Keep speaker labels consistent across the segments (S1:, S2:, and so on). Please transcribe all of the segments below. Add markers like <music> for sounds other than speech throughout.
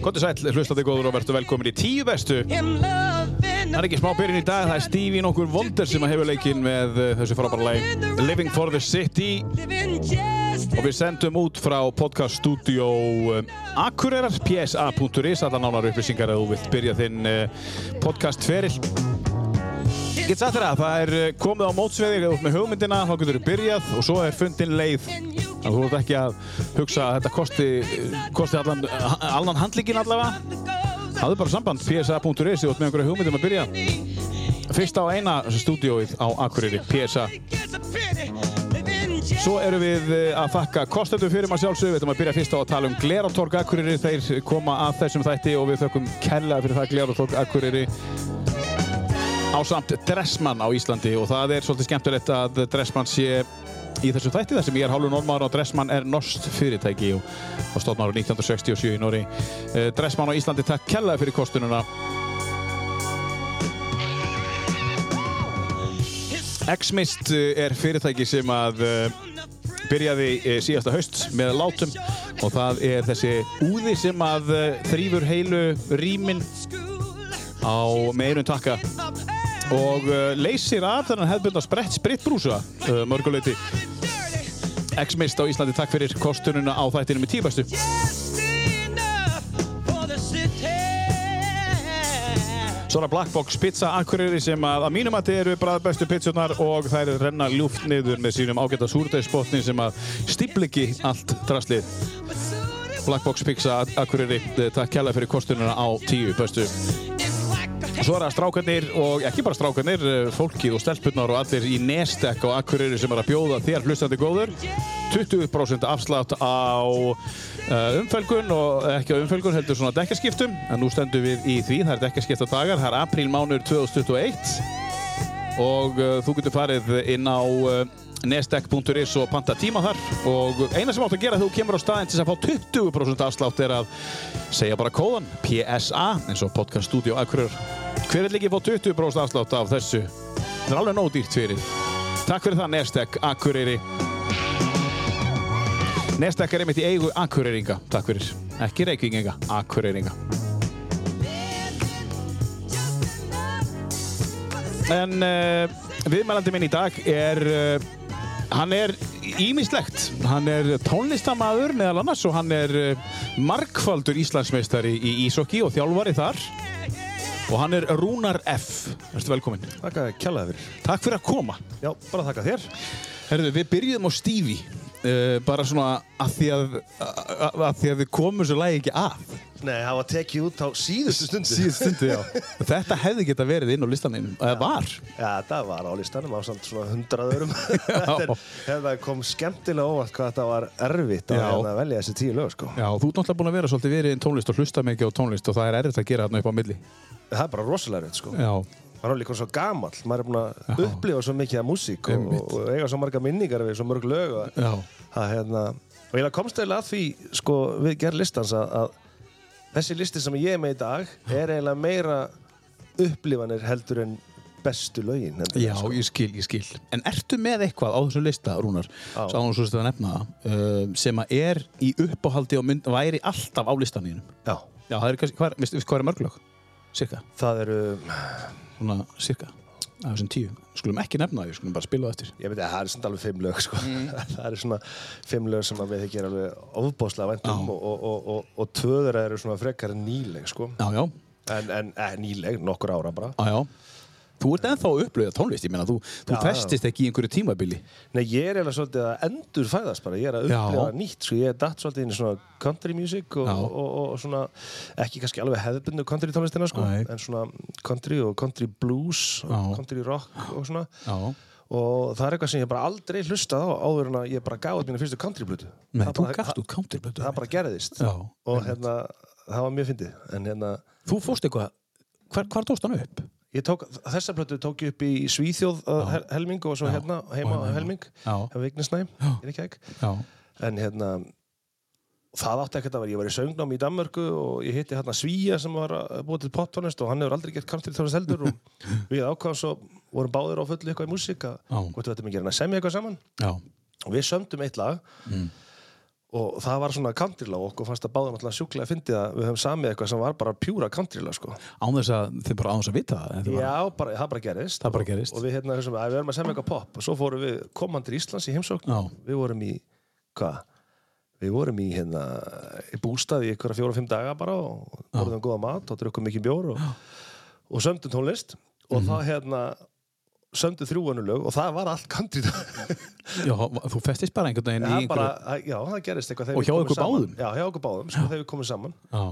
S1: Kondi sæl, hlustandi góður og verður velkomin í tíu bestu. Það er ekki smá byrjun í dag, það er Stevie nokkur Wonder sem að hefur leikinn með uh, þessu frábæra læg Living for the City og við sendum út frá podcaststudió um, Akureyrar, psa.is, alla nánar upplýsingar að þú vilt byrja þinn uh, podcastferill. Ég get sagt þér að það er uh, komið á mótsveðir eða út með hugmyndina, þá getur þú byrjað og svo er fundin leið að þú ert ekki að hugsa að þetta kosti, eh, kosti allan, allan handlíkin allavega. Hafðu bara samband, psa.is, þú ert með einhverja hugmyndum að byrja. Fyrsta og eina stúdióið á Akureyri, PSA. Svo erum við eh, að þakka kostendur fyrir maður sjálfsög. Við ætlum að byrja fyrst á að tala um Glerartorg Akureyri. Þeir koma að þessum þætti og við þökkum kella fyrir það Glerartorg Akureyri á samt Dressmann á Íslandi og það er svolítið skemmtilegt að Dressmann sé í þessu þætti þar sem ég er hálfur normaður og Dressmann er norskt fyrirtæki og það stóðn ára 1967 í Nóri. Dressmann á Íslandi takk kellaði fyrir kostununa. X-Mist eh, er fyrirtæki sem að eh, byrjaði eh, síðasta haust með látum og það er þessi úði sem að eh, þrýfur heilu rýmin á meirun takka og uh, leysir af þennan hefðbundna sprett spritbrúsa uh, mörguleiti X-Mist á Íslandi takk fyrir kostununa á þættinum í tíbastu Svona Black Box pizza akkurýri sem að að mínum að þið eru bara bestu pizzunar og þær renna ljúft niður með sínum ágæta súrdeigsbotni sem að stípliki allt draslið Black Box pizza akkurýri takk kjalla fyrir kostununa á tíu bestu Svo er það strákarnir og ekki bara strákarnir, eh, fólkið og stelpunar og allir í Nestek og Akureyri sem er að bjóða þér hlustandi góður. 20% afslátt á eh, umfölgun og ekki á umfölgun heldur svona dekkaskiptum. En nú stendum við í því, það er dekkaskipta dagar, það er aprílmánur 2021 og uh, þú getur farið inn á uh, nestek.is og panta tíma þar og eina sem átt að gera þegar þú kemur á staðinn til þess að fá 20% afslátt er að segja bara kóðan PSA eins og podcast studio akkurir hver er líkið að fá 20% afslátt af þessu það er alveg nóg dýrt fyrir takk fyrir það Nestek Akureyri Nestek er einmitt í eigu Akureyringa takk fyrir, ekki Reykjavíkinga Akureyringa En uh, viðmælandi minn í dag er, uh, hann er ímislegt, hann er tónlistamæður meðal annars og hann er uh, markfaldur Íslandsmeistari í Ísokki og þjálfari þar og hann er Rúnar F. Verstu velkominn.
S2: Takk að kjallaði fyrir.
S1: Takk fyrir að koma.
S2: Já, bara þakka þér.
S1: Herðu, við byrjuðum á Stífi, uh, bara svona að því að, að, að, að því að við komum þessu lagi ekki að.
S2: Nei, það var tekið út á síðustu stundu.
S1: Síðust stundu, já. Þetta hefði geta verið inn á listaninu, eða var.
S2: Já, það var á listanum á samt svona hundrað <laughs> örum. Þetta er- þetta kom skemmtilega óvart hvað þetta var erfitt að,
S1: Já.
S2: hérna velja þessi tíu lög, sko.
S1: Já, þú ert náttúrulega búin að vera svolítið verið inn tónlist og hlusta mikið á tónlist og það er erfitt að gera þarna upp á milli.
S2: Það er bara rosalega erfitt, sko.
S1: Já,
S2: Það er líka svo gamall. Maður er búinn að
S1: Já.
S2: upplifa svo mikið af músík og,
S1: Einmitt.
S2: og eiga svo marga minningar við svo mörg lög. að-
S1: já,
S2: að hérna og ég komst eiginlega að því sko við gerð listans að, að þessi listi sem ég er með í dag er eiginlega meira upplifanir heldur en bestu lögin heldur en,
S1: já,
S2: sko.
S1: ég skil, ég skil. En ertu með eitthvað á þessu lista, Rúnar,
S2: Já.
S1: sá hún svo stöða nefna það, um, sem að er í uppáhaldi og mynd, væri alltaf á listaninu?
S2: já,
S1: Já, það er kannski, hvað er, veistu, veistu hvað er mörglög? Cirka,
S2: það eru
S1: svona, cirka, af þessum tíu. Skulum ekki nefna það, við skulum bara spila það eftir.
S2: ég veit að það eru svona alveg fimm lög sko. <laughs> það eru svona fimm lög sem að við þykir alveg ofbáslega væntum
S1: Já.
S2: og, og, og, og, og tvöður eru svona frekar nýleg sko.
S1: Já, já,
S2: en, en eh, nýleg, nokkur ára bara
S1: já, já. Þú ert ennþá að upplöða tónlist, ég meina, þú, þú
S2: Já, já.
S1: festist ekki í einhverju tímabili.
S2: Nei, ég er eiginlega svolítið að endur fæðast bara, ég er að
S1: Já.
S2: upplifa nýtt, sko, ég er datt svolítið inn í svona country music og,
S1: Já.
S2: og, og, og svona, ekki kannski alveg hefðbundu country tónlistina, sko,
S1: Nei.
S2: en svona country og country blues
S1: Já.
S2: og country rock og svona,
S1: Já.
S2: og það er eitthvað sem ég bara aldrei hlustað á áður en að ég bara gaf út mínu fyrstu country blutu.
S1: Nei,
S2: það
S1: þú
S2: bara,
S1: gafst
S2: það,
S1: út counterblötu.
S2: það bara gerðist.
S1: Já,
S2: og hérna, það var mjög fyndið, en hérna,
S1: Þú fórst eitthvað, hvar, hvar tókst hann upp?
S2: ég tók, þessa plötu tók ég upp í Svíþjóð uh, hel, helming og svo
S1: Já.
S2: hérna, heima
S1: Og heima, já.
S2: helming,
S1: Já.
S2: hefur vignisnæm,
S1: Já.
S2: ég er ekki ekki.
S1: Já,
S2: en hérna það átti ekkert að vera, ég var í söngnám í Danmörku og ég hitti hérna Svíja sem var að búa til poptónist og hann hefur aldrei gert country tónist heldur
S1: <laughs>
S2: og við ákvaðum svo vorum báðir á fullu eitthvað í músík að
S1: Já.
S2: hvort við ættum að gera hann að semja eitthvað saman
S1: já,
S2: og við sömdum eitt lag og það var svona countrylag og okkur fannst að báða náttúrulega sjúklega að fyndi að við höfum samið eitthvað sem var bara pjúra countrylag sko.
S1: Án þess að, þið bara án þess að vita það. þetta var-
S2: Já, bara, það bara gerist
S1: Það bara gerist.
S2: og, og við hérna þessum að við erum að semja eitthvað pop og svo fórum við komandir Íslands í heimsókn
S1: Já.
S2: við vorum í, hvað? Við vorum í hérna í bústað í einhverja fjóra og fimm daga bara og borðum góða mat og drukkum mikið bjór og, og sömdum tónlist og
S1: Mhm.
S2: þá hérna sömdum þrjúanulög og það var allt <laughs> country
S1: Já, þú festist bara einhvern veginn í
S2: það
S1: einhverju...
S2: bara, já, það gerist eitthvað þegar
S1: Og
S2: við
S1: hjá
S2: komum
S1: ykkur
S2: saman.
S1: báðum?
S2: Já, hjá okkur báðum, sko, þegar við komum saman
S1: Já.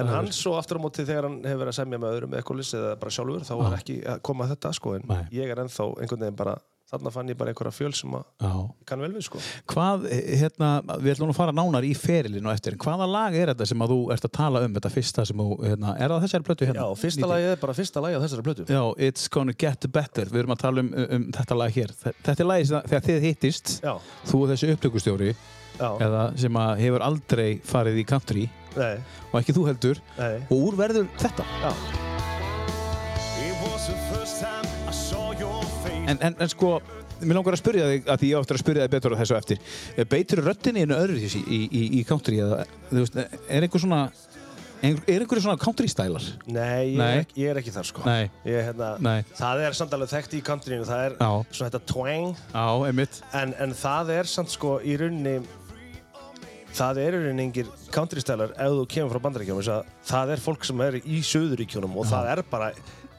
S2: En hann svo aftur á móti þegar hann hefur verið að semja með öðrum ekkulis eða bara sjálfur þá var ekki að koma að þetta sko en
S1: Nei.
S2: ég er ennþá einhvern veginn bara þarna fann ég bara einhverja fjöl sem að
S1: Já.
S2: ég kann vel við sko
S1: Hvað, eh, hérna, við ætlum nú að fara nánar í ferilinu eftir, en hvaða lag er þetta sem að þú ert að tala um, þetta fyrsta sem þú, hérna, er það þessari plötu
S2: Já,
S1: hérna?
S2: fyrsta lagið er bara fyrsta lagið á þessari plötu
S1: Já, It's Gonna Get Better, við erum að tala um, um, um þetta lag hér. Þe- Þetta er lagið sem- þegar þið hittist,
S2: Já,
S1: þú og þessi upptökustjóri,
S2: já,
S1: eða sem að hefur aldrei farið í country,
S2: nei,
S1: og ekki þú heldur,
S2: nei,
S1: og úr verður þetta.
S2: já
S3: It was the first time I saw your face.
S1: En, en, en sko, mér langar að spyrja þig, að því ég á eftir að spyrja þig betur á þessu á eftir. Eh, Beitir röttinni einu öðru þessi í, í, í country, eða, þú veist, er einhver svona, er einhver svona country stælar?
S2: Nei, ég,
S1: Nei.
S2: Er, ekki, ég er ekki þar sko
S1: Nei.
S2: Ég, hérna,
S1: Nei.
S2: Það er samt alveg þekkt í countryinu það er
S1: Já.
S2: svona þetta twang
S1: Já, einmitt.
S2: en, en það er samt sko í rauninni það eru rauninni engir countrystylar ef þú kemur frá bandaríkjónum þess að það er fólk sem er í söðuríkjónum og það er bara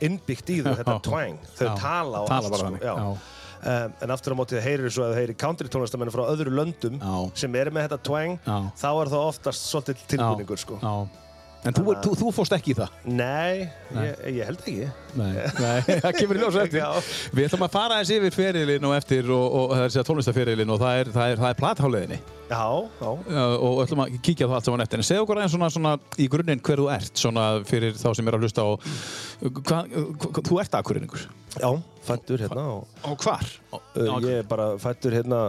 S2: innbyggt í þau þetta
S1: Já.
S2: twang, þau
S1: Já.
S2: tala og
S1: Tala bara
S2: allt
S1: þannig,
S2: sko,
S1: já.
S2: Um, en aftur á mótið heyrir svo að þau heyrir country tónlistamenn frá öðru löndum
S1: Já.
S2: sem eru með þetta twang
S1: Já.
S2: þá er það oftast svolítið tilbúningur sko.
S1: Já. En þú, þú, þú fórst ekki í það?
S2: Nei, Ég, ég held ekki
S1: Nei, Nei <laughs> það kemur í ljós á eftir.
S2: Já.
S1: Við ætlum að fara eins yfir ferilinn og eftir og, og það er sér tónlistaferilinn og það er, það er, það er platháleðinni
S2: Já, já
S1: uh, og ætlum að kíkja á það allt saman eftir. En segð okkur aðeins svona, svona í grunninn hver þú ert svona fyrir þá sem er að hlusta og hva, hva, þú ert akkuriningur.
S2: Já, fættur hérna og,
S1: Og hvar?
S2: uh, ég er bara fættur hérna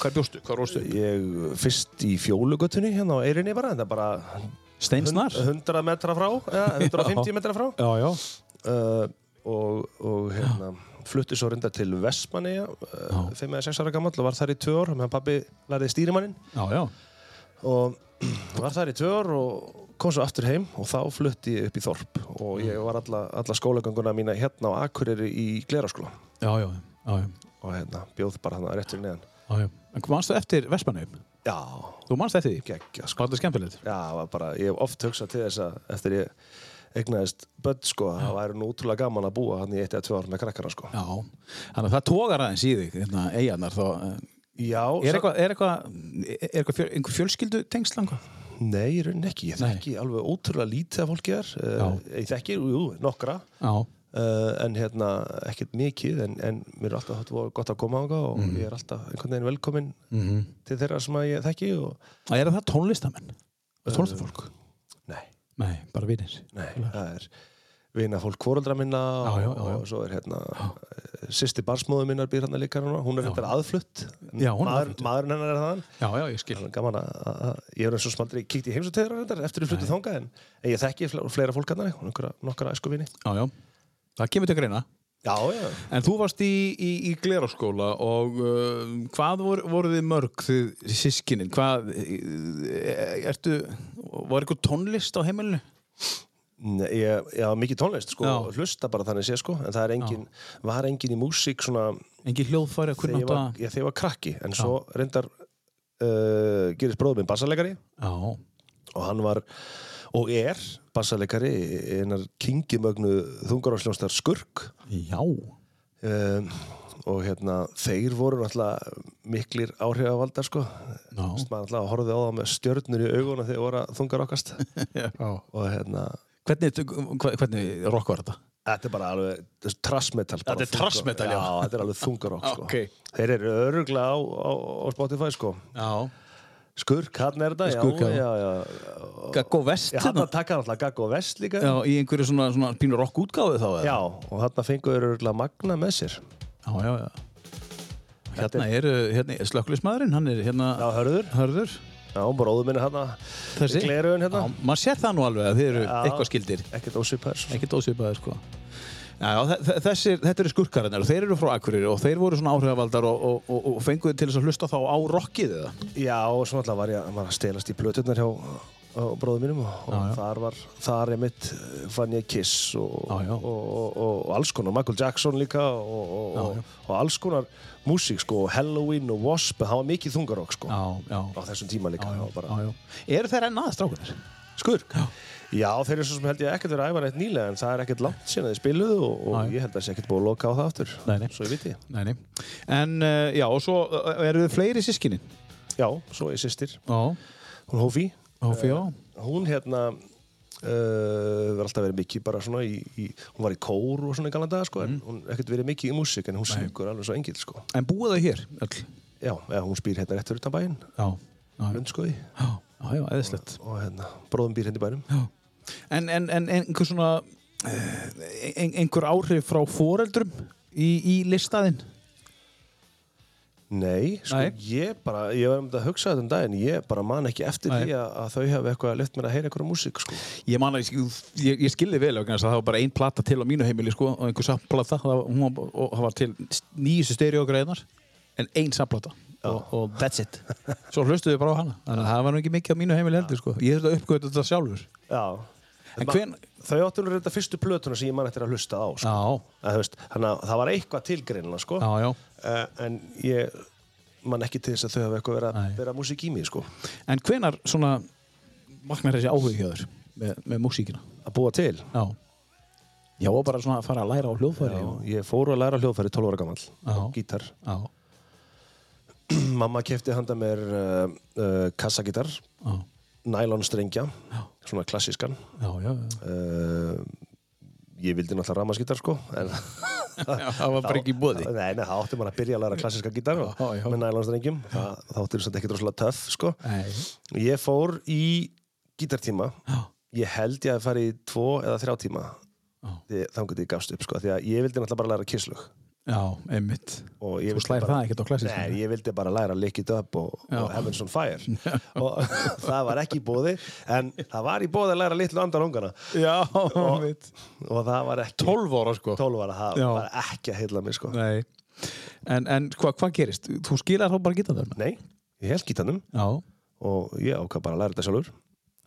S1: Hvar bjóstu? Hvar róstu?
S2: Ég fyrst í fjólugötunni hérna á Eirinni bara, þetta er bara
S1: Steinsnar?
S2: 100 metra frá, eða 150 metra frá
S1: Já, já.
S2: uh, og, og hérna flutti svo reyndar til Vestmanni uh, 5 eða 6 ára gammal og var þar í 2 ár meðan pappi lærði stýrimanninn
S1: Já, já.
S2: og var þar í 2 ár og kom svo aftur heim og þá flutti ég upp í Þorp og ég var alla, alla skólagönguna mína hérna á Akureyri í Gleraskóla
S1: Já, já. Já, já.
S2: og hérna bjóð bara þannig rétt fyrir neðan
S1: Já, já. En mannstu eftir Vespanum?
S2: Já,
S1: Þú mannst eftir því?
S2: geggja sko
S1: Hvað er þetta skemmtilegt?
S2: Já, það var bara, ég hef oft hugsað til þess að eftir ég eignaðist börn sko, að það væri nú útrúlega gaman að búa hann í eitt eða tvö ár með krakkara sko.
S1: Já, þannig að það tógar aðeins í þig hérna, eigarnar þá eh,
S2: Já,
S1: er eitthvað, er eitthvað, er eitthvað fjöl, einhver fjölskyldu tengsl langa?
S2: nei, í rauninni ekki, ég
S1: Nei.
S2: þekki alveg ótrúlega lítið af fólki þar, uh, ég þekki, jú, nokkra,
S1: Já,
S2: uh, en hérna ekkert mikið, en, en mér er alltaf þetta var gott að koma ánga og
S1: Mhm.
S2: ég er alltaf einhvern veginn velkomin til þeirra sem að ég þekki og
S1: það er Mhm. það tónlistamenn tónlistafólk?
S2: nei,
S1: Nei, bara vinir
S2: nei, það er vina fólk fóröldra minna og,
S1: Já, já, já, já.
S2: og svo er hérna sýsti barsmóðu minnar býr hann líka núna hún er hérna aðflutt
S1: Já, hún er
S2: Maður,
S1: aðflutt.
S2: maðurinn hennar er þaðan
S1: Já, já, ég skil
S2: Þannig gaman að, að, að ég er eins og smaldri kíkt í heimsótteðra reyndar eftir við fluttu þangað en, en ég þekki fle- fleira fólk hann nokkra, nokkra æskuvini
S1: Já, já, það kemur til greina
S2: Já, já
S1: En þú varst í, í, í gleraskóla og uh, hvað voru, voru þið mörg þið sískinin? Hvað, eh, ertu, var eitthvað tónlist á heimilinu?
S2: Nei, ég, já, mikið tónlist sko,
S1: Já.
S2: hlusta bara þannig sé sko en það er engin, var engin í músík svona
S1: Engi hljóðfæri að
S2: þegar
S1: kunna
S2: ég var,
S1: átta?
S2: ég, þegar ég var krakki en svo reyndar uh, gerist bróðum minn bassalegari
S1: Já,
S2: og hann var og er bassalegari einar kingimögnu þungaráshljónstar Skurk
S1: já,
S2: um, og hérna þeir voru náttúrulega miklir áhrifavaldar sko
S1: Já.
S2: Þú veist, maður náttúrulega horfði á það með stjörnur í augunum þegar voru að þungar okkast
S1: <laughs> já.
S2: og hérna
S1: Hvernig, hva- hvernig rock var þetta?
S2: Þetta er bara alveg trassmetal
S1: Þetta er thrash metal, já.
S2: já Þetta er alveg þungarokk
S1: <laughs>
S2: sko.
S1: Ok.
S2: Þeir eru öruglega á, á, á Spotify sko
S1: Já
S2: Skurk, hann er þetta, já,
S1: Skurk, já.
S2: já, já
S1: Gaggó Vest
S2: Ég hann að taka náttúrulega Gaggo Vest líka
S1: Já, í einhverju svona, svona pínu rock útgáðu þá eða?
S2: Já, og hann fengu þeir öruglega magna með sér
S1: já, já, já. Hérna er, hérna, slökkulismæðurinn, hann er hérna
S2: Já, hörður,
S1: Hörður
S2: já, bróðu minni hann að
S1: Þessi?
S2: Gleruðin
S1: Já,
S2: hérna
S1: maður sér það nú alveg að þið eru
S2: Já.
S1: eitthvað skildir
S2: Ekkert ósvipaður svo sem.
S1: Ekkert ósvipaðir sko Já, já, þe- þe- þessir, þetta eru skurkarinnar og þeir eru frá Akureyri og þeir voru svona áhrifavaldar og, og, og, og fenguðu til þess að hlusta þá á rockið eða?
S2: Já, og svo alltaf var ég var að stelast í plöturnar hjá bróðum mínum og
S1: Já, já.
S2: þar var, þar einmitt eh, fann ég Kiss og,
S1: Já, já.
S2: Og, og, og, og alls konar, Michael Jackson líka og, og,
S1: já.
S2: og, og alls konar músík sko, og Halloween og Wasp, það var mikið þungarokk sko,
S1: Já, já.
S2: á þessum tíma líka já, bara,
S1: já, já. Eru þeir enn aðeins, strákunar?
S2: skurk já. þeir eru svo sem held ég ekkert verið að æfa neitt nýlega en það er ekkert langt síðan að þeir spiluðu og,
S1: Já,
S2: og
S1: já.
S2: ég held að það sé ekkert búið að loka á það aftur
S1: Nei, nei.
S2: svo ég viti,
S1: Nei, nei. En, uh, já, og svo uh, eru þið fleiri sískinni?
S2: já, svo er sýstir
S1: Já.
S2: hún Hófi,
S1: Hófi, já.
S2: hún hérna uh, var alltaf verið mikið bara svona í, í, hún var í kór og svona í galanda sko,
S1: Mhm.
S2: en hún er ekkert verið mikið í músík en hún syngur alveg svo engil sko,
S1: En búið þau hér, öll?
S2: já, eða hún spýr hérna réttur utan bæinn,
S1: Já. Já, já,
S2: lundskoði
S1: já, já eðislegt.
S2: og hérna, bróðum býr hérna í bænum
S1: Já. En, en, en einhver svona, eh, ein, einhver áhrif frá foreldrum í, í listaðinn?
S2: Nei, sko
S1: Nei.
S2: ég bara, ég var um þetta að hugsa þetta um daginn, ég bara man ekki eftir
S1: Nei.
S2: því að, að þau hafi eitthvað að lift mér að heyra eitthvað músík, sko.
S1: Ég man að ég, ég, ég skildi vel vegna þess að það var bara ein plata til á mínu heimili sko, og einhver samplata það, var- hún var, og það var til nýjustu stereogreinar en ein samplata og, og that's <laughs> it Svo hlustuðu bara á hana þannig að það var nú ekki mikið á mínu heimili heldur sko. Ég þurfti að uppgöta þetta sjálfur
S2: Já.
S1: En
S2: Ma-
S1: hven-
S2: Þau áttu nú reynda fyrstu plötuna sem ég man eftir að hlusta á, sko.
S1: Já,
S2: Að, þú veist, þannig að það var eitthvað tilgreinlega, sko.
S1: já, já
S2: Uh, en ég man ekki til þess að þau hafi eitthvað verið
S1: Nei.
S2: að vera músík í mig, sko.
S1: En hvenar svona vaknar þessi áhugjöður með, með músíkina?
S2: Að búa til.
S1: Já Já, og bara svona að fara að læra á hljóðfæri
S2: Já,
S1: og-
S2: ég fór að læra hljóðfæri 12 ára gamall,
S1: Já.
S2: gítar.
S1: Já,
S2: Mamma kefti handa mér uh, uh, kassagítar,
S1: já,
S2: nælonstrengja, svona klassískan.
S1: já, já, já.
S2: uh, ég vildi náttúrulega ramaskítar sko
S1: <laughs>
S2: en
S1: Það var bara ekki í boði
S2: Nei, nei, það átti maður að byrja að læra klassiska gítar og,
S1: Já, já.
S2: með nælónstrengjum það átti þess að ekki droslega töff sko
S1: Nei,
S2: ég fór í gítartíma
S1: já,
S2: ég held ég að fara í tvo eða þrjá tíma
S1: Já.
S2: Því- þangur ég gafst upp sko því að ég vildi náttúrulega bara læra kisslug
S1: já, einmitt
S2: og ég
S1: Þú
S2: vildi
S1: slæðir
S2: bara-
S1: það ekkert á klassískan
S2: Nei, ég vildi bara læra Lick It Up og, og Heavens on
S1: <laughs>
S2: Fire og <laughs> það var ekki í bóði en það var í bóði að læra litlu andar ungana
S1: Já, <laughs>
S2: Og-
S1: mitt.
S2: og það var ekki
S1: 12 ára sko.
S2: 12 ára, það
S1: Já.
S2: var ekki að heilla mig sko. Nei,
S1: Nei. En, en hva- hvað gerist? Þú skilar þá bara gítar þar með?
S2: ég held gítanum
S1: Já.
S2: og ég ákvað bara að læra þetta sjálfur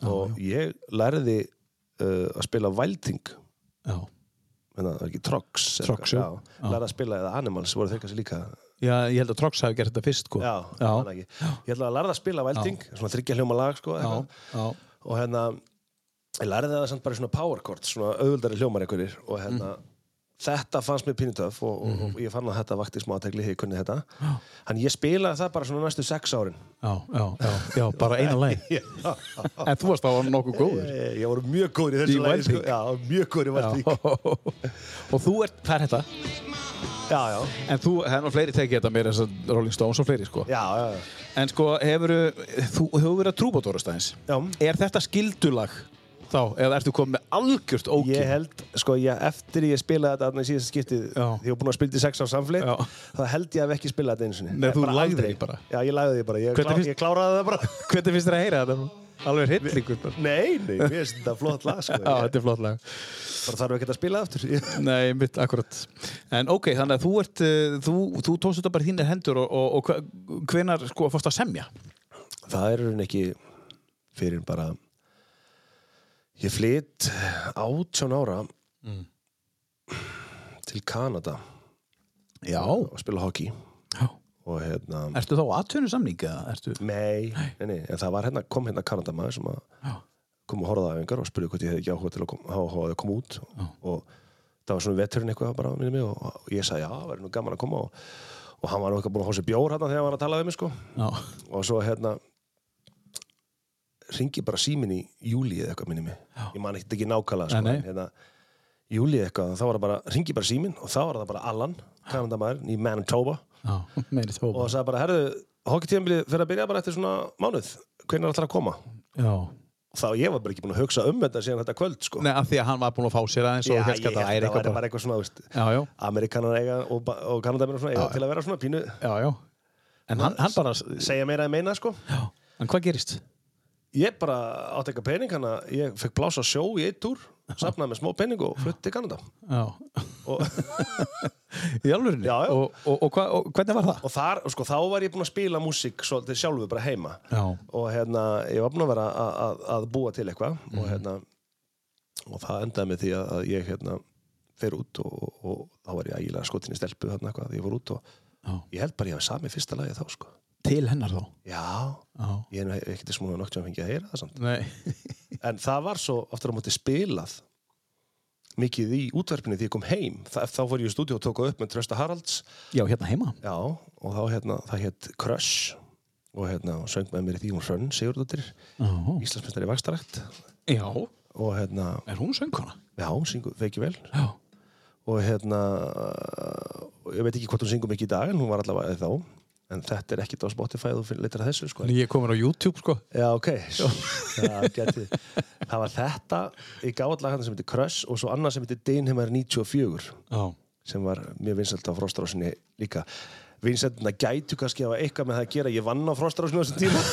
S2: og ég læriði uh, að spila Vælting
S1: Já.
S2: en það er ekki Trox eða
S1: Trox,
S2: eitthvað,
S1: jú.
S2: já. Læra að spila eða Animals voru þeir kannski líka
S1: Já, ég held að Trox hafi gert þetta fyrst sko.
S2: Já,
S1: Já.
S2: man ekki. Ég ætla að læra að spila Vælting svona þryggja hljóma lag sko,
S1: Já,
S2: eitthvað.
S1: já,
S2: og hérna ég læriði það samt bara í svona power chord svona auðvöldari hljómar einhverjir og hérna
S1: Mhm.
S2: þetta fannst mér pinnitöf og, og, og ég fann að þetta vakti smá aðtegli þegar ég kunni þetta hann ég spilaði það bara svona næstu sex
S1: <laughs>
S2: árin
S1: já, já, já, <laughs> já, bara eina læg. En þú varst þá nokkuð góður.
S2: Eh, Ég voru mjög góður
S1: Í
S2: í þessu lagi, sko.
S1: Wild Pig.
S2: Já, mjög góður í Valdík.
S1: <laughs> Og þú ert, það er þetta,
S2: Já, já,
S1: en þú, það er nú fleiri tekið þetta mér þess að Rolling Stones og fleiri sko.
S2: já, já, já.
S1: En sko, hefur þú hefur verið að trúbótórast aðeins.
S2: já.
S1: Er þetta skildulag þá, eða ertu komið með algjört ókýr?
S2: Ég held, sko, ég, eftir ég spilaði þetta þarna í síðasta skiptið,
S1: Já.
S2: því ég var búinn að spila þetta í sex á samflið,
S1: Já.
S2: þá held ég að við ekki spilaði þetta einu sinni.
S1: Nei, þú
S2: Bara
S1: lagðir
S2: aldrei.
S1: þig bara.
S2: Já, ég lagði því bara. Ég,
S1: Hvernig
S2: klá,
S1: finnst-
S2: ég kláraði það bara. <laughs>
S1: Hvernig finnst þér að heyra þetta? Alveg hryllingur bara.
S2: nei, nei, mér finnst þetta flott lag, <laughs> sko.
S1: Já, þetta er flott lag.
S2: Ég bara þarf ekki að spila það aftur. <laughs> Ég-
S1: Nei, mitt, akkurat. En ok, þannig að þú ert, eh, þú, þú tókst þetta bara í þínir hendur og, og, og hvenar sko fórst að semja?
S2: það er hún ekki fyrir en bara ég flytt átján ára Mm. til Kanada
S1: Já.
S2: og spila hockey
S1: Já.
S2: og hérna
S1: Ertu þá aðtönu samning eða ertu?
S2: Nei, nei, nei, en það var hérna, kom hérna Kanadamaður sem að
S1: Já.
S2: kom og horfði á æfingar og spurði hvort ég hefði ekki áhuga til að koma, áhuga á að koma út og það var svona veturinn eitthvað bara minni mig og, og ég sagði já, það verður nú gaman að koma og, og hann var nú eitthvað búin að hósa bjór hérna þegar hann var að tala við mig sko
S1: Já.
S2: og svo hérna ringi bara símin í júli eða eitthvað minni mig, ég man ekkert ekki nákvæmlega sko,
S1: Nei, nei.
S2: en hérna júli eitthvað, þá var það bara, ringi bara símin og þá var það bara Allan, Kanadamaður í Manitoba
S1: Já, meiri
S2: og
S1: tópa.
S2: það sagði bara, herðu, hockeytíðanbilið fyrir að byrja bara eftir svona mánuð, hvernig er alltaf að koma
S1: Já.
S2: þá ég var bara ekki búin að hugsa um þetta síðan þetta kvöld, sko
S1: Nei, af því að hann var búinn að fá sér aðeins og
S2: ég
S1: helst að
S2: hélt
S1: það er eitthvað
S2: væri
S1: bara.
S2: bara eitthvað svona, veist
S1: Já, já,
S2: Amerikanar eiga og, ba- og Kanadamenn og svona eiga til að vera svona pínu
S1: já, já. En hann, hann bara,
S2: segja meira en meina, sko
S1: já. En hvað gerist?
S2: ég bara átti eitthvað pening, hann að ég fekk blása sjó í eitt túr, safnaði með smó pening og flutti til Kanada
S1: Já.
S2: og, <laughs>
S1: Í alvörinu?
S2: Já, já.
S1: Og, og, og, hva, og hvernig var það?
S2: og þar, og sko, þá var ég búinn að spila músík svolítið sjálfur bara heima
S1: Já.
S2: og hérna, ég var búinn að vera að, að, að búa til eitthvað
S1: Mhm.
S2: og hérna og það endaði með því að, að ég hérna fer út og, og, og þá var ég ægilega skotin í stelpu þarna eitthvað því ég fór út og
S1: Já.
S2: ég held bara ég hafi samið fyrsta lagi þá sko
S1: Til hennar þá?
S2: já,
S1: Já.
S2: ég er nú ekkert þess að múna noktjum að fengja að heyra það
S1: <laughs>
S2: samt
S1: Nei.
S2: en það var svo aftur á móti spilað mikið í útverfinu því ég kom heim Þa, þá fór ég í stúdíu og tók það upp með Trösta Haralds
S1: Já, hérna heima.
S2: já, og þá hérna, það hétt Crush og hérna, hún söng með mér í því hún Hrönn Sigurðardóttir,
S1: Já.
S2: Íslandsmyndari vakstarækt
S1: Já.
S2: og hérna,
S1: Er hún söngkona?
S2: já, hún syngur veikið vel
S1: Já.
S2: og hérna og ég veit ekki hvort hún syngur mikið í dag en hún var allavega þá en þetta er ekkert á Spotify þú finn- leitar að þessu sko.
S1: Ég er komin á YouTube, sko.
S2: Já, ok. Það, geti, það var þetta, ég gáði lag hann sem heitir Crush og svo annað sem heitir Deinheimar 94
S1: Já.
S2: sem var mjög vinsælt á Frostrósinni líka. Vinsæltina gætu kannski að hafa eitthvað með það að gera. Ég vann á Frostrósinni á þessum tíma.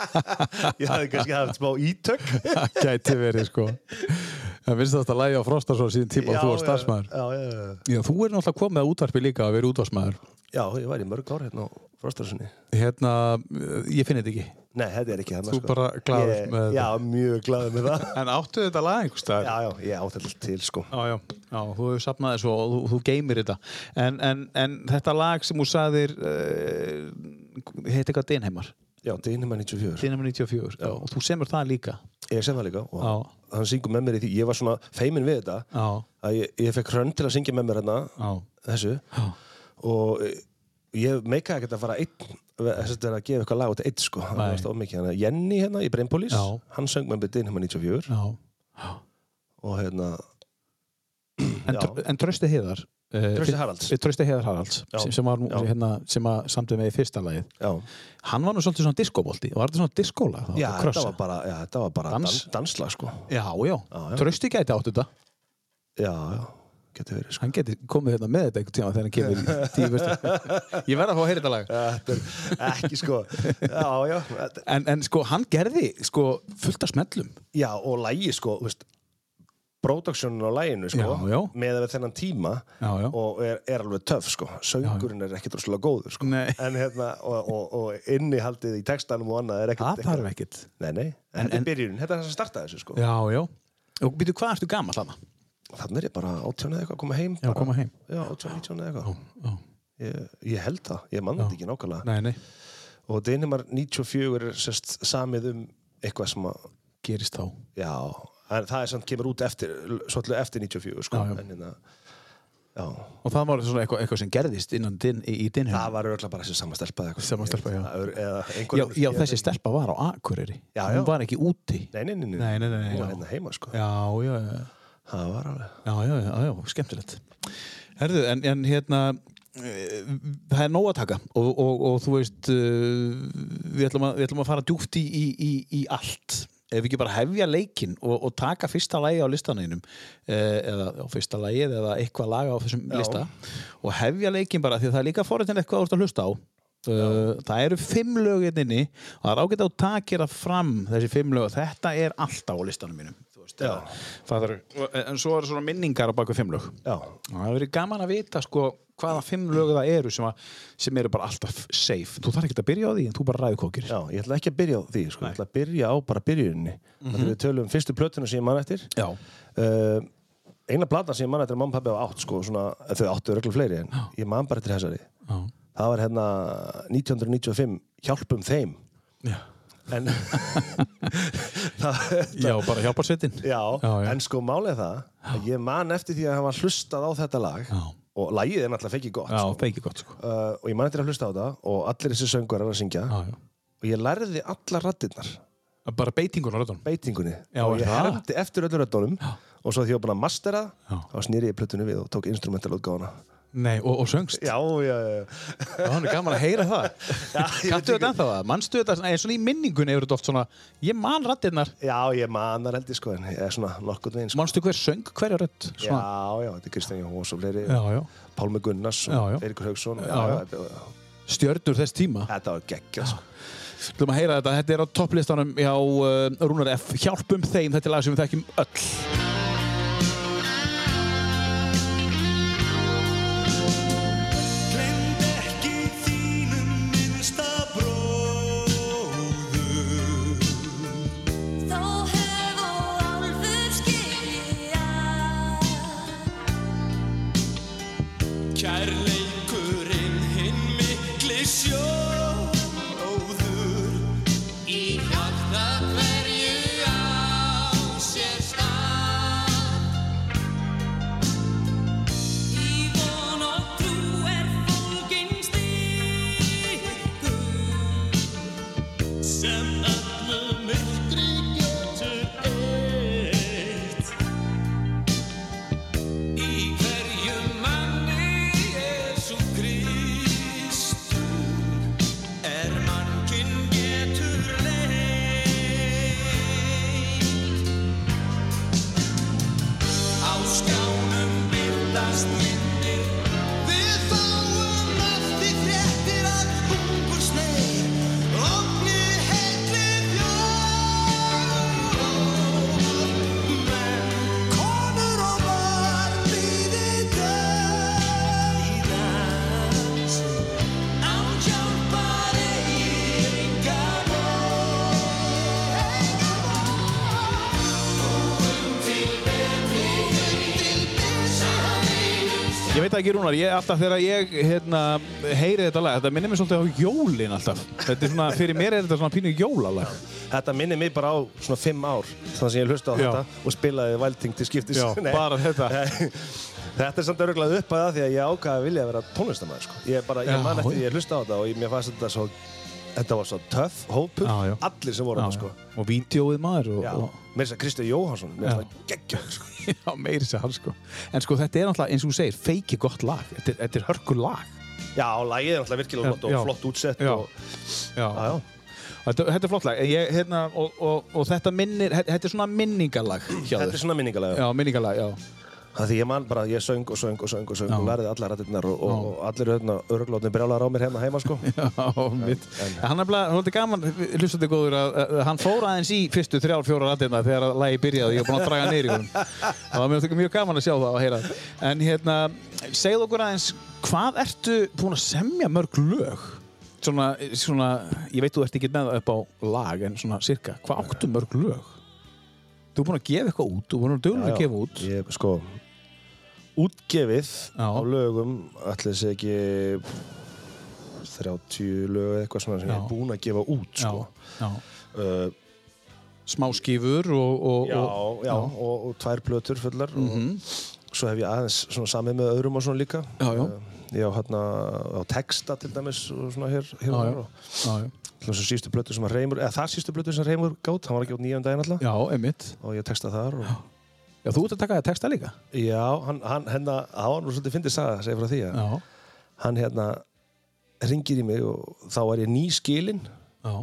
S2: <laughs> ég hafði kannski haft smá ítök.
S1: Það gæti verið, sko. Það finnst þetta að lægja á Frostarsson síðan tíma
S2: Já,
S1: og þú var
S2: já,
S1: starfsmæður.
S2: Já, já, já, já.
S1: Já, þú er náttúrulega komið að útvarpi líka að vera útvarpsmæður.
S2: já, ég var í mörg ár hérna á Frostrósinni.
S1: Hérna, eh, ég finn þetta ekki.
S2: Nei, þetta er ekki hann.
S1: Þú bara glaður með
S2: Já, mjög glaður með það. <laughs>
S1: En áttu þetta lag einhvers
S2: Já,
S1: staðar?
S2: já, ég á þetta til, sko.
S1: Já, já, já, þú hefur safnað þessu og þú, þú geymir þetta. En, en, en þetta lag sem þú saðir, uh, heit eitthvað Dinheimar,
S2: Já, Deinheimar 94.
S1: Dinheimar 94, já. og þú semur það líka.
S2: Ég sem það líka og
S1: Já.
S2: hann syngur með mér í því ég var svona feiminn við þetta
S1: Já,
S2: að ég, ég fekk hrönn til að syngja með mér hérna
S1: já,
S2: þessu
S1: já,
S2: og eh, ég meikaði ekkert að fara einn þess að þetta er að gefa eitthvað lag út einn sko það
S1: Nei.
S2: var alltaf mikið hann Jenny hérna í Brainpolis
S1: Já.
S2: hann söng með mér Dinheim 94
S1: já.
S2: og hérna
S1: En,
S2: Já.
S1: tr en Trösti Heiðar, uh,
S2: Trausti Haralds
S1: Trösti Heiðar Haralds,
S2: Já,
S1: sem, sem, var, nú-
S2: já.
S1: hérna, sem að samtum með í fyrsta lagið,
S2: já,
S1: hann var nú svolítið svona diskobólti, var þetta svona diskóla?
S2: já þetta var bara, já, þetta var bara
S1: Dans.
S2: dans. danslag sko
S1: Já, já,
S2: Já, já.
S1: Trösti gæti átt þetta.
S2: já, já, getur verið sko
S1: Hann geti komið hérna með þetta einhvern tíma þegar hann kemur í tíu bestu.
S2: <laughs>
S1: Ég verð að fá að heyra þetta lag.
S2: þetta er ekki sko já, já, þetta-
S1: En, en sko, hann gerði sko, fullt af smellum.
S2: Já, og lægi sko, þú veist Productionin á læginu sko
S1: Já, já.
S2: með við þennan tíma
S1: Já, já.
S2: og er, er alveg töff sko söngurinn er ekkert droslega góður sko
S1: Nei.
S2: en hérna og, og, og innihaldið í textanum og annað er ekkert
S1: Það þarf ekkert.
S2: Nei, nei,
S1: En-
S2: þetta
S1: en-
S2: er byrjun, þetta er þess að starta þessu sko
S1: Já, já. Og býtu, hvað ertu gamall hana?
S2: Þannig er ég bara átjónað eitthvað að koma heim
S1: Já,
S2: bara.
S1: koma heim.
S2: Já, átjónað, nítjónað eitthvað
S1: já.
S2: Ég, ég held það, ég mann þetta ekki nákvæmlega
S1: Nei, nei.
S2: og Dynimar 94 er sérst samið um eitthvað sem að
S1: Gerist þá.
S2: Já, en það er samt kemur út eftir svolítið eftir 94 sko
S1: Já, já.
S2: En, hérna, já.
S1: Og það var svona eitthvað, eitthvað sem gerðist innan din, í, í dinhjum.
S2: það var örgulega bara þessi samastelpa
S1: Sama stelpa, já.
S2: eða einhver
S1: Já,
S2: önnur.
S1: já,
S2: Ég-
S1: þessi stelpa var á Akureyri.
S2: Já, já.
S1: Hún var ekki úti.
S2: Nei, nei, nei,
S1: Nei, nei, nei, nei,
S2: Hún var
S1: já.
S2: hérna heima sko
S1: Já, já, já.
S2: Það var alveg
S1: Já, já, já, já, skemmtilegt. Herðu, en, en hérna, eh, það er nóg að taka og, og, og þú veist, eh, við ætlum að, við ætlum að fara djúft í, í, í, í allt. Ef við ekki bara hefja leikinn og, og taka fyrsta lagi á listaninum, eða á fyrsta lagið eða eitthvað laga á þessum
S2: Já.
S1: lista og hefja leikinn bara því að það er líka forritin eitthvað þú ert að hlusta á. Uh, það eru fimm lög hérna inni og það er ágætt að þú takir það fram þessi fimm lög þetta er alltaf á listanum mínum þú veist,
S2: Já.
S1: eða- Fattar, en svo eru svona minningar á baku fimm lög
S2: Já,
S1: og það hefur verið gaman að vita sko, hvaða fimm lög það eru sem, að, sem eru bara alltaf safe þú þarf ekki að byrja á því en þú bara ræðu kókir
S2: já, ég ætla ekki að byrja á því sko, ég ætla að byrja á bara byrjuninni mm -hmm. Við tölum um fyrstu plötuna sem ég mann eftir
S1: Mhm. já,
S2: uh, Eina platan sem ég mann eftir að mamma pappi á átt sko, svona, Þau áttu örgulega fleiri en ég mann bara eftir þessari
S1: já,
S2: Það var hérna 1995 Hjálpum þeim
S1: já.
S2: En <laughs> það,
S1: bara hjálpa sveitin
S2: Já,
S1: Já, já.
S2: en sko málið það að ég man eftir því að hann var hlustað á þetta lag
S1: Já.
S2: og lagið er náttúrulega fekk í gott
S1: já,
S2: sko.
S1: feiki gott sko.
S2: uh, og ég man eftir að hlusta á það og allir þessi söngur er að syngja
S1: já, já.
S2: og ég lærði allar rattirnar
S1: bara beitingun á röðunum
S2: beitingunni
S1: Já,
S2: og
S1: er
S2: ég
S1: það?
S2: hermdi eftir öllu röddunum og svo því ég var búin að mastera
S1: Já.
S2: það þá snýri ég plötunni við og tók instrumental útgáfana
S1: Nei, og, og söngst
S2: Já, já, já,
S1: það er gaman að heyra
S2: <laughs>
S1: það
S2: ég veit
S1: kanntu
S2: ekki.
S1: þetta ennþá það, mannstu þetta svona- eh, svona í minningunni hefur þetta oft svona ég man rættirnar,
S2: já, ég manar heldur sko en ég er svona nokkurn veginn sko.
S1: mannstu hver söng hverja rödd
S2: Já, já, þetta er Kristján Jóhós og fleiri
S1: já, já.
S2: Pálmi Gunnars
S1: Já, já.
S2: og Eirikur Haugsson já,
S1: Já, já.
S2: já.
S1: stjörnur þess tíma
S2: Þetta var geggjað sko.
S1: Þú maður að heyra þetta, þetta er á topplistanum hjá uh, Rúnar F. Hjálpum þeim, þetta er lag sem við þekkjum öll.
S4: Hjálpum sem öllu myrkri getur eitt. Í hverjum manni Jesú Kristur er mannkinn getur leitt. Á skjánum bildast myndir, við fáum eftir fréttir að hungursnei, ofni heitli þjóð. Menn, konur og barn líði dauðans, án hjálpar eigi enga von.
S1: Ég veit það ekki Rúnar, ég, alltaf þegar ég hérna, heyri þetta lag, þetta minnir mér svolítið á jólin alltaf. Þetta er svona, fyrir mér er þetta svona pínu jólalag.
S2: Þetta minnir mig bara á svona fimm ár þannig sem ég hlusta á
S1: Já.
S2: þetta og spilaði Vælting til skiptis.
S1: Já,
S2: <laughs> Nei.
S1: bara þetta.
S2: Nei. <laughs> þetta er samt örgulega upp að það því að ég ákvaði að vilja vera tónlistamæður sko. Ég bara,
S1: Já,
S2: ég man
S1: já.
S2: eftir því ég hlusta á þetta og ég, mér fannst þetta svo, þetta var svo töff hópur,
S1: Já, já.
S2: allir sem voru
S1: Já,
S2: þarna sko.
S1: já. Og vídeoið maður og...
S2: Já,
S1: og...
S2: mér finnst að Kristján Jóhansson, mér
S1: Já.
S2: finnst það geggjör sko.
S1: <laughs> Já, meiri sér hann sko. En sko þetta er náttúrulega, eins og þú segir, feiki gott lag. Þetta er, þetta er hörku lag.
S2: Já, og lagið er alltaf virkilega flott
S1: Já.
S2: og flott útsett
S1: Já.
S2: og, Ah,
S1: Já.
S2: já, já.
S1: Þetta, þetta er flott lag. En Ég, hérna, og, og, og þetta minnir, þetta- þetta er svona minningalag hjá
S2: Þetta
S1: þér.
S2: er svona minningalega.
S1: Já, minningalag, já.
S2: Það því ég man bara, ég söng og söng og söng og söng
S1: Já.
S2: og lærði allar rættirnar og, og, og allir hérna örglóðnir brjálar á mér hérna heima
S1: <laughs>
S2: sko.
S1: Já, mitt. Hann er bara, hótti gaman, hlustandi góður, að, að hann fór aðeins í fyrstu þrjár, fjórar aðeina þegar að lagi byrjaði, ég var búinn að draga neyri í honum. Það var mjög, mjög gaman að sjá það og heyra. það. En hérna, segð okkur aðeins, hvað ertu búinn að semja mörg lög? Svona, svona, ég veit þú ert ekki með það upp á lag, en svona cirka, hvað áttu mörg lög? Þú er búinn að gefa eitthvað út, þú er búinn að dögulega að gefa út.
S2: Ég, sko, útgefið
S1: Já.
S2: á lögum, allir sé ekki 30 lög eða eitthvað svona sem ég
S1: Já.
S2: er búinn að gefa út sko.
S1: já.
S2: Uh,
S1: Smáskífur og, og,
S2: já,
S1: og,
S2: já, og, og tvær plötur fullar og svo hef ég aðeins svona samið með öðrum og svona líka.
S1: Já, já.
S2: Uh, Ég á hérna á texta til dæmis og svona hér, hér
S1: Já,
S2: og
S1: já.
S2: hér og
S1: já, já.
S2: til þessu sístu plötu sem að Reymur, eða það sístu plötu sem Reymur gátt, hann var ekki út nýjum daginn alltaf
S1: Já, einmitt.
S2: og ég texta þar og
S1: Já, þú ert að taka það texta líka.
S2: já, hann, hann hérna, það var nú svolítið fyndið saga, segja frá því að
S1: Já,
S2: hann hérna ringir í mig og þá er ég nýskilinn
S1: já,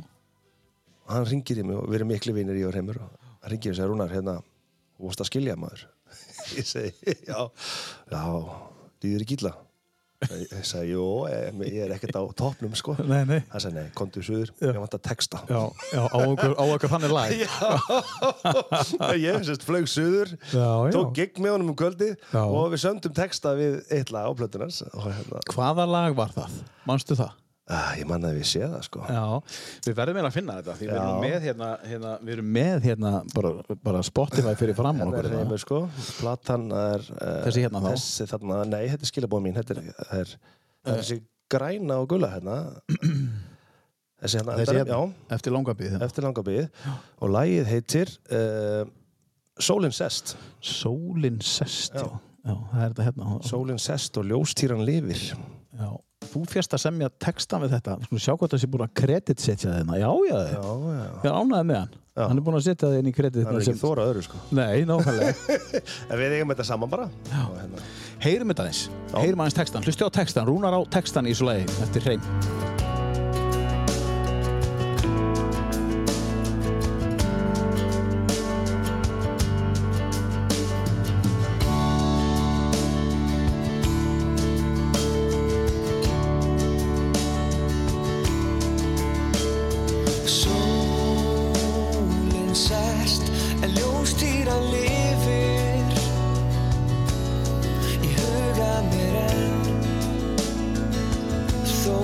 S2: og hann ringir í mig og við erum miklu vinir ég og Reymur og hann ringir í mig og segir Rúnar, hérna, þú vorst að skilja maður <laughs> ég segi, já já, líður ekki illa ég ég segi, jú, em, ég er ekkert á topnum sko,
S1: Nei, nei.
S2: hann segi, nei, komdu suður, ég vant að texta <laughs>
S1: já, já á okkur, á okkur þannig <laughs> lag.
S2: Já, ég sérst flög suður
S1: Já, já.
S2: tók gig með honum um kvöldið
S1: Já.
S2: og við sömdum texta við eitt lag á plötunars og hérna,
S1: Hvaða lag var það? Manstu það?
S2: að, ég manna að við sé það sko
S1: Já, við verðum meira að finna þetta því við erum
S2: Já.
S1: nú með hérna, hérna, við erum með hérna bara, bara Spotify fyrir fram á
S2: Hérna
S1: okkur
S2: er
S1: hérna.
S2: heimur sko, platan er uh,
S1: Þessi hérna þá?
S2: þessi Eh. þarna, nei, þetta er skilabóð mín þetta er, það er, það er þessi græna og gula <clears throat> hérna þessi hérna,
S1: Þessi
S2: hérna,
S1: hérna, eftir langa bíð
S2: já,
S1: hérna.
S2: eftir langa bið og lagið heitir uh, Sólin sest
S1: Sólin sest, já. já, það er þetta hérna.
S2: Sólin sest og ljóstýran lifir
S1: Já. Þú fjast að semja texta við þetta, sko sjá hvað það sé búin að kreditsetja þeirna. hérna. Já, já,
S2: já,
S1: já.
S2: já,
S1: Ég er ánæðið með hann. Hann er búin að setja þeirna í
S2: það er
S1: kreditna
S2: ekki þóra öðru sko
S1: Nei, nákvæmlega.
S2: En við eigum þetta saman bara. Og Hérna.
S1: Heyrum þetta aðeins, heyrum aðeins textan, hlusti á textan, rúnar á textan í svo leiði eftir hreim.
S4: Sólinn sest en ljóstýran lifir Í huga mér enn Þó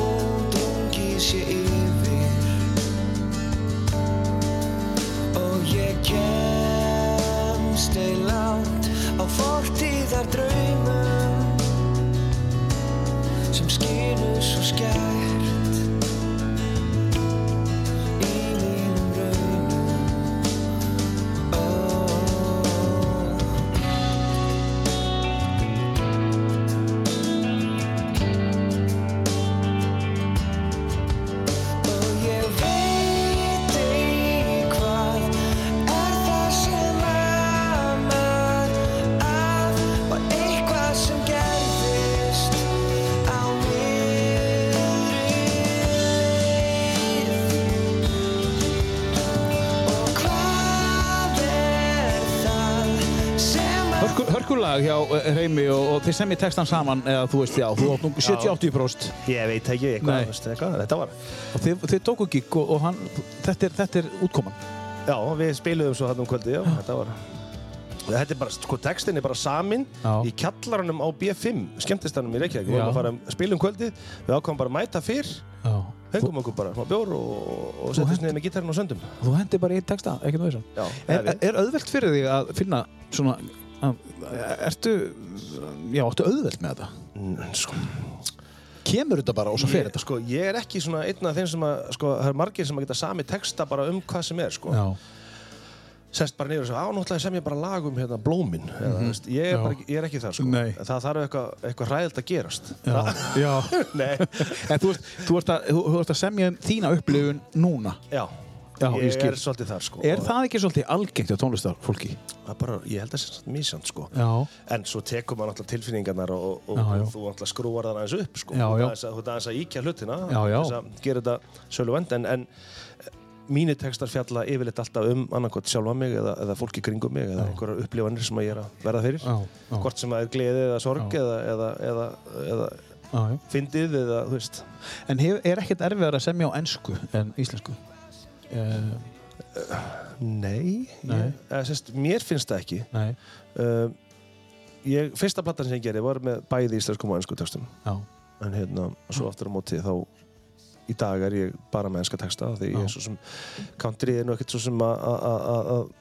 S1: hörkulag hjá eh, Reymi og, og þið semmi textan saman eða þú veist já, þú átt nú 70-80%
S2: Ég veit ekki
S1: Nei.
S2: eitthvað, veist, eitthvað þetta var
S1: og þið, þið tóku gig og, og hann, þetta er, þetta er útkoman
S2: Já, við spiluðum svo hann um kvöldi, já, þetta var Þetta er bara, sko, textin er bara samin
S1: Já.
S2: í kjallaranum á B5, skemmtistanum í Reykjavík, við
S1: Já.
S2: varum að fara að spila um kvöldi, við ákvæmum bara að mæta fyrr,
S1: já.
S2: hengum okkur bara, smá bjór og, og setjum
S1: hent-
S2: niður með gítarinn og söndum.
S1: þú hendi bara í texta, ekkert með þessan
S2: Já,
S1: er,
S2: eða við.
S1: er auðvelt fyrir þig að finna svona að, ertu já, ertu auðvelt með þetta
S2: Mm, Sko,
S1: kemur þetta bara og svo fer
S2: ég,
S1: þetta sko.
S2: sko, ég er ekki svona einn af þeim sem að, sko, það er margir sem að geta sami texta bara um hvað sem er, sko.
S1: já,
S2: Sest bara niður og segja, á, náttúrulega sem ég bara lag um hérna blómin, eða, mm veist, ég er,
S1: Mhm. Já.
S2: bara, ekki- ég er ekki það, sko.
S1: Nei.
S2: Það þarf eitthvað eitthva hræðilt að gerast.
S1: <laughs> já, já.
S2: Nei,
S1: En þú ert, þú, ert að, þú, þú ert að semja um þína upplifun núna
S2: já.
S1: Já, ég
S2: ég,
S1: skil.
S2: er svolítið þar sko
S1: Er
S2: Og-
S1: það ekki svolítið algengt á tónlistar fólki?
S2: Það er bara, ég held að það sé mísjönd sko.
S1: Já
S2: En svo tekur maður alltaf tilfinningarnar og, og,
S1: Já, já.
S2: og þú alltaf skrúar það aðeins upp sko.
S1: Já,
S2: Þú ert
S1: já.
S2: aðeins að- Þú ert aðeins að íkja hlutina,
S1: Já, já.
S2: þess að gera þetta sölu vend en, en mínir textar fjalla yfirleitt alltaf um annarkot sjálfa mig eða, eða fólki kringum mig eða einhverjar upplifanir sem að ég er að verða fyrir.
S1: Já, já.
S2: Hvort sem það er gleði eða sorg
S1: Já.
S2: eða, eða, eða, eða
S1: Já, já.
S2: fyndið eða, þú veist,
S1: En hef, er ekkert erfiðar að semja á ennsku en íslensku? Uh,
S2: nei.
S1: Nei.
S2: Ég, eða, sest, mér finnst það ekki.
S1: nei,
S2: Uh, ég, fyrsta platan sem ég gerði var með bæði íslenskum og ennsku textum.
S1: já,
S2: en hérna,
S1: Mm.
S2: svo aftur á móti þá í dag er ég bara með enska texta því ég
S1: Já.
S2: er svo sem country er nú ekkert svo sem að- að að- að- að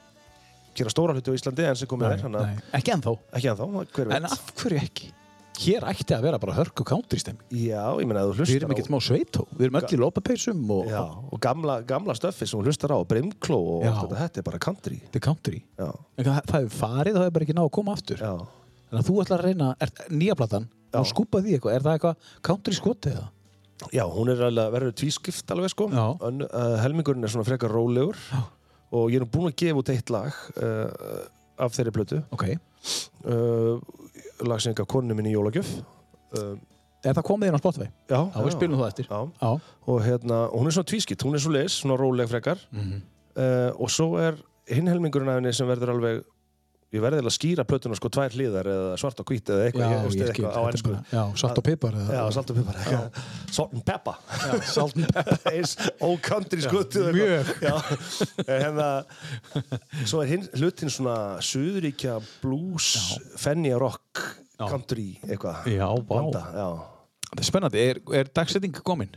S2: gera stóra hluti á Íslandi enn sem komið er, hann að
S1: Ekki ennþá
S2: ekki ennþá, hver veit
S1: En af hverju ekki? Hér ætti að vera bara hörku country stemming
S2: Já, ég meina að þú
S1: Við erum
S2: hlustar
S1: ekkert
S2: á
S1: má sveitó Við erum öll í lópapeysum og
S2: Já, og gamla, gamla stöffi sem þú hlustar á, brimkló og
S1: Já.
S2: allt þetta, þetta er bara country
S1: þetta er country
S2: Já,
S1: En það, það hefur farið og það hefur bara ekki náð að koma aftur
S2: já
S1: Þannig að þú ætlar að reyna er, nýja platan
S2: Já.
S1: og skúpa því eitthvað Er það eitthvað country skotið eða?
S2: Já, hún er alveg, verður tvískipt alveg sko
S1: Já.
S2: Önn, uh, Helmingurinn er svona frekar rólegur Já. og ég er nú búinn að gefa út eitt lag uh, af þeirri plötu
S1: Ok Er
S2: uh, lag sem ég gaf konu minni í jólagjöf uh,
S1: það komið inn á Spotify?
S2: já,
S1: Já, við spilum það eftir
S2: já.
S1: Já,
S2: og hérna, og hún er svona tvískipt, hún er svo leis svona róleg frekar
S1: Mhm.
S2: uh, og svo er hinn helmingurinn af henni sem verður alveg ég verði alveg að skýra plötuna sko tvær hlýðar eða svart og hvít eða eitthvað,
S1: já
S2: veist,
S1: ég
S2: eða
S1: skil
S2: eitthvað á
S1: þetta er
S2: ennsku
S1: bara- Já, salt og pipar eða-
S2: Já, salt og pipar eitthvað. Salt and pepper
S1: Salt and pepper
S2: <laughs> Eins old country skutuð
S1: mjög.
S2: Hérna Svo er hinn hlutin svona Suðuríkja blues Fenja rock
S1: Já.
S2: country eitthvað
S1: Já, vá.
S2: Blanda, já.
S1: Það er spennandi, er, er dagsetting komin?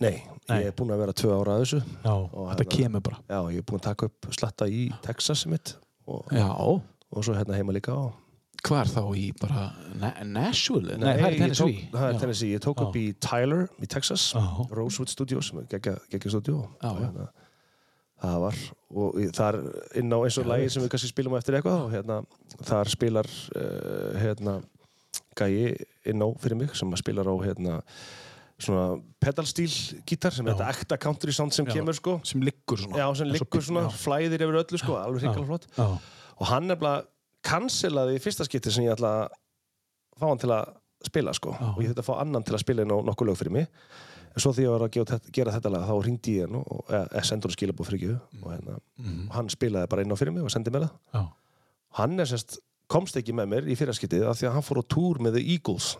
S2: Nei,
S1: Nei.
S2: ég er búinn að vera tvö ára að þessu.
S1: Já,
S2: Og
S1: þetta
S2: hérna-
S1: kemur bara
S2: Já, ég er búinn að taka upp slatta í Texas mitt og,
S1: Já,
S2: og svo hérna heima líka. Og...
S1: hvað er þá í bara Na Nashville? Nei, það er
S2: ég tók-
S1: Tennessee
S2: Það er
S1: Já.
S2: Tennessee. Ég tók
S1: Já.
S2: upp í Tyler í Texas,
S1: Já.
S2: Rosewood Studios, sem er geggja geggja stúdíó.
S1: Já,
S2: Og
S1: já.
S2: hérna, Það var, og í- þar inn á eins og lagi sem við kannski spilum á eftir eitthvað og hérna, þar spilar uh, hérna, gæi inn á fyrir mig sem að spilar á hérna, svona pedalstíl gítar sem er þetta ekta country sound sem
S1: Já.
S2: kemur sko
S1: sem liggur svona
S2: Já, sem
S1: Eins og
S2: liggur
S1: pi-
S2: svona,
S1: já.
S2: flæðir yfir öllu sko, alveg hrikalega flott.
S1: Já,
S2: Og hann nefnilega cancelaði í fyrsta skipti sem ég ætla að fá hann til að spila sko.
S1: Já.
S2: Og ég þurfti að fá annan til að spila inn á nokkuð lög fyrir mig. En svo því ég var að gera, gera þetta lag, þá ringdi ég hann og og- eða eða sendi hann skilabóð fyrir ekki og hérna,
S1: Mhm.
S2: og hann spilaði bara inn á fyrir mig og sendi mér það.
S1: já
S2: Hann er sérst, komst ekki með mér í fyrra skiptið af því að hann fór á túr með The
S1: <laughs>
S2: Eagles.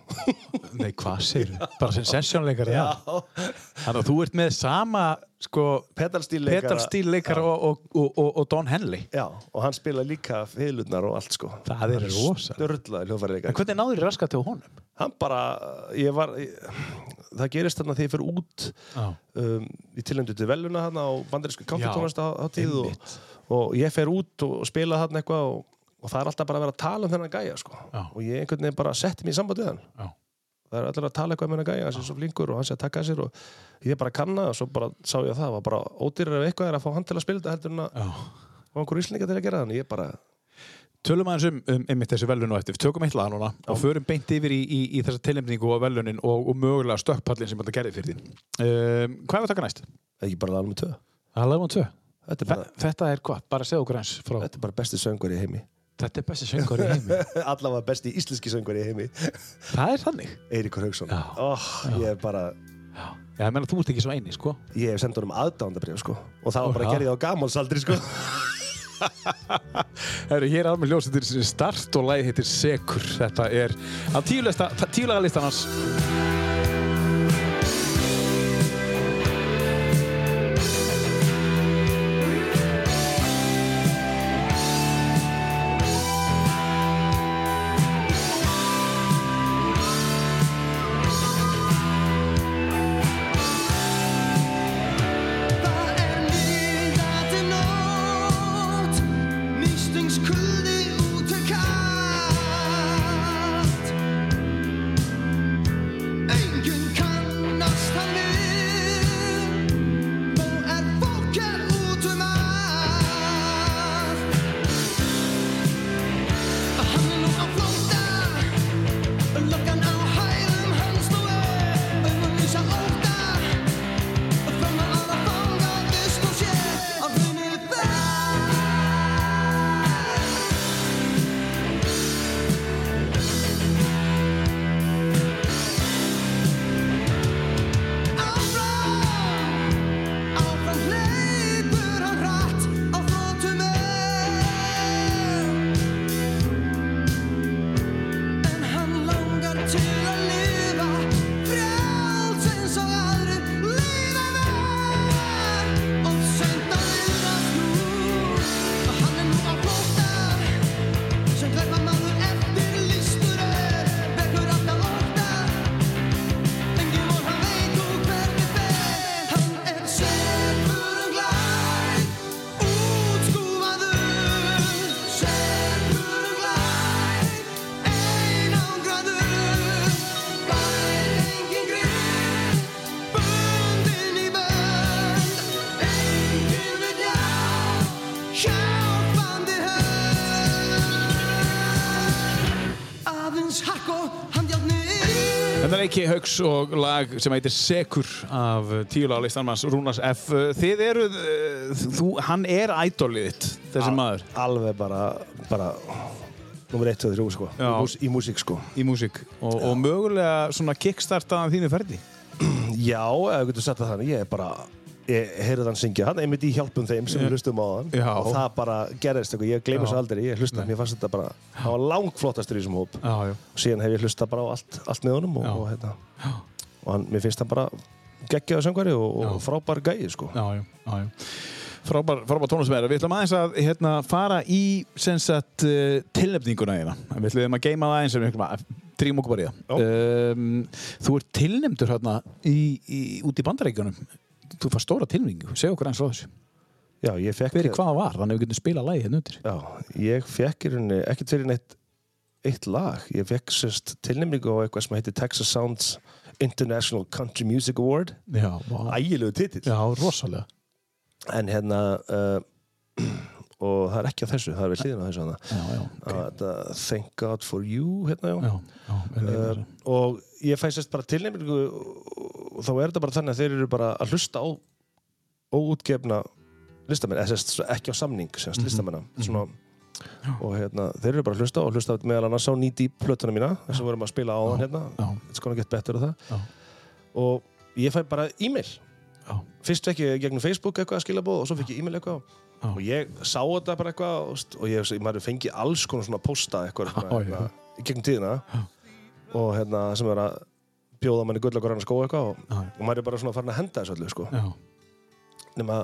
S1: Nei, hvað segir Bara sem sessjónleikar
S2: Já.
S1: Þannig að þú ert með sama sko,
S2: Pedalstílleikara.
S1: petalstílleikar og, og, og, og, og Don Henley
S2: Já, og hann spilaði líka fiðlurnar og allt sko.
S1: Það er rosa
S2: Dörlaði hljófærileikar.
S1: En hvernig náður raskat til honum?
S2: hann bara, ég var ég, það gerist þarna þegar ég fyrir út
S1: Já,
S2: um, í tilhendu til veluna þarna á bandarísku káttatónlistahátíð og,
S1: einmitt.
S2: og ég fer út og, og spila þarna eitthvað og, og það er alltaf bara að vera að tala um þennan gæja sko.
S1: Já.
S2: og ég einhvern veginn bara setti mig í samband við hann
S1: já,
S2: það er allir að tala eitthvað um hennar gæja, hann sé svo flinkur og hann sé að taka að sér og ég bara kanna og svo bara sá ég að það, var bara ódýrar ef eitthvað er að fá hann til að spila þetta heldur en að
S1: já
S2: og einhver íslendinga til að gera þannig, ég bara
S1: Tölum aðeins um, um einmitt þessi velun og eftir. Við tökum eitt lag núna og förum beint yfir í, í, í þessa tilnefningu og velunin og, og mögulega stökkpallin sem þetta gerði fyrir þín. Um, hvað er að taka næst?
S2: ekki bara laga með tvö,
S1: Það er lagum tvö.
S2: þetta er
S1: Þe,
S2: bara,
S1: þetta er hvað? Bara segja okkur eins frá.
S2: þetta er bara besti söngur í heimi
S1: Þetta er besti söngur í heimi.
S2: <laughs> allavega besti íslenski söngur í heimi
S1: <laughs> það er þannig.
S2: Eiríkur Haugsson
S1: Já.
S2: oh, ég er bara,
S1: Já, Já, ég meina þú ert ekki svo eini, sko.
S2: ég hef sendt honum aðdándabrif sko. og það var bara
S1: Já.
S2: að gera ég á gamálsaldri sko.
S1: Herru, hér er alveg ljósið til start og lagið heitir Sekur. Þetta er af tíulega listan hans.
S4: Það er miðnætti nótt, nýstingskuldi út er kallt. Enginn kannast hann við, nú er fólk er út um allt. Hann er nú að flóta, löggan á hæðum hans nú er, auðvun lýsa óta. Til að lifa frjáls eins og aðrir lífa verð Og söndan liðast nú Og hann er nú á flóta Sem glæpa maður eftir listur er Vekur alltaf óta Engin vor hann veit úr hvernig fer Hann er sérfur um glæð Útskúfaður Sérfur um glæð Einangraður Bær engin grinn Bundin í bönd Engin við hjá Hjálpandi hönd Aðeins hakk og handjárnir
S1: Þetta er Eiki Hauks og lag sem heitir Sekur af tíulega listan hans Rúnars F. Þið eruð, eh, þú, hann er ædolið þitt, þessi maður,
S2: Alveg bara, bara Númer 1, 2, 3 sko Í,
S1: Já.
S2: mús, í músík sko
S1: í músík og, og mögulega svona kickstartaðan þínu ferli.
S2: Já, ef við getum sagt það þannig Ég er bara Ég heyrði hann syngja hann einmitt í hjálpum þeim sem við hlustum á hann
S1: Já.
S2: og það bara gerðist eitthvað, ég gleymi
S1: Já.
S2: þessu aldrei ég hlusta, mér fannst þetta bara, það var langflottastur í þessum hóp
S1: Já, já.
S2: og síðan hef ég hlusta bara á allt, allt með honum og,
S1: Já.
S2: og, hérna, og hann, mér finnst hann bara geggjaðu söngvari og, og frábær gæði sko.
S1: Já, já, já, já. Frábær, frábær tónlistamæður. Við ætlum aðeins að hérna, fara í sem sagt, uh, tilnefninguna hérna. Við ætlum að geima það aðeins sem við drýjum okkur bara í það. Um, þú ert tilnefndur hérna í, í, út í bandarækjunum. Þú fannst stóra tilnefningu. Segð okkur aðeins frá þessu.
S2: Já, ég fekk
S1: Hver er hvað það var? Þannig að við getum spilað lagi hérna undir.
S2: Já, ég fekk í rauninni ekkert fyrir neitt eitt lag, ég fekk sérst tilnefningu á eitthvað sem heitir Texas Sounds International Country Music Award
S1: Já, vá.
S2: ægilegu titill
S1: já rosalega.
S2: en hérna uh, <clears throat> og það er ekki á þessu, það er við hliðin á þessu hana.
S1: Já, já,
S2: okay. uh, Thank God for You hérna, já.
S1: já, já, vel ég
S2: Uh,
S1: þessu.
S2: og ég fæ sérst bara tilnefningu og þá er þetta bara þannig að þeir eru bara að hlusta á óútgefna listamenn, eða sérst ekki á samning
S1: Mhm.
S2: sérst listamenn svona, og hérna, þeir eru bara að hlusta og hlusta meðal annars á nýti plötuna mína sem vorum að spila á hann hérna
S1: Já,
S2: It's gonna get better og það
S1: já,
S2: og ég fæ bara e-mail
S1: já.
S2: fyrst fekk ég gegnum Facebook eitthvað að skilabóð og svo fekk ég e-mail eitthvað
S1: Já.
S2: og ég sá þetta bara eitthvað og, st- og ég, maður fengi alls konar svona posta
S1: Já,
S2: eitthvað svona,
S1: já.
S2: hérna, í gegnum tíðina og hérna sem er að bjóða manni gull og grann skó eitthvað og,
S1: Já.
S2: og maður er bara svona farin að henda þessu öllu sko.
S1: Já,
S2: nema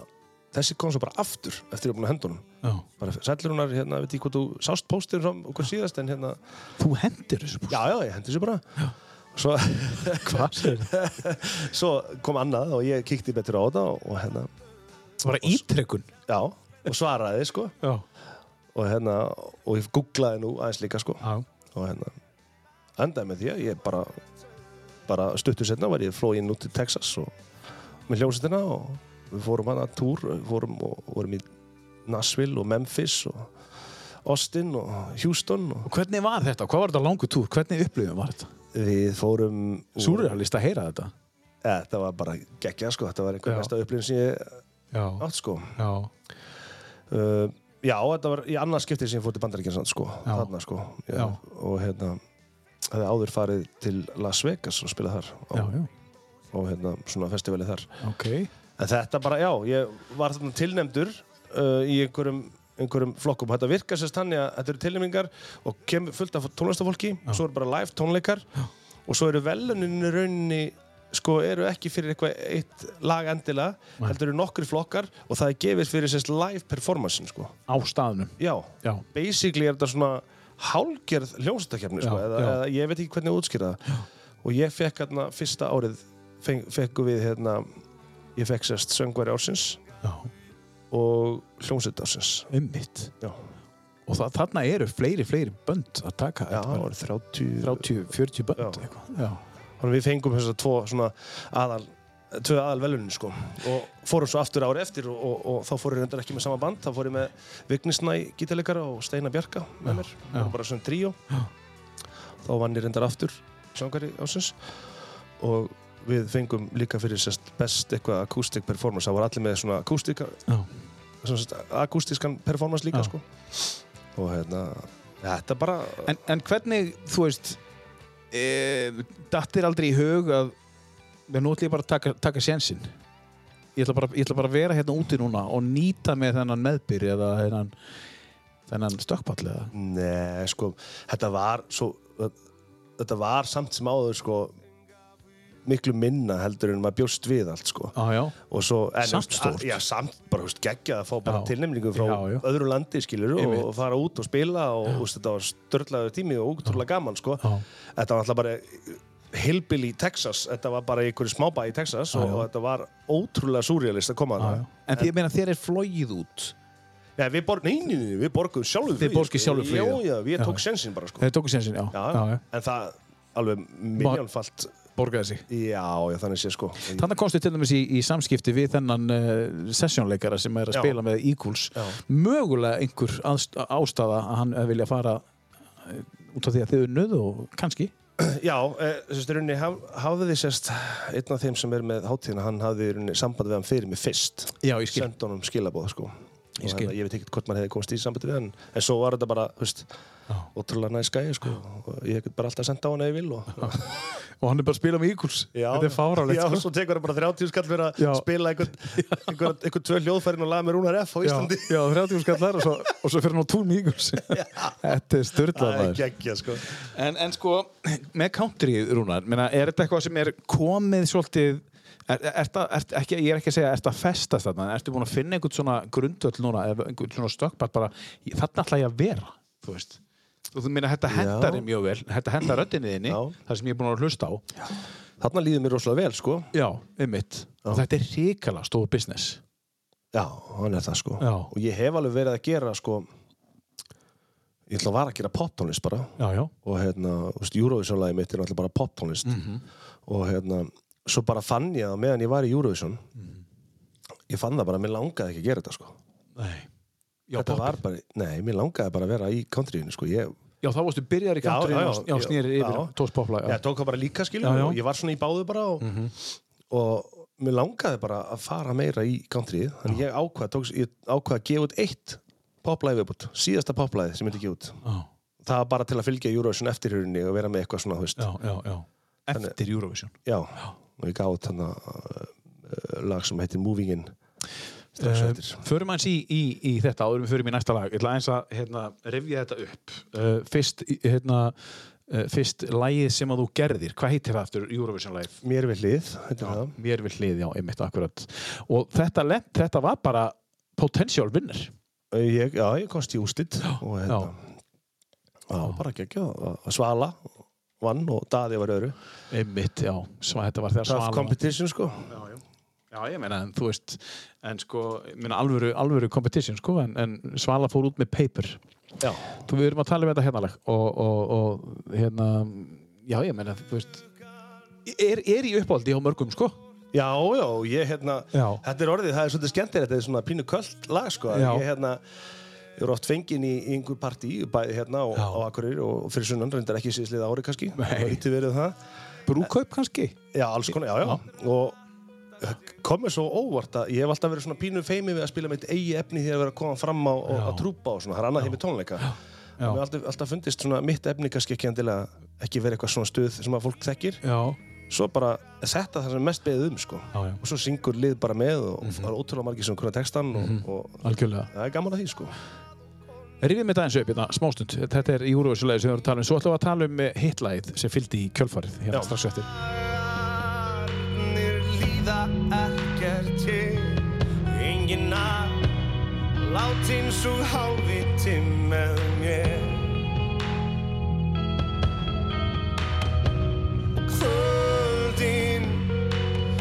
S2: þessi kom svo bara aftur eftir ég er búin að henda honum
S1: já.
S2: bara sællunar, hérna, veit ég hvort þú sást póstin frá okkur síðast en hérna
S1: Þú hendir þessu búst.
S2: já, já, ég hendi þessu bara svo,
S1: <laughs>
S2: <laughs>
S1: Hvað segir þetta?
S2: svo kom annað og ég kíkti betur á þetta og, og hérna,
S1: Bara ítrekkun.
S2: já, og svaraði sko
S1: Já,
S2: og hérna, og ég googlaði nú aðeins líka sko
S1: já.
S2: og hérna endaði með því að ég bara bara stuttur setna var ég flóin út til Texas og með hljómsettina og við fórum hann að túr við fórum og vorum í Nashville og Memphis og Austin og Houston og
S1: Og hvernig var þetta? Hvað var þetta langu túr? Hvernig upplifum var þetta?
S2: við fórum úr-
S1: Súrrealist að heyra þetta.
S2: Eh, þetta var bara geggja sko þetta var einhver
S1: Já.
S2: mesta upplifin sem ég
S1: Já,
S2: átt sko
S1: já,
S2: uh, já, þetta var í annað skipti sem ég fór til Bandaríkjansand sko,
S1: Já.
S2: þarna sko já.
S1: Já.
S2: og hérna hefði áður farið til Las Vegas og spilað þar
S1: já,
S2: og,
S1: já.
S2: og hérna svona festivalið þar
S1: Ok.
S2: en þetta bara, já, ég var þarna tilnefndur uh, í einhverjum einhverjum flokkum. Þetta virkar sérst þannig að þetta eru tilnæmingar og kemur fullt af tónlistafólki, svo eru bara live tónleikar og svo eru veluninu rauninni sko eru ekki fyrir eitthvað eitt lag endilega, heldur eru nokkri flokkar og það er gefið fyrir sérst live performancein sko.
S1: á staðnum.
S2: Já,
S1: Já.
S2: basically er þetta svona hálgerð hljómsættakefni sko,
S1: Já,
S2: eða,
S1: já.
S2: eða ég veit ekki hvernig ég útskýra það og ég fekk hérna fyrsta árið feng, fekku við hérna ég fekk sérst söngværi ársins
S1: Já,
S2: og hljómsveit ársins
S1: einmitt.
S2: Já,
S1: Og það, þarna eru fleiri, fleiri bönd að taka.
S2: já
S1: Þetta
S2: það
S1: var
S2: voru 30
S1: 30, 40 bönd
S2: Já.
S1: eitthvað. Já.
S2: Þannig að við fengum þess að tvo svona aðal tvö aðal velunin sko og fórum svo aftur ári eftir og, og, og þá fórum við reyndar ekki með sama band þá fórum við með Vignisnæ gítarleikara og Steina Bjarka með mér við
S1: já.
S2: vorum bara sem tríó þá vann ég reyndar aftur sangari ásins og við fengum líka fyrir sérst best eitthvað akústik performance það voru allir með svona akústika
S1: Já.
S2: akústiskan performance líka
S1: Já.
S2: sko og hérna þetta bara
S1: En, en hvernig, þú veist, e, dattir aldrei í hug að við nú ætlum ég bara að taka, taka sénsinn. Ég ætla, bara, ég ætla bara að vera hérna úti núna og nýta með þennan meðbyr eða þennan, þennan stökkpall eða.
S2: Nei, sko, þetta var svo, þetta var samt sem áður sko, miklu minna heldur en maður bjóst við allt sko.
S1: Á, já.
S2: og svo, en,
S1: Samt
S2: þú veist,
S1: stórt.
S2: að- Já, samt bara, þú veist, geggjað að fá bara
S1: Já.
S2: tilnefningu frá
S1: Já, já.
S2: öðru landi, skilur og,
S1: Einmitt.
S2: og fara út og spila og, þú veist, þetta var störlaður tími og útrúlega gaman, sko
S1: Já.
S2: Þetta var alltaf bara hillbilly í Texas, þetta var bara í einhverju smábæ í Texas og, og þetta var ótrúlega súrjalist að koma
S1: Já,
S2: að
S1: já. En því ég meina þér er flogið út.
S2: Já, við, bor... nei, nei, nei, við borgum sjálfum sko.
S1: Þið borgið sjálfur flugið.
S2: Já, já, við
S1: Já.
S2: tók sensinn bara, sko
S1: Þið tóku sénsinn, já.
S2: já, en það alveg miljónfalt
S1: Borgaði sig.
S2: já, já, þannig sé sko
S1: Þannig komstu til dæmis í, í samskipti við þennan uh, sessjónleikara sem er að
S2: Já.
S1: spila með Eagles.
S2: Já.
S1: Mögulega einhver aðst- ástæða að hann eh, vilja fara eh, út af því að þið er nöðu og kannski.
S2: já, e, sérst, í rauninni haf, hafði þið sérst einn af þeim sem er með hátíðina hann hafði í rauninni samband við hann fyrir mig fyrst
S1: Já, ég skil.
S2: senda honum skilabóð sko
S1: Ég
S2: Og
S1: skil.
S2: hérna, ég veit ekkert hvort maður hefði komast í sambandi við hann en svo var þetta bara, þú veist, ótrúlega næst gæði sko og ég hef bara alltaf senda á hann ef ég vil og
S1: Og hann er bara að spila með Eagles. <laughs> Þetta er fárálegt.
S2: já, <laughs>
S1: sko.
S2: svo tekur hann bara 30 skall fyrir að
S1: Já.
S2: spila
S1: <laughs>
S2: einhvern einhvern- einhvern tvö hljóðfærin og laga með Rúnar F á Íslandi
S1: Já, já 30 skallar og svo, og svo fyrir hann á tún með
S2: <laughs>
S1: Eagles. Þetta er störtlað
S2: það er
S1: maður.
S2: geggja sko
S1: En, en sko, með country, Rúnar, meina, er þetta eitthvað sem er komið svolítið Er, er, er, er, ekki, ég er ekki að segja, er þetta festast þarna, en ertu búin að finna einhvern svona grundöll núna, eða einhvern svona stökkbart bara, ég- þarna ætla ég að vera, þú veist. Og þú meina, þetta hendar þér mjög vel, þetta hendar röddinni þinni,
S2: Já.
S1: það sem ég er búin að hlusta á. Já,
S2: þarna líður mér rosalega vel sko
S1: einmitt. Og þetta er hrikala stór business.
S2: Já, hann er það sko
S1: Já.
S2: Og ég hef alveg verið að gera sko Ég ætla að vara að gera poptónlist bara
S1: Já, já.
S2: Og hérna, þú veist, Eurovision-lagi mitt er náttúrulega bara poptónlist Og hérna, svo bara fann ég það meðan ég var í Eurovision Ég fann það bara, mér langaði ekki að gera þetta sko
S1: Nei. Já,
S2: Þetta
S1: pop.
S2: var bara, nei, mér langaði bara að vera í countryinu sko Ég,
S1: já, þá varstu byrjar í
S2: Já,
S1: country,
S2: já, já.
S1: já, já, snýri yfir,
S2: Já.
S1: tóðs popla,
S2: já.
S1: já.
S2: ég tók það bara líka
S1: Já,
S2: skilu
S1: Mhm. já.
S2: Ég var svona í báðu bara og, og mér langaði bara að fara meira í countryið Þannig ég ákvað, tók, ég ákvað að gefa út eitt poplæði viðbútt Síðasta poplæði sem ég myndi gefa út
S1: Já,
S2: það var bara til að fylgja Eurovision eftirhjörunni og vera með eitthvað svona, þú veist.
S1: já, já, já. Eftir Eurovision.
S2: Já. Og ég gáði þarna uh, uh, lag sem heitir Moving In. Strax
S1: Uh,
S2: eftir.
S1: förum aðeins í, í, í þetta áður en við förum í næsta lag ég ætla aðeins að hérna, rifja þetta upp uh, fyrst, í- hérna, uh, fyrst lagið sem að þú gerðir hvað heitir það aftur Eurovision Live?
S2: Mér við hlið, heitir það.
S1: Mér vil hlið, já, einmitt akkurat og þetta, lent, þetta var bara potential vinner
S2: Eh, Ég, já, ég komst í úslit og hérna.
S1: já.
S2: Já. bara gekkja að svala vann og daði var öðru.
S1: einmitt, já, sva, þetta var þegar
S2: Tough
S1: svala
S2: competition, sko.
S1: já, ég meina, en þú veist en sko, ég meina alvöru, alvöru competition sko, en, en svala fór út með paper
S2: Já.
S1: þú við erum að tala um þetta hérna lag og, og, og hérna já ég meina þú veist er, er í uppáldi á mörgum sko
S2: Já, já, og ég hérna,
S1: Já.
S2: þetta er orðið, það er svolítið skemmtir, þetta er svona pínu köld lag, sko, að
S1: Já.
S2: ég hérna, ég er oft fenginn í, í einhver partí, bæði hérna og,
S1: Já.
S2: á Akureyri og fyrir sunnan, reyndar ekki síðslið ári kannski,
S1: Nei.
S2: það var lítið verið það.
S1: brúkaup kannski
S2: Já, alls konar, já, já. Og það kom mér svo óvart að ég hef alltaf verið svona pínu feimi við að spila mitt eigi efni því að vera að koma fram á og að trúpa og svona, það er annað heim í tónleika.
S1: Já.
S2: Mér hef alltaf, alltaf fundist svona mitt efni kannski ekki endilega ekki verið eitthvað svona stuð sem að fólk þekkir.
S1: já,
S2: Svo bara er þetta það sem er mest beðið um, sko.
S1: Já, já.
S2: Og
S1: Mhm.
S2: svo syngur lið bara með og það er ótrúlega margir sem kunna textan og, og
S1: algjörlega
S2: það er gaman að því, sko.
S1: Rifið með það eins upp hérna, smástund. Þetta er Eurovision-lagið sem við vorum að tala um. Svo ætlum við að tala um eh, hitlægið sem fylgdi í kjölfarið hérna
S2: Já.
S1: strax eftir.
S3: Arnir líða ekkert til Engin að Látin svo hálfviti með mér Og Kvöldin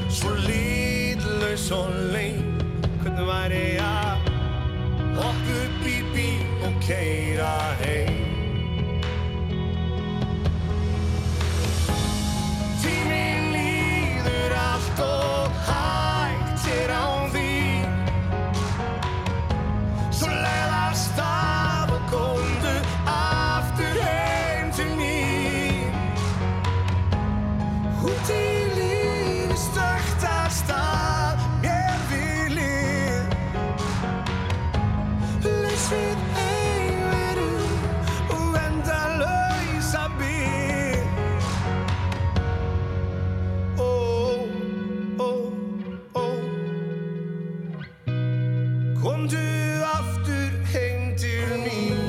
S3: Svo lítlaus og leim Hvernig væri að Hoppa upp í bíl og keira heim Tíminn líður allt og hægt er án þín. Svo leiðast af og komdu aftur heim til mín. Út í lífið stökkt af stað, mér við lið. Laus við eilverur og endalausa bið. Ó, ó, ó Komdu aftur heim til mín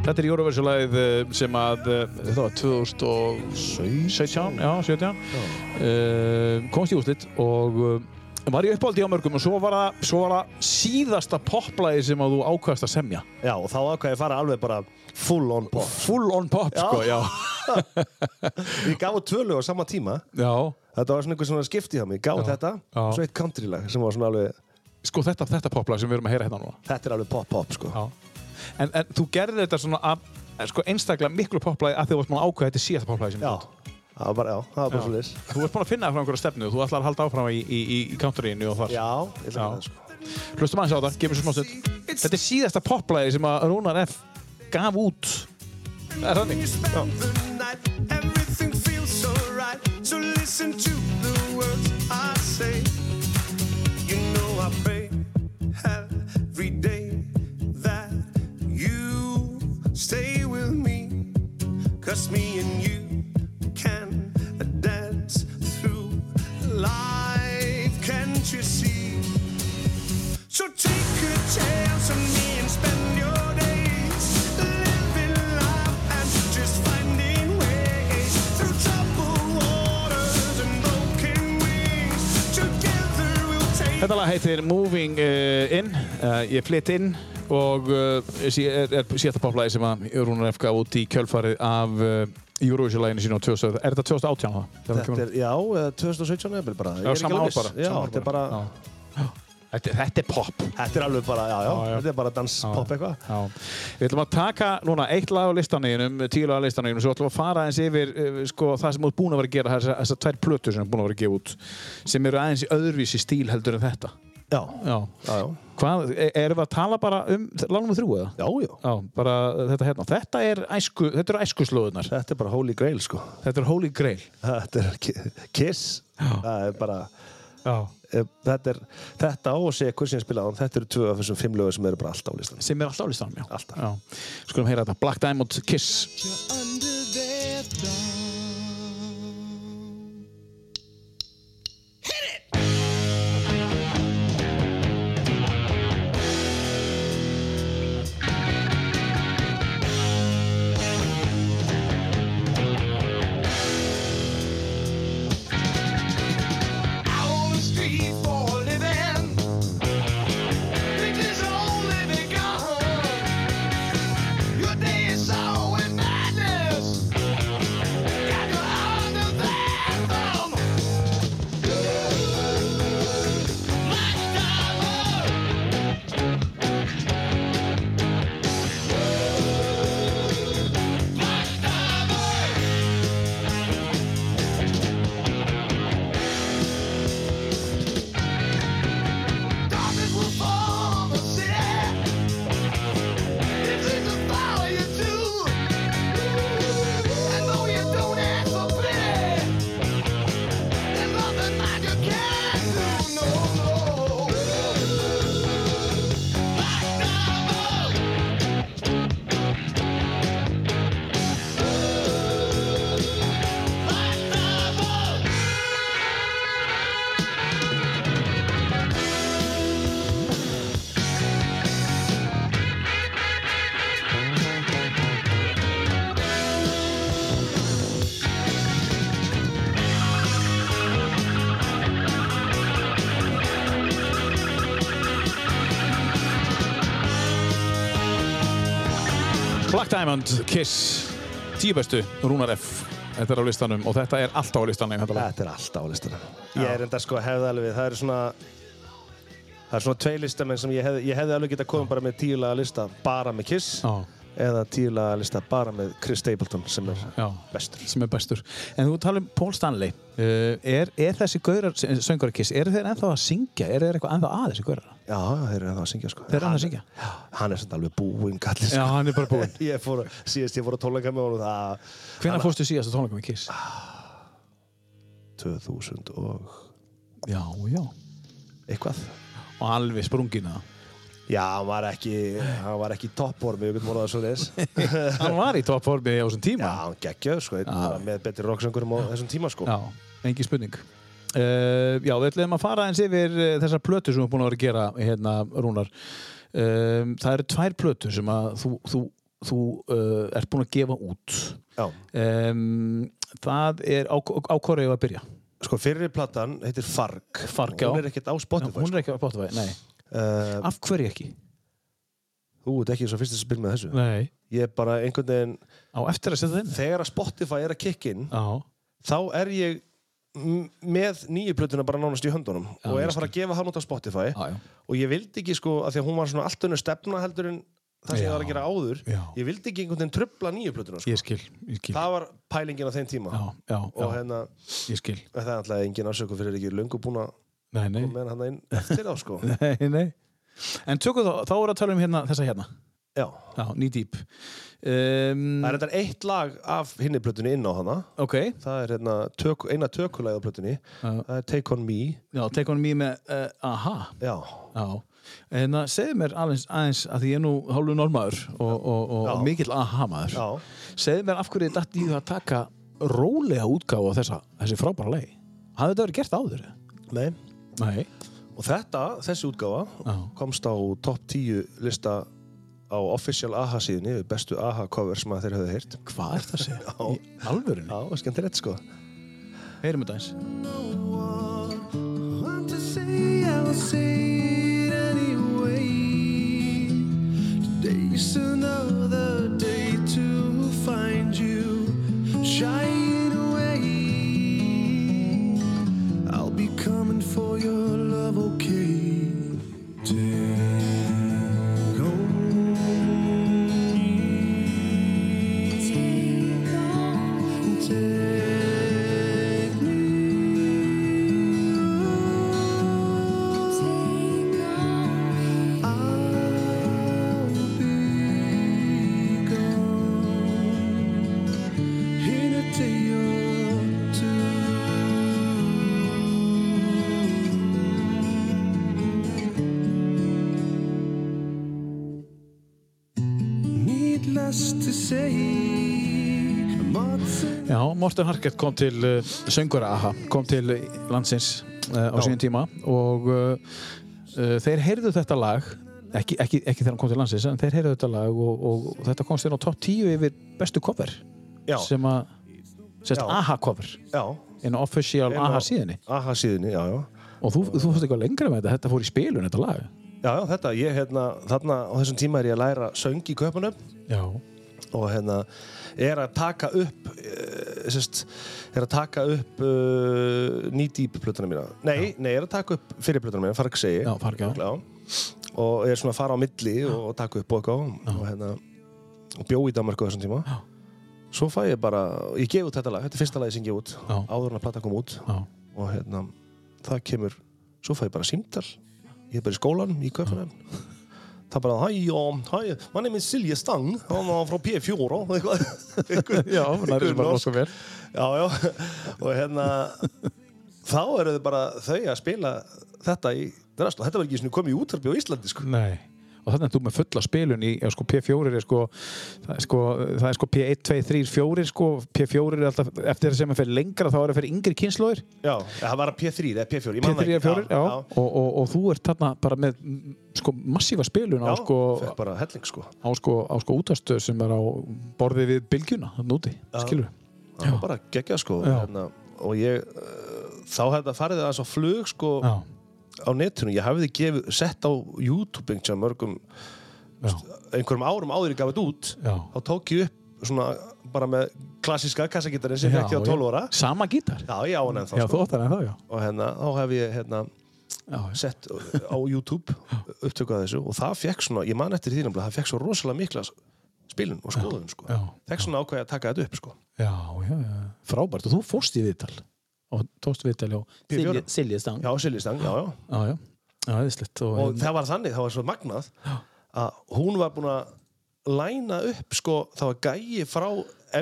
S1: Þetta er Eurovision-lagið eh, sem að, eh, þetta var 2017, já, 17, uh, komst í úslit og uh, var í uppáldi á mörgum og svo var það, svo var það síðasta poplagið sem að þú ákvæðast að semja.
S2: Já, og þá ákvað ég að fara alveg bara full on pop.
S1: Full on pop, sko, já.
S2: Ég gaf út tvö lög á sama tíma.
S1: Já,
S2: Þetta var svona einhver svona skipti hjá mig. Ég gaf út þetta,
S1: já.
S2: svo eitt countrylag sem var svona alveg,
S1: sko þetta, þetta poplag sem við erum að heyra hérna núna.
S2: þetta er alveg pop-pop, sko.
S1: Já. En, en þú gerði þetta svona að, sko, einstaklega miklu poplagið að því þú varst búin að ákvæða þetta er síðasta poplagið sem
S2: Já,
S1: þú
S2: það var bara, já, það var bara svo
S1: Þú ert búin að finna það frá einhverja stefnu, þú ætlar að halda áfram í, í, í countryinu og þar.
S2: Já, ég ætla
S1: Já.
S2: að það, sko.
S1: Hlustum aðeins á þetta, gefum svo smá stund. Þetta er síðasta poplæði sem að Rúnar F. gaf út. Það er þannig.
S3: spend the night Everything feels so right So listen to the words I say You know I pray every day That you stay with me Cause me and you can dance through life Can't you see? So take a chance on me and spend your days living life and just finding ways through troubled waters and broken wings. Together we'll take.
S1: Þetta lag heitir Moving uh, In, uh, ég flytt inn og uh, sí, er, er síðasta poplæði sem að Rúnar F. gaf út í kjölfarið af uh, Eurovision-læginu sínu á 2000. Er þetta 2018 það? Þegar
S2: Þetta
S1: kemur-
S2: er, já, eða 2017 eða bara. Ég er
S1: Já,
S2: ekki
S1: sama
S2: alveg
S1: ár
S2: viss.
S1: bara.
S2: Já,
S1: sama ár
S2: þetta er bara,
S1: Já. Þetta, þetta er pop.
S2: þetta er alveg bara, já, já,
S1: Já, já.
S2: þetta er bara dans-pop eitthvað.
S1: Já. Við ætlum að taka núna eitt lag á listanýjunum, tíu lag á listanýjunum, svo ætlum við að fara aðeins yfir eh, sko, það sem þú ert búin að vera að gera, þessar þessa tvær plötur sem þú ert búin að vera að gefa út, sem eru aðeins í öðruvísi stíl heldur en þetta.
S2: Já,
S1: Já.
S2: já, já,
S1: Hvað, e- erum við að tala bara um lagnum við þrjú eða?
S2: já, já.
S1: Já, bara eh, þetta hérna. Þetta, er æsku, þetta eru æskuslóðunar.
S2: Þetta er bara holy grail, sko.
S1: Þetta er Holy Grail.
S2: Þetta er ki- Kiss. Það er bara,
S1: Já.
S2: eh, þetta er, þetta og Sekur sem ég spilaði á, hann, þetta eru tvö af þessum fimm lögum sem eru bara alltaf á listan.
S1: Sem er alltaf á listanum, já.
S2: Alltaf.
S1: Já. Skulum heyra þetta. Black Diamond Kiss.
S3: Out on the street for a living. This is only begun. Your day is so madness.
S1: Black Diamond, Kiss, tíu bestu, Rúnar F. Þetta er á listanum og þetta er alltaf á listanum. Þetta lag.
S2: Þetta er alltaf á listanum. Ég er enda sko að hefða alveg við. Það eru svona... Það er svona tvei listamenn sem ég hefði, ég hefði alveg getað komið bara með tíulaga lista bara með Kiss
S1: Já.
S2: eða tíulaga lista bara með Chris Stapleton sem er
S1: Já.
S2: bestur.
S1: sem er bestur. En þú talar um Paul Stanley. Uh, er, er þessi gaurar, söngur Kiss, eru þeir ennþá að syngja? Eru þeir eitthvað ennþá að þessi gaurar?
S2: Já, þeir eru ennþá að syngja sko.
S1: Þeir eru ennþá að syngja?
S2: Hann er samt alveg búinn kallið
S1: Já, hann er bara búinn.
S2: ég fór, að- síðast ég fór að tónleika með honum það
S1: Hvenær fórstu síðast að tónleika með Kiss?
S2: 2000 og
S1: Já, já.
S2: eitthvað
S1: Og alveg sprungin <laughs> að
S2: Já, hann var ekki, hann var ekki í toppformi, ég getum orðað það svo
S1: <laughs> Hann var í toppformi á þessum
S2: Já,
S1: tíma.
S2: hann geggjöð, sko, einn bara með betri rocksöngurum á þessum tíma, sko.
S1: Já, engin spurning. Uh, já, við ætlum að fara eins yfir uh, þessar plötu sem við erum búin að vera að gera hérna, Rúnar. Um, það eru tvær plötu sem að þú, þú, þú uh, ert búin að gefa út.
S2: Já.
S1: Um, það er á, á hverju eigum við að byrja?
S2: Sko, fyrri platan heitir Farg.
S1: Farg, já.
S2: Hún er ekkert á Spotify,
S1: Hún er ekki á Spotify, nei.
S2: sko. Uh,
S1: Af hverju ekki?
S2: þú ert ekki svo fyrst að spila með þessu.
S1: Nei.
S2: Ég er bara einhvern veginn,
S1: Á eftir að setja það inn?
S2: þegar að Spotify er að kikka inn,
S1: Já.
S2: þá er ég m- með nýju plötuna bara nánast í höndunum og er
S1: ég
S2: að fara að gefa hann út á Spotify
S1: Já, já.
S2: og ég vildi ekki sko að því að hún var svona allt önnur stefna heldur en það sem
S1: Já.
S2: ég var að gera áður
S1: Já.
S2: ég vildi ekki einhvern veginn trubla nýju plötuna sko.
S1: Ég skil, ég skil.
S2: það var pælingin á þeim tíma
S1: Já, já,
S2: og
S1: já,
S2: hérna,
S1: ég skil.
S2: það er alltaf engin afsöku fyrir ekki löngu búin að
S1: Nei, nei.
S2: koma með hann inn eftir þá
S1: <laughs>
S2: sko
S1: Nei, nei. En tökum þá, þá er að tala um hérna, þessa hérna.
S2: Já.
S1: Já, Knee Deep. Um,
S2: það er þetta eitt lag af hinni plötunni inn á hana
S1: ok,
S2: það er hérna, tök, eina tökulæð á plötunni það er Take On Me
S1: já, take on me með uh, aha.
S2: Já.
S1: Já. En það segðu mér aðeins, aðeins að því ég er nú hálfu normaður og, og, og, og
S2: Já.
S1: mikill aha maður.
S2: Já.
S1: Segðu mér af hverju datt í það að taka rólega útgáfa á þessa, þessi frábæra lei. Hafði þetta verið gert áður? eða?
S2: Nei.
S1: Nei.
S2: og þetta, þessi útgáfa
S1: Já.
S2: komst á topp 10 lista á official AHA síðunni við bestu AHA cover sem að þeir höfðu heyrt
S1: Hvað er <laughs> það að segja? Í alvörunni?
S2: Já, skemmtilegt sko
S1: Heyrum þetta eins.
S4: Want to say I will say it anyway. Today's another day to find you shying away. I'll be coming for your love, okay? Take on me. Take me. Needless to say, I'm not saying
S1: Já, Morten Harkett kom til uh, söngura AHA, kom til landsins uh, á síðan tíma og uh, uh, þeir heyrðu þetta lag ekki, ekki, ekki þegar hann kom til landsins en þeir heyrðu þetta lag og, og þetta komst inn á topp 10 yfir bestu cover
S2: Já,
S1: sem að sérst
S2: Já.
S1: AHA cover
S2: já
S1: inn á official
S2: Inn á-
S1: AHA síðinni
S2: AHA síðunni, já, já
S1: og þú, þú fórst eitthvað lengra með þetta, þetta fór í spilun þetta lag
S2: Já, já, þetta, ég hérna, þarna á þessum tíma er ég að læra söng í köpunum
S1: Já,
S2: og hérna er að taka upp uh, sest, er að taka upp uh, nýdýp plötuna mína Nei, nei, er að taka upp fyrir plötuna mína, farg segi
S1: Já, Farg, já.
S2: og er svona að fara á milli og taka upp og eitthvað og hérna og bjó í Danmarku þessum tíma
S1: Já.
S2: Svo fæ ég bara, ég gef út þetta lag, þetta er fyrsta lagi sem ég gef út
S1: Já.
S2: áður en að plata kom út
S1: já,
S2: og hérna, það kemur svo fæ ég bara símtal ég er bara í skólanum, í köpunum það bara, hæ, já, hæ mann er minn Silje Stang, hann var frá P4 og eitthvað Einhver-
S1: <laughs> já það er
S2: einhver
S1: bara
S2: norsk-
S1: nokkuð vel
S2: já, já, og hérna þá eru þau bara þau að spila þetta í drast og þetta var ekki svona komið í útarpi á Íslandi sko.
S1: Nei og þannig að þú með fulla spilun í já, sko, P4 er sko það er sko, það er sko P1, 2, 3, 4 sko, P4 er alltaf eftir sem að fer lengra þá er það fyrir yngri kynslóðir
S2: já, það var P3 eða P4, ég man það
S1: P3 er 4 já,
S2: já,
S1: Og, og, og þú ert þarna bara með mm, sko, massífa spilun á
S2: já,
S1: sko,
S2: fékk bara helling sko
S1: á sko, á sko útastöð sem er á borði við bylgjuna þannig úti, skilur
S2: það var bara geggja sko
S1: Já.
S2: hérna, og ég uh, þá hefði það farið aðeins á flug sko
S1: já,
S2: á netinu, ég hafiði gefið, sett á YouTube einhverja mörgum einhverjum árum áður ég gaf þetta út
S1: Já.
S2: þá tók ég upp svona bara með klassíska kassagitarinn sem fekk ég á 12 ára
S1: Sama gítar?
S2: já, ég á hann ennþá
S1: Já,
S2: sko.
S1: þú óttar en það, já.
S2: og hérna, þá hef ég hérna
S1: já.
S2: sett á YouTube upptöku að þessu og það fekk svona, ég man eftir því nefnilega það fekk svo rosalega mikla spilun og skoðun sko.
S1: Já.
S2: fekk svona ákveði að taka þetta upp sko.
S1: Já, já, já. Frábært, og þú fórst í viðtal. Og tókst viðtal á
S2: P4.
S1: Siljastang.
S2: já, Siljistang, já, já
S1: Já, já. Já, það er slitt. Og, hérna-
S2: og það var þannig, það var svo magnað að hún var búin að læna upp sko, það var gæi frá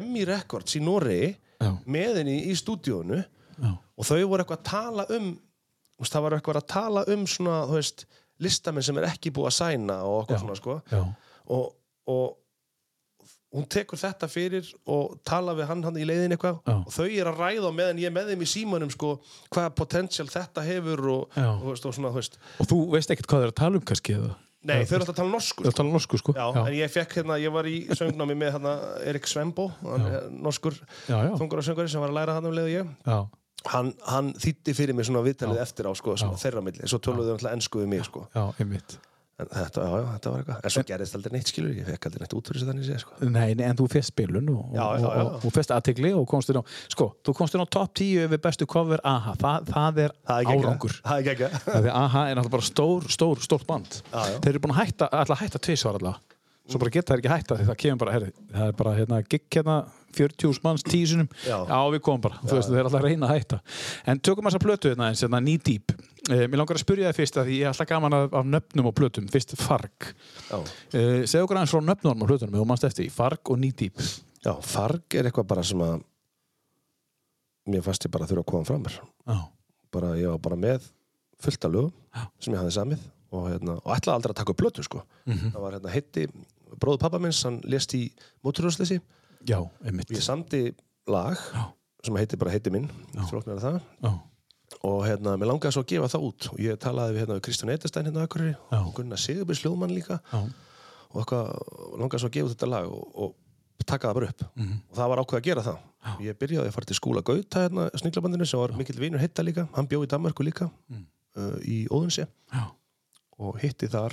S2: Emmy Records í Noregi
S1: Já.
S2: með henni í stúdíónu
S1: Já.
S2: og þau voru eitthvað að tala um þú veist, það var eitthvað að tala um svona, þú veist, listamenn sem er ekki búið að sæna og okkur
S1: Já.
S2: svona sko
S1: Já,
S2: og, og hún tekur þetta fyrir og tala við hann hann í leiðin eitthvað
S1: Já.
S2: og þau eru að ræða á meðan ég er með þeim í símanum sko, hvaða potential þetta hefur og,
S1: Já.
S2: og, þú veist, og svona, þú veist
S1: og þú veist ekkert hvað það er að tala um kannski eða?
S2: Nei, þau eru alltaf að tala norsku
S1: Það tala norsku, sko.
S2: Já, en ég fekk hérna, ég var í söngnámi með hérna Erik Svembo, hann er norskur
S1: Já, já.
S2: þungur og söngari sem var að læra hann um leiðu ég.
S1: já.
S2: Hann, hann þýtti fyrir mig svona viðtalið eftir á, sko, sem þeirra milli, svo töluðu þau alltaf ennsku við mig, sko.
S1: Já, einmitt.
S2: En þetta, já, já, þetta var eitthvað. En svo gerðist aldrei neitt, skilur, ég fekk aldrei neitt út fyrir þessu þannig sé, sko.
S1: Nei, nei, en þú fyrst spilun og,
S2: Já, já,
S1: og,
S2: já.
S1: og, og fyrst aðtegli og komst inn á, sko, þú komst inn á top 10 yfir bestu cover AHA, það, það er
S2: Það er geggjað.
S1: árangur.
S2: Það er geggjað.
S1: Það er AHA er náttúrulega bara stór, stór, stórt band.
S2: Já, já.
S1: Þeir eru búin að hætta, alltaf að hætta tvisvar alltaf. Svo bara geta þeir ekki hætta því það kemur bara, herri, það er bara hérna, gikk hérna 40 manns tísunum.
S2: Já.
S1: við komum bara. Þú veist, þeir eru alltaf að reyna að hætta. En tökum þessa plötu hérna eins, hérna Knee Deep. Eh, mér langar að spyrja þið fyrst að því ég er alltaf gaman af, af nöfnum og plötum. Fyrst Farg.
S2: Já.
S1: Eh, segðu okkur aðeins frá nöfnum og plötunum, ef þú mannst eftir því. Farg og Knee Deep.
S2: Já, farg er eitthvað bara sem að mér fannst ég bara þurfa að koma fram mér.
S1: Já,
S2: Bara, ég var bara með fullt af lögum sem ég hafði samið og, hérna, og ætlaði aldrei að taka upp plötu, sko.
S1: Mhm.
S2: Það var hérna hitti bróðu pappa minns, hann lést í móturhjóðsleysi.
S1: já, einmitt.
S2: Ég samdi lag sem heitir bara heiti minn, flóknar það
S1: Já,
S2: og hérna, mér langaði svo að gefa það út og ég talaði við, hérna, við Kristján Eitestein hérna á Akureyri
S1: Já.
S2: og Gunnar Sigurbjörns Ljóðmann líka
S1: já,
S2: og eitthvað, og langaði svo að gefa út þetta lag og, og taka það bara upp
S1: Mhm.
S2: og það var ákveð að gera það ég byrjaði að fara til skúla Gauta hérna, sniglabandinu sem var mikill vinur hitta líka hann bjó í Danmarku líka
S1: Mm.
S2: uh, í Óðunsi
S1: já,
S2: og hitti þar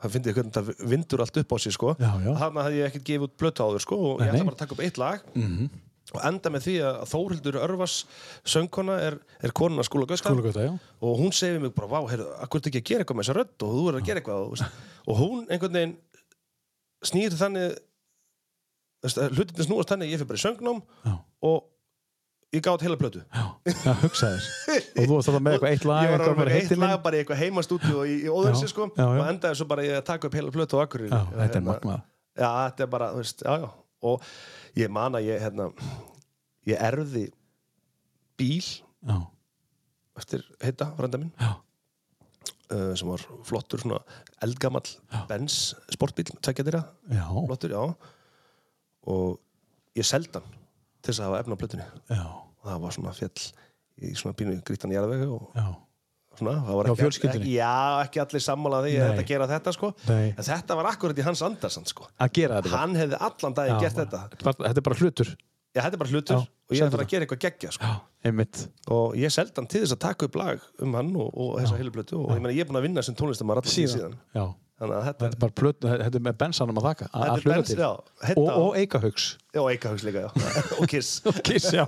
S2: það finnir hvernig það vindur allt upp á sig sko.
S1: Já, já.
S2: þannig hafði ég ekkert gefið út blötu áður sko, og
S1: Nei,
S2: ég ætla
S1: nei. Mm.
S2: bara að taka upp eitt lag
S1: Mhm.
S2: og enda með því að Þórhildur Örvas söngkona er, er konuna skúla Gauta
S1: kúlugöta, já.
S2: og hún segir við mig bara, vá, heyrðu, akkur ertu ekki að gera eitthvað með þessa rödd og þú er að gera eitthvað og, og hún einhvern veginn snýr þannig þú veist, að hlutinni snúast þannig að ég fyrir bara í söngnum
S1: Já.
S2: og ég gáði heila plötu
S1: Já, já, hugsa þér Og þú varst alltaf með eitthvað eitt lag
S2: ég
S1: eitthvað
S2: var alveg
S1: bara
S2: með eitt
S1: heitinn
S2: lag bara í eitthvað heimastúdíu og í, í óðursi
S1: Já,
S2: sko
S1: já, já.
S2: og endaði svo bara ég að taka upp heila plötu á akkurinn
S1: Já, þetta
S2: Hérna.
S1: er magnað
S2: Já, þetta er bara, þú veist, já, já og ég man að ég, hérna ég erði bíl
S1: Já,
S2: eftir heita, frænda minn
S1: já,
S2: uh, sem var flottur svona eldgamall Benz sportbíl, tækja þeirra
S1: já,
S2: flottur, já og ég seldi hann til þess að hafa efna á plötunni
S1: já,
S2: og það var svona fjall í svona pínu grítan jarðveg og
S1: já.
S2: svona, það var
S1: Já,
S2: ekki,
S1: fjölskyldunni.
S2: ekki já, ekki allir sammála því
S1: Nei.
S2: að þetta gera þetta sko
S1: Nei.
S2: en þetta var akkurat í hans andarsan sko
S1: Að gera þetta bara.
S2: hann hefði allan daginn
S1: Já,
S2: gert þetta
S1: bara- Þetta er bara hlutur
S2: já, þetta er bara hlutur
S1: Já,
S2: og ég
S1: segðu
S2: er bara
S1: það.
S2: að gera eitthvað geggja sko
S1: Já, einmitt
S2: og ég seldi hann til þess að taka upp lag um hann og, og þessa heilu plötu og ég meina ég er búin að vinna sem tónlistamar allan tíð síðan
S1: Já,
S2: þannig að þetta
S1: þetta
S2: er
S1: er bara plöt, þetta er með bensanum að þakka að-
S2: Þetta
S1: að
S2: er
S1: hluta
S2: Benz,
S1: til.
S2: já, heita-
S1: Og, og eikahugs <laughs>
S2: Já, eikahugs líka, já. <laughs> og kiss.
S1: Kiss, já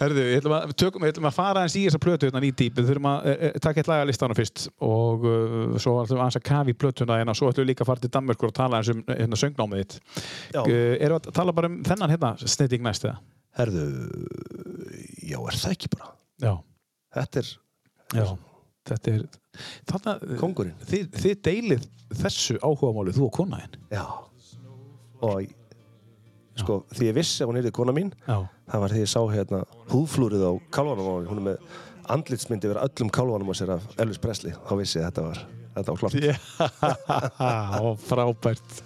S1: Herðu, við ætlum að, tökum, við ætlum að fara eins í þessa plötu hérna nýtt dýp, við þurfum að e, e, taka eitt laga listanum fyrst og uh, svo ætlum við aðeins að kafi í plötuna hérna, svo ætlum við líka að fara til Danmörkur og tala eins um hérna, söngnámið þitt
S2: Já.
S1: uh, Erum við að tala bara um þennan hérna, snitting næst eða?
S2: Herðu, já, er það ekki bara?
S1: Já,
S2: Þetta er
S1: já Þetta er, þarna,
S2: Kóngurinn.
S1: Þið, þið deilið þessu áhugamáli þú og kona henn
S2: Já. Og sko, því ég vissi að hún er í kona mín,
S1: Já,
S2: það var því ég sá hérna húflúrið á kálvanum á henni. Hún er með andlitsmyndi yfir öllum kálvanum á sér af Elvis Presley. Þá vissi ég að þetta var, þetta var klart.
S1: Já, <laughs> og frábært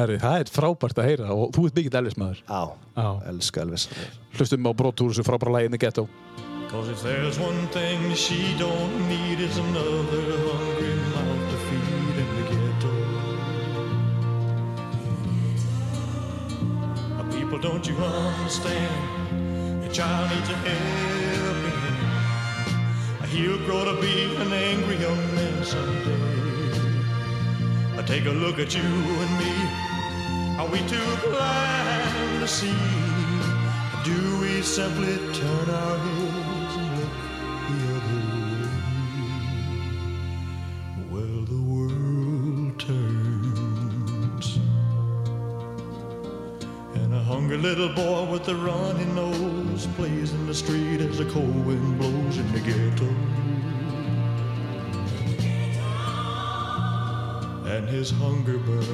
S1: Herri, það er frábært að heyra og þú ert mikill elvismæður
S2: Á,
S1: Já.
S2: elska Elvis.
S1: Hlustum á brottúr sem frábæra læginni Ghetto
S5: Cause if there's one thing she don't need, it's another hungry mouth to feed in the ghetto. Now, people, don't you understand? A child needs a helping hand. He'll grow to be an angry young man someday. take a look at you and me. Are we too blind to see? Do we simply turn our heads and look the other way? Well, the world turns. And a hungry little boy with a runny nose plays in the street as the cold wind blows in the ghetto. And his hunger burns.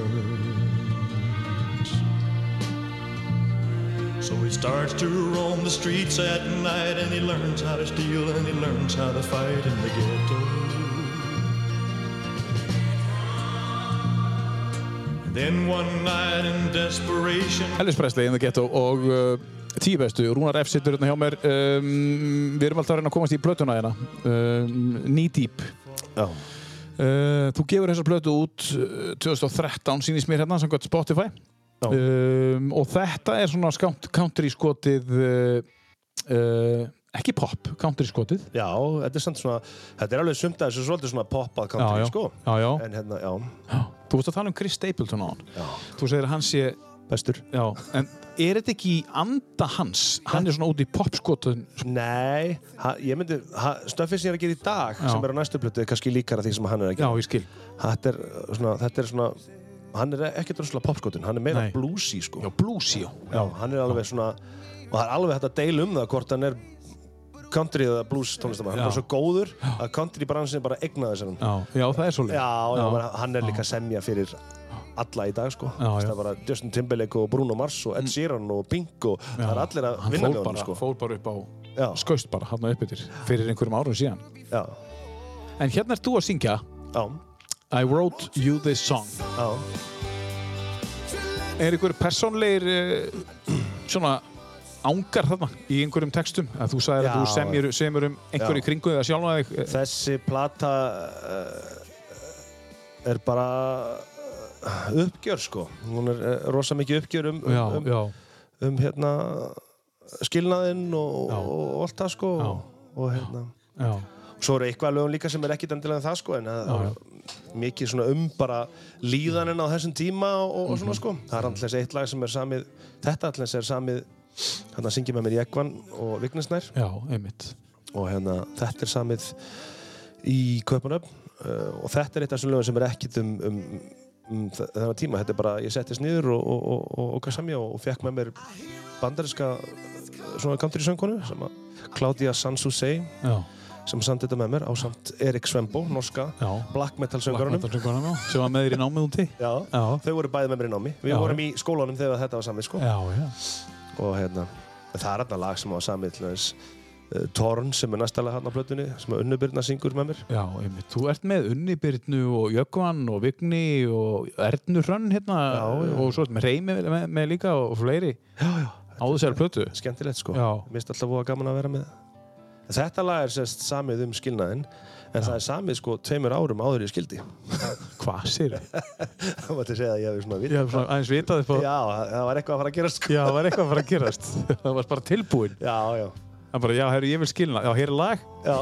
S5: So he starts to roam the streets at night and he learns how to steal and he learns how to fight in the ghetto. Then one night in desperation,
S1: Elvis Presley in the Ghetto og uh, tíu bestu, Rúnar F. sittur hérna hjá mér um, við erum alltaf að reyna að komast í plötuna hérna um, Knee Deep
S2: Já.
S1: uh, þú gefur þessa plötu út uh, 2013 sýnist mér hérna samkvæmt Spotify
S2: Já.
S1: um, og þetta er svona skámt country skotið uh, uh, ekki pop, country skotið
S2: Já, þetta er samt svona, þetta er alveg sumt að þessu svolítið svona poppað country,
S1: já,
S2: sko.
S1: já, já.
S2: En hérna, já,
S1: þú veist að tala um Chris Stapleton á hann þú segir að hann sé
S2: bestur.
S1: já, en er þetta ekki í anda hans hann er svona út í pop skotið
S2: Nei, ha, ég myndi, ha, stöfið sem ég er að gera í dag,
S1: Já.
S2: sem er á næstu plötu, er kannski líkara því sem hann er að
S1: já,
S2: gera.
S1: ég skil
S2: Þetta er uh, svona, þetta er svona, hann er ekkert droslega popskotin, hann er meira
S1: Nei.
S2: bluesy, sko.
S1: já, bluesy, já,
S2: Já, hann er alveg svona, og það er alveg hægt að deila um það hvort hann er country eða blues tónlistamann. Hann er
S1: Já.
S2: bara svo góður að country bransin bara egnaði sér hann.
S1: já, já það er svolítið
S2: Já, já,
S1: Já.
S2: já. hann er líka að semja fyrir alla í dag sko
S1: Já, já. Mm.
S2: það er bara Justin Timberlake og Bruno Mars og Ed Sheeran og Pink og það er allir að
S1: hann
S2: vinna
S1: fór
S2: með honum
S1: bara,
S2: sko
S1: fór bara upp á
S2: já,
S1: skaust bara, hann upp yfir fyrir einhverjum árum síðan
S2: já,
S1: en hérna ert þú að syngja
S2: já,
S1: I wrote you this song
S2: já.
S1: Er einhver persónleir eh, <clears throat> svona ángar þarna í einhverjum textum að þú sagðir
S2: Já.
S1: að þú semjur, semjur um einhverju
S2: Já.
S1: kringu eða sjálfa þig eh,
S2: þessi plata eh, er bara eh, uppgjör sko hún er eh, rosa mikið uppgjör um, um,
S1: já,
S2: um,
S1: já,
S2: um hérna skilnaðinn og,
S1: Já.
S2: og allt það sko
S1: Já.
S2: og, og hérna
S1: já,
S2: Svo eru eitthvað lögum líka sem er ekkit endilega en það sko en
S1: Já,
S2: það
S1: já.
S2: er mikið svona um bara líðaninn á þessum tíma og, og
S1: Mhm.
S2: svona sko. Það er alltaf eitt lag sem er samið, þetta alltaf er samið, hann að syngja með mér Jekvan og Vignisnær
S1: já, einmitt
S2: og hérna þetta er samið í Kaupanöfn uh, og þetta er eitt af þessum lögum sem er ekkit um, um, um þe- þennan tíma. Þetta er bara, ég settist niður og, og, og, og, og samja og, og fekk með mér bandariska uh, svona country söngkonu sem að Claudia Sansusei
S1: Já,
S2: sem samt þetta með mér á samt Erik Svembo, norska
S1: já
S2: black metal söngurunum
S1: Söngarunum, já Sem var með þér í námið úti
S2: þau
S1: Já,
S2: voru bæði með mér í námi við
S1: Já.
S2: vorum í skólanum þegar þetta var samið sko.
S1: já, já
S2: og hérna, það er hérna lag sem var samið til þess uh, Torn sem er næstalega hérna á plötunni sem er unnubyrna syngur með mér
S1: Já, einmitt, þú ert með Unni Birnu og Jökvan og Vigni og Ernu Hrönn hérna
S2: Já, já.
S1: og svo ert með Reymi með, með líka og fleiri
S2: já, já.
S1: áður sér plötu
S2: skemmtilegt sko,
S1: Já.
S2: Mér finnst alltaf voða gaman að vera með þetta lag er sérst samið um skilnaðinn en það er samið sko tveimur árum áður í skildi <laughs>
S1: Hvað sér?
S2: það var til að segja að ég hefði svona
S1: Ég
S2: vitað.
S1: hef svona aðeins vitað upp á
S2: já, það það var eitthvað að fara að gerast sko
S1: Já, það var eitthvað að fara að
S2: <laughs>
S1: gerast. Það var bara tilbúin.
S2: já, já,
S1: Það bara, já, herru, ég vil skilna. Já, hér er lag.
S2: já,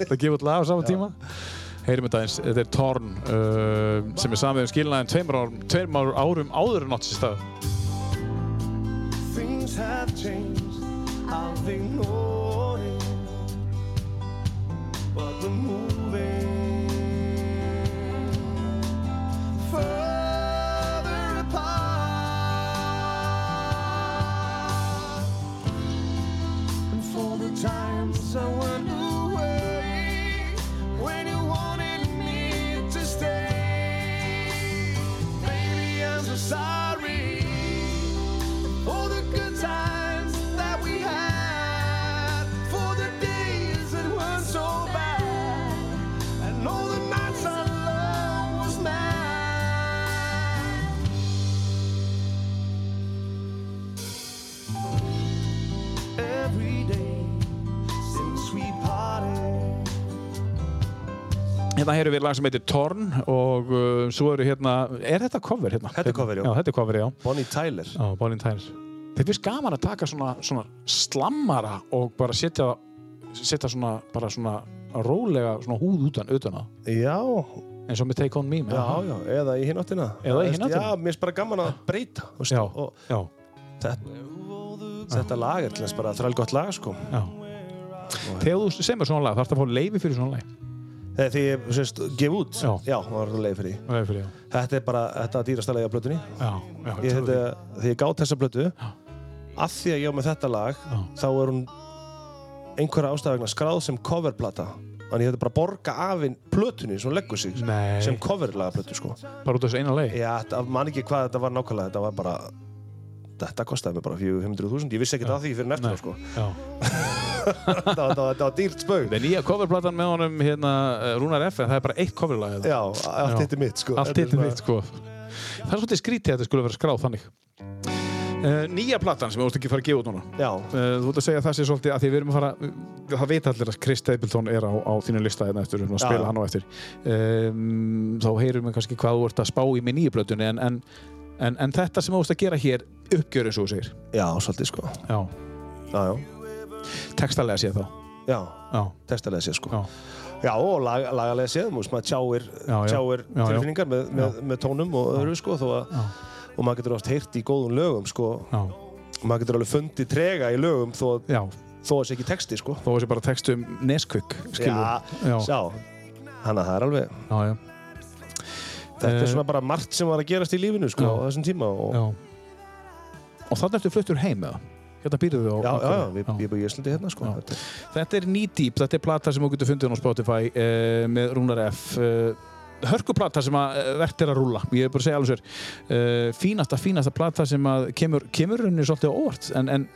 S1: Það gefur út lag á sama tíma. Heyrum þetta eins. Þetta er Torn uh, sem er samið um skilnaðin tveimur árum, tveimur árum áður en átti sér stað.
S3: Things have changed, I've ignored it. But we're moving further apart. And for the times I went away, when you wanted me to stay, baby, I'm so sorry. For the good times that we had, for the days that weren't so bad, and all the nights our love was mad. Every day since we parted,
S1: Hérna heyrum við lag sem heitir Torn og uh, svo eru hérna, er þetta cover hérna?
S2: Þetta er cover, já.
S1: Já, þetta er cover, já.
S2: <laughs> Bonnie Tyler
S1: Já, Bálinn Tærs. Þeir finnst gaman að taka svona, svona slammara og bara setja, setja svona, bara svona rólega svona húð utan, utan að.
S2: Já,
S1: eins og með Take On Me með
S2: Já,
S1: Aha.
S2: já, eða í hináttina
S1: Eða í hina áttina.
S2: Já, mér finnst bara gaman að breyta þú veist,
S1: já,
S2: og
S1: já,
S2: þetta, þetta lag er til þess bara þræl gott lag sko.
S1: já. Þegar þú semur svona lag, þarfst að fá leifi fyrir svona lag
S2: þegar því ég sérst, gef út
S1: Já.
S2: já það var leið fyrir því
S1: Leifi fyrir, já,
S2: þetta er bara, þetta er dýrast að leiða blötunni
S1: já, já
S2: ég,
S1: trúi
S2: þetta,
S1: því.
S2: því ég gátt þessa blötu að því að ég á með þetta lag
S1: Já.
S2: þá er hún einhverja ástæðvegna skráð sem coverplata en ég þetta bara að borga afinn plötunni sem hún leggur sig
S1: Nei.
S2: sem coverlagaplötu sko
S1: Bara út af þessu eina leið
S2: Já, þetta man ekki hvað þetta var nákvæmlega þetta var bara þetta kostaði mig bara 400.000 ég vissi ekkert að því fyrir neftur
S1: Nei.
S2: sko.
S1: já.
S2: þetta, var- þetta, var- þetta var dýrt spögg
S1: Það er nýja coverplatan með honum hérna, eh, Rúnar F en það er bara eitt coverlag hérna.
S2: Já, allt
S1: Já.
S2: hitt er mitt sko.
S1: allt
S2: Þetta er
S1: hittir
S2: svona-
S1: mitt sko það er svolítið skrítið að þetta skulle vera skráð þannig uh, nýja platan sem ég vorst ekki fara að gefa út núna
S2: Já,
S1: uh, þú ert að segja að það sé svolítið að því við erum að fara það veit allir að Chris Stapleton er á, á þínu lista hérna eftir, við erum að
S2: Já.
S1: spila hann á eftir um, þá heyrum við kannski hvað þú ert að spá í með nýju plötunni en, en, en, en þetta sem þú vorst að gera hér uppgjör eins og þú segir
S2: já, svolítið sko
S1: já.
S2: Já, já,
S1: textalega séð þá
S2: já
S1: já,
S2: testalega séð sko
S1: já,
S2: Já, og lag, lagalega séð, múst, maður tjáir,
S1: Já, já.
S2: tjáir
S1: Já, já.
S2: tilfinningar með, með, með tónum og öðru sko, þó að,
S1: Já.
S2: og maður getur oft heyrt í góðum lögum sko,
S1: já,
S2: maður getur alveg fundið trega í lögum þó, að-
S1: já.
S2: þó að sé ekki texti sko.
S1: þó þessi bara textum Nesquik skilur við.
S2: já,
S1: já,
S2: sjá, hann að það er alveg,
S1: já, já.
S2: þetta
S1: Eh.
S2: er svona bara margt sem var að gerast í lífinu sko,
S1: Já.
S2: á þessum tíma og,
S1: Já. Og þannig ertu fluttur heim eða? Hérna býrðu þau á
S2: já, já, já,
S1: Akureyri?
S2: við, ég búið í Íslandi hérna sko.
S1: Já.
S2: Þetta er-
S1: Þetta er Knee Deep, þetta er plata sem þú getur fundið hún á Spotify uh, með Rúnar F. Uh, hörkuplata sem að eh, vert er að rúla ég er bara að segja alveg sér uh, fínasta, fínasta plata sem að kemur kemur henni svolítið á óvart en, en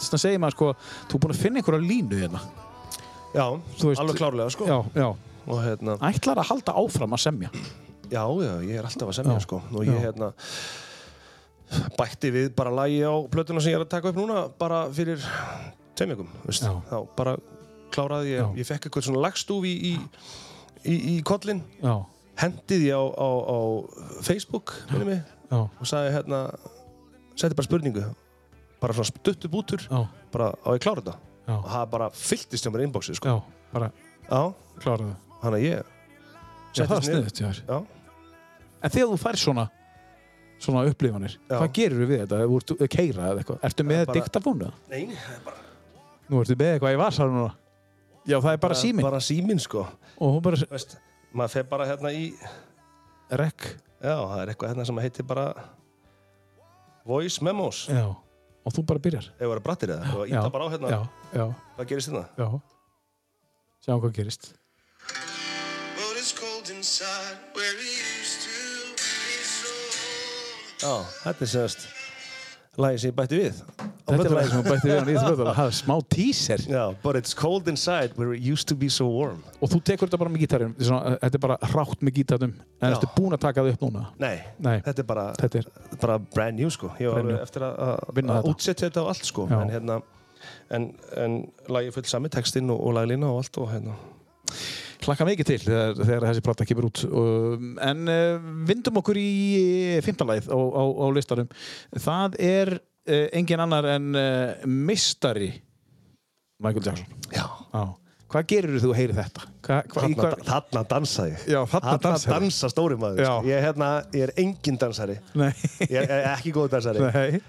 S1: þess að segja maður sko þú er búin að finna einhverja línu hérna
S2: Já,
S1: Þú veist-
S2: alveg klárlega sko.
S1: já, já.
S2: og hérna,
S1: ætlar að halda áfram að semja
S2: já, já, ég er alltaf að semja
S1: Já.
S2: sko, og ég
S1: Já.
S2: hérna bætti við bara lagi á plötuna sem ég er að taka upp núna bara fyrir tveim vikum, veist,
S1: Já.
S2: þá bara kláraði
S1: Já.
S2: ég, ég fekk eitthvað svona lagstúf í, í, í, í kollin
S1: já,
S2: hendið ég á, á, á Facebook minni mig
S1: já,
S2: og sagði hérna setti bara spurningu bara svona stuttu bútur
S1: já,
S2: bara á ég klára þetta
S1: Já.
S2: og það bara fylltist hjá mér inboxið sko.
S1: já bara
S2: já,
S1: klára það
S2: hann að ég
S1: já, það er
S2: settist niður.
S1: sniðut, já
S2: já,
S1: En þegar þú fær svona svona upplifanir,
S2: Já.
S1: hvað gerur við þetta? Þú ert að keira eða eitthvað? Ertu með
S2: bara-
S1: diktafónu?
S2: Nei, það er bara,
S1: Nú ertu með eitthvað í vasanum núna? Já, það er bara síminn
S2: bara símin sko
S1: og hún bara
S2: veist, maður fer bara hérna í
S1: rekk
S2: já, það er eitthvað hérna sem heitir bara voice memos
S1: já. og þú bara byrjar
S2: ef það eru brattir eða, og íta bara á hérna
S1: já, já,
S2: hvað gerist hérna?
S1: já Sjáum hvað gerist
S3: But it's cold inside where it used to be so warm.
S2: Já, þetta er sérst lagi sem ég bætti við
S1: Þetta er lagi sem hún bætti við hann í þessu völdala Það er smá teaser
S2: Já, but it's cold inside where it used to be so warm
S1: og þú tekur þetta bara með gítarinn Þetta er svona- þetta er bara hrátt með gítarnum en
S2: Já.
S1: ertu búin að taka það upp núna?
S2: Nei,
S1: Nei.
S2: þetta er bara,
S1: Þetta er,
S2: bara brand new sko Ég var
S1: Brand new.
S2: alveg eftir að- að
S1: Vinna
S2: að
S1: þetta.
S2: útsetja þetta á allt sko
S1: Já.
S2: en hérna en, en lagi full sami textinn og, og laglína og allt og hérna
S1: klakka mikið til þegar, þegar þessi plata kemur út Um, en uh, vindum okkur í fimmtalæð á, á, á listanum það er uh, engin annar en uh, mistari Michael Jackson
S2: Já,
S1: á. hvað gerir þú að heyri þetta? Hva, hva, í
S2: þarna,
S1: hvað-
S2: þarna dansa ég
S1: Já, þarna
S2: Þarna
S1: dansaði.
S2: dansa stóri maður sko.
S1: Já.
S2: ég, er hérna, ég er engin dansari
S1: <laughs> Nei.
S2: Ég er, er ekki góð dansari
S1: Nei.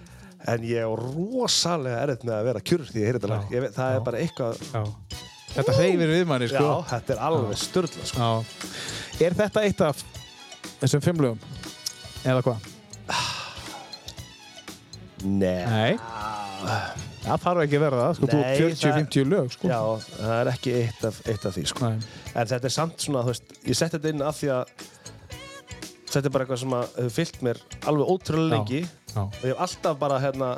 S2: En ég er rosalega erfitt með að vera kjurr því ég heyri þetta lag Ég veit- Það er bara eitthvað
S1: Já. þetta hreyfir við manni sko.
S2: Já, þetta er alveg störla sko.
S1: Já. er þetta eitt af þessum fimmlugum? eða hvað?
S2: Nei
S1: Nei það þarf ekki að vera það, sko, þú
S2: Nei,
S1: 40-50 lög sko.
S2: Já, það er ekki eitt af, eitt af því sko.
S1: Nei.
S2: En þetta er samt svona, þú veist Ég setti þetta inn af því að Þetta er bara eitthvað sem að hefur fyllt mér alveg ótrúlega lengi
S1: Já.
S2: Og ég hef alltaf bara hérna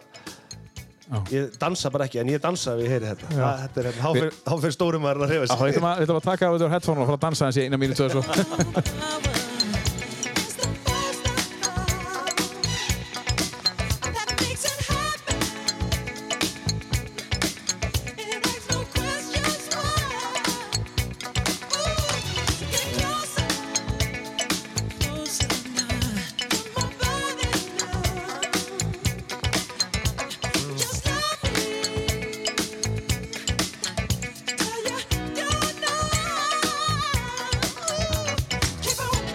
S1: Já.
S2: Ég dansa bara ekki, en ég dansa ef ég heyri þetta það, Þetta er hérna, þá
S1: Við-
S2: fer- þá fyrir stórum maður að reyfa
S1: Já,
S2: sig
S1: Við ætlum að, við ætlum að taka af þetta headphone og fara að dansa hans í eina mínutu eða svo. <laughs>
S6: Keep on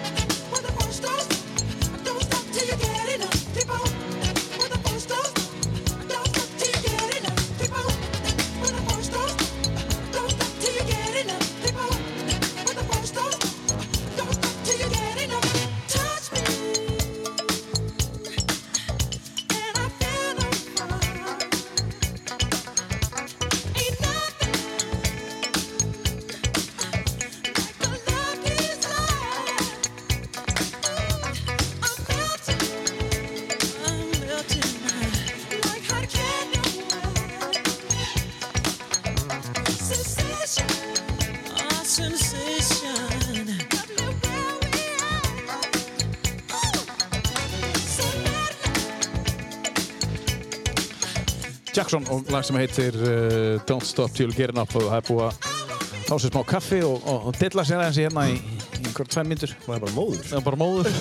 S1: Jackson og lag sem heitir uh, Don't Stop Till Gear Up og það er búið að fá sér smá kaffi og, og, og dilla sér aðeins í hérna í, í einhver tvær mínútur.
S2: maður er bara móður
S1: Það er bara móður. <laughs>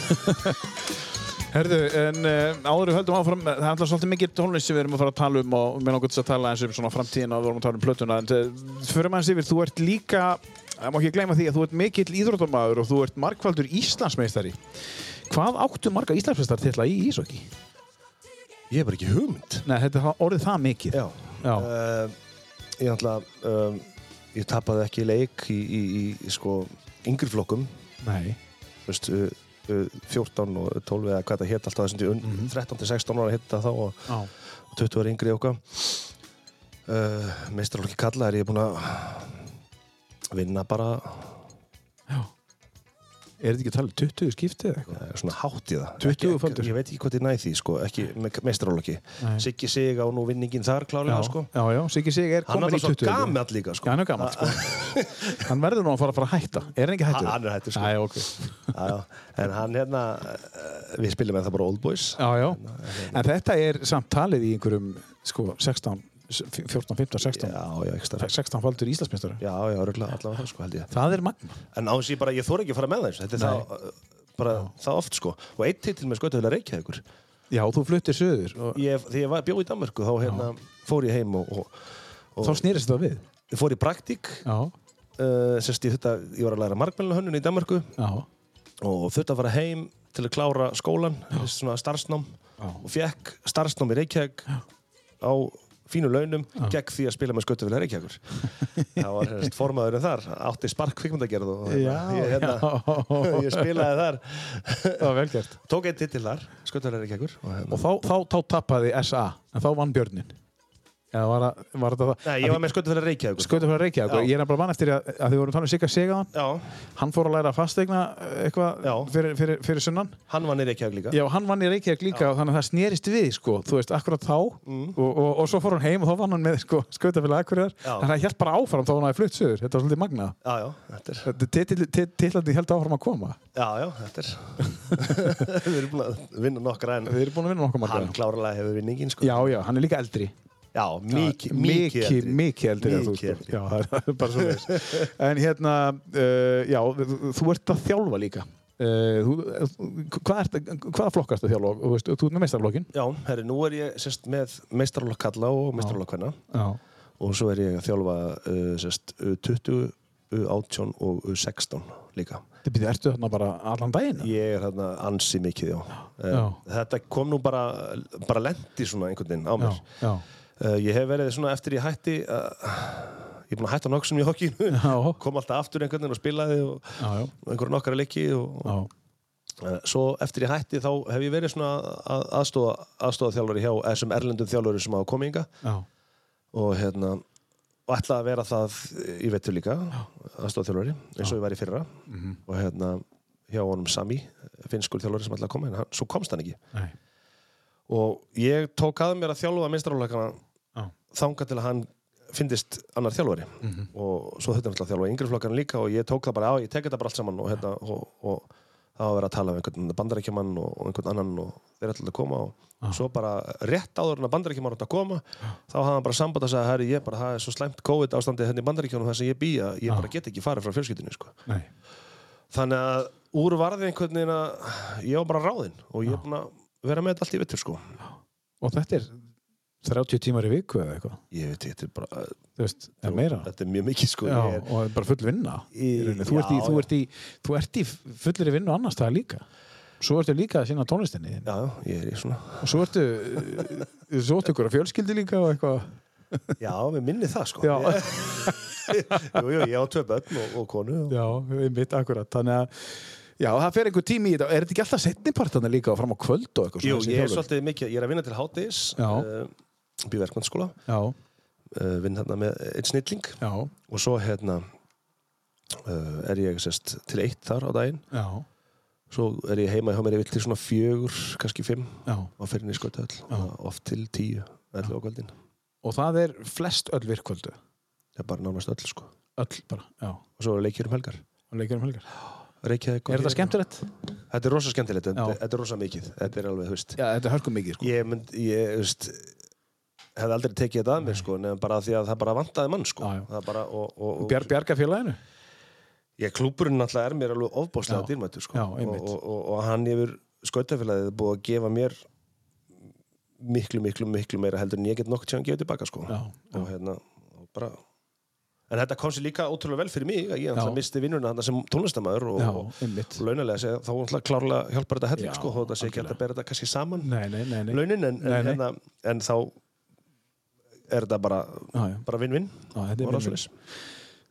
S1: Herðu, en uh, áður við höldum áfram, það er alltaf svolítið mikið tónlist sem við erum að fara að tala um og mér langar til að tala eins um svona framtíðina og við vorum að tala um plötuna en uh, fyrir maður yfir, þú ert líka, það má ekki gleyma því að þú ert mikill íþróttamæður og þú ert markvaldur Íslandsmeistari. Hvað áttu marga Íslandsmeistar til í Ísokki?
S2: ég er bara ekki hugmynd
S1: Nei, þetta er það- orðið það mikið.
S2: já,
S1: Já.
S2: Uh, ég ætla um, ég tapaði ekki leik í, í, í, í sko yngri flokkum
S1: Nei.
S2: veist, uh, uh, 14 og 12 eða hvað þetta hétt alltaf þessum mm 13 til 16 ára hétt það þá og
S1: Já.
S2: 20 ára yngri okkar uh, meistarlokki kalla er ég búinn að vinna bara
S1: Er þetta ekki að tala um 20 skiptið eða eitthvað?
S2: eh, svona hátt í það
S1: 20
S2: Ekki-
S1: faldur.
S2: ég veit ekki hvað þið næði því sko, ekki meistarlokki
S1: Nei.
S2: Siggi sig á nú vinningin þar klálega sko
S1: já, já, Siggi Sig er
S2: hann er
S1: komin í
S2: alltaf svo
S1: 20 eða?
S2: gamall líka
S1: Já,
S2: sko
S1: hann er gammal sko. <laughs> hann verður nú að fara að fara að hætta Er hann ekki hættur?
S2: Ha- hann er hættur, sko.
S1: Æ, ok.
S2: Já, já. en hann hérna eh, við spilum með það bara Old Boys
S1: já, já. En þetta er samt talið í einhverjum sko, 16, 14, 15, 16
S2: já, já, ekki stærra
S1: 16 faldur Íslandsmeistari
S2: já, já, örgulega allavega það sko held ég
S1: Það er magna
S2: En á þess ég bara, ég þóra ekki að fara með þessu. Þetta er það, uh, bara það oft sko. Og eitt titil með skautahöla Reykjavíkur.
S1: Já, þú fluttir söður og
S2: Ég, þegar ég var bjóð í Danmörku þá hérna, fór ég heim og, og,
S1: þá snýrist það við
S2: og fór í praktík.
S1: Já,
S2: Uh, sérst ég þetta, ég var að læra markmælunahönnun í Danmörku
S1: já,
S2: og þurfti að fara heim til að klára skólan, þessi svona starfsnám
S1: Já.
S2: og fekk starfsnám í Reykjavík á fínu launum gegn því að spila með
S1: <laughs>
S2: skautahöla Reykjavíkur. það var hérna formaðurinn þar, átti spark kvikmyndagerð og hérna, ég, hérna,
S1: <laughs> já.
S2: <laughs> ég spilaði þar.
S1: Það var velgjart
S2: Tók einn titill þar, skautarleira kekkur
S1: Og þá, þá, þá tappaði SA En þá vann Björnin Eða var, að, var þetta það
S2: Nei, ég var með skautarleira reykjaður
S1: Skautu frá Reykjavík
S2: Já.
S1: Ég er bara mann eftir að, að þið vorum talað um Sigga Sigaðan
S2: Já,
S1: Hann fór að læra að fasteigna eh, eitthvað
S2: Já.
S1: fyrir, fyrir, fyrir sunnan
S2: hann vann í reykjaður líka
S1: Já, hann vann í Reykjavík líka og þannig að það snerist við, sko, þú veist, akkurat þá
S2: Mm.
S1: og, og, og svo fór hann heim og þá vann hann með, sko, skautafélag Akureyrar,
S2: Já.
S1: þannig að það held bara áfram þá hann hafði flutt söður, þetta var svolítið magna.
S2: Já, já, þetta er,
S1: Þetta titil- tit- Titlandi held áfram að koma.
S2: já, já, þetta er <laughs> Við erum búin að vinna nokkra en
S1: Við erum búin að vinna nokkuð
S2: hann
S1: marga.
S2: klárlega hefur vinningin sko.
S1: Já, já, hann er líka eldri.
S2: já mikið, mikið
S1: Mikið,
S2: eldri.
S1: mikið eldri. en þú,
S2: Mikið
S1: sko.
S2: eldri.
S1: Já, það er bara svo veist.
S2: <laughs>
S1: En hérna, uh, já, þú- þú ert að þjálfa líka. Uh, þú, hvað ert, hvaða flokkastu þjálfa? Þú veist, þú ert með meistarflokkin.
S2: Já, herri, nú er ég sérst með meistarlokk kalla og meistarlokk hvenna
S1: Já.
S2: og svo er ég að þjálfa uh, sérst uh, 20, uh, 18 og uh, 16 líka
S1: Þið byrðið ertu þarna bara allan daginn?
S2: Ég er þarna ansi mikið, já. Eh,
S1: Já.
S2: Þetta kom nú bara, bara lendi svona einhvern veginn á mér.
S1: já.
S2: Uh, ég hef verið svona eftir ég hætti uh, ég er búin að hætta nokkuð sem ég hokkinu
S1: Já.
S2: kom alltaf aftur einhvern veginn og spilaði og,
S1: Já, já.
S2: og einhverjum nokkara leiki og,
S1: Já,
S2: uh, svo eftir ég hætti þá hef ég verið svona að, aðstofa, aðstofa þjálfari hjá þessum erlendum þjálfari sem hafa komið inga
S1: já,
S2: og hérna og ætlaði að vera það í vettur líka aðstofa þjálfari eins og ég var í fyrra og hérna hjá honum Sami finnskur þjálfari sem ætlaði að koma en hann, svo komst hann ekki
S1: nei,
S2: og ég tók að mér að þjálfa minnstaráleikana
S1: já,
S2: þanga til að hann fyndist annar þjálfari
S1: Mhm.
S2: og svo þetta er náttúrulega að þjálfa yngri flokkan líka og ég tók það bara á, ég tek þetta bara allt saman og, hérna, og, og það var að vera að tala um einhvern bandarækjumann og, og einhvern annan og þeir ætlaði að koma og
S1: Ah.
S2: svo bara rétt áður en að bandarækjumann átt að koma þá hafði hann bara samband að segja, herri, ég bara það er svo slæmt COVID ástandið hérna í bandarækjumann þar sem ég býja,
S1: Ah.
S2: ég bara get ekki farið frá fjölskyldinu sko.
S1: nei,
S2: þannig að úr varði einhvern veginn að ég var bara ráðinn og
S1: Ah.
S2: ég er búin að vera með þetta allt í vittur sko.
S1: Og þetta er 30 tímar í viku eða eitthvað,
S2: ég veit, þetta er bara
S1: þú veist, eða meira.
S2: þetta er mjög mikið sko,
S1: Já,
S2: ég er,
S1: og það er bara full vinna. Í,
S2: Í-
S1: rauninni. þú, ert í,
S2: já,
S1: þú,
S2: já.
S1: ert í, þú ert í fullri vinnu annars það líka. Svo ertu líka að sinna tónlistinni þinn.
S2: Já, já, ég er í svona
S1: Og svo ertu, svo ertu ykkur að fjölskyldi líka og eitthvað.
S2: <laughs> Já, við minni það sko
S1: Já,
S2: Jú, jú, ég <laughs> á tvö börn og, og konu og...
S1: já, <laughs> mitt akkurat. Þannig að, já, það fer einhver tími í þetta. Er þetta ekki alltaf setnipartana líka og fram á kvöld og eitthvað? svona,
S2: Jú,
S1: þessi
S2: ég er
S1: þjálfun?
S2: svolítið mikið, ég er að vinna til eh, hátis
S1: Já.
S2: Býð verkmannsskóla uh, Vinn hérna með einn snilling
S1: Já,
S2: Og svo hérna uh, Er ég sest, til eitt þar á daginn
S1: já, já,
S2: Svo er ég heima hjá mér yfir til svona fjögur Kannski fimm
S1: já.
S2: Og fyrir henni skautöðl Oft til tíu, ellu á kvöldin
S1: Og það er flest öll virkvöldu.
S2: Það er bara nánast öll sko
S1: Öll bara, já.
S2: Og svo er leikir um helgar
S1: og leikir um helgar.
S2: Reykjavík og
S1: Er þetta
S2: Hér-
S1: skemmtilegt?
S2: Þetta er rosa skemmtilegt,
S1: Já.
S2: þetta þetta er rosa mikið Þetta er alveg, þú veist
S1: Sko. Já, þetta er hörku mikið, sko.
S2: ég mynd, ég, þú veist hefði aldrei tekið þetta að mér sko nefn bara af því að það bara vantaði mann sko
S1: Já, já.
S2: Það bara, og, og, og,
S1: Bjar, bjarga félaginu?
S2: ég klúburinn náttúrulega er mér alveg ofbáslega
S1: Já.
S2: dýrmættur sko
S1: Já,
S2: og,
S1: einmitt.
S2: og, og, og hann hefur skautafélagið búið að gefa mér miklu, miklu, miklu meira heldur en ég get nokkuð tjáðan gefið tilbaka sko
S1: Já,
S2: og hérna, og bara en þetta kom sér líka ótrúlega vel fyrir mig að ég náttúrulega misti vinnuna þarna sem tónlistamæður og,
S1: Já,
S2: og,
S1: einmitt.
S2: og launalega segja, þá náttúrulega klárlega hjálpar þetta
S1: Já,
S2: helling sko, þó þetta sé ekki hægt að bera þetta kannski saman
S1: Nei, nei, nei, nei.
S2: launin en,
S1: Nei,
S2: en,
S1: nei.
S2: hérna, en þá er þetta bara
S1: Já, já.
S2: bara vinn-vinn
S1: Já, þetta er
S2: Og
S1: vinn-vinn.
S2: svoleiðis.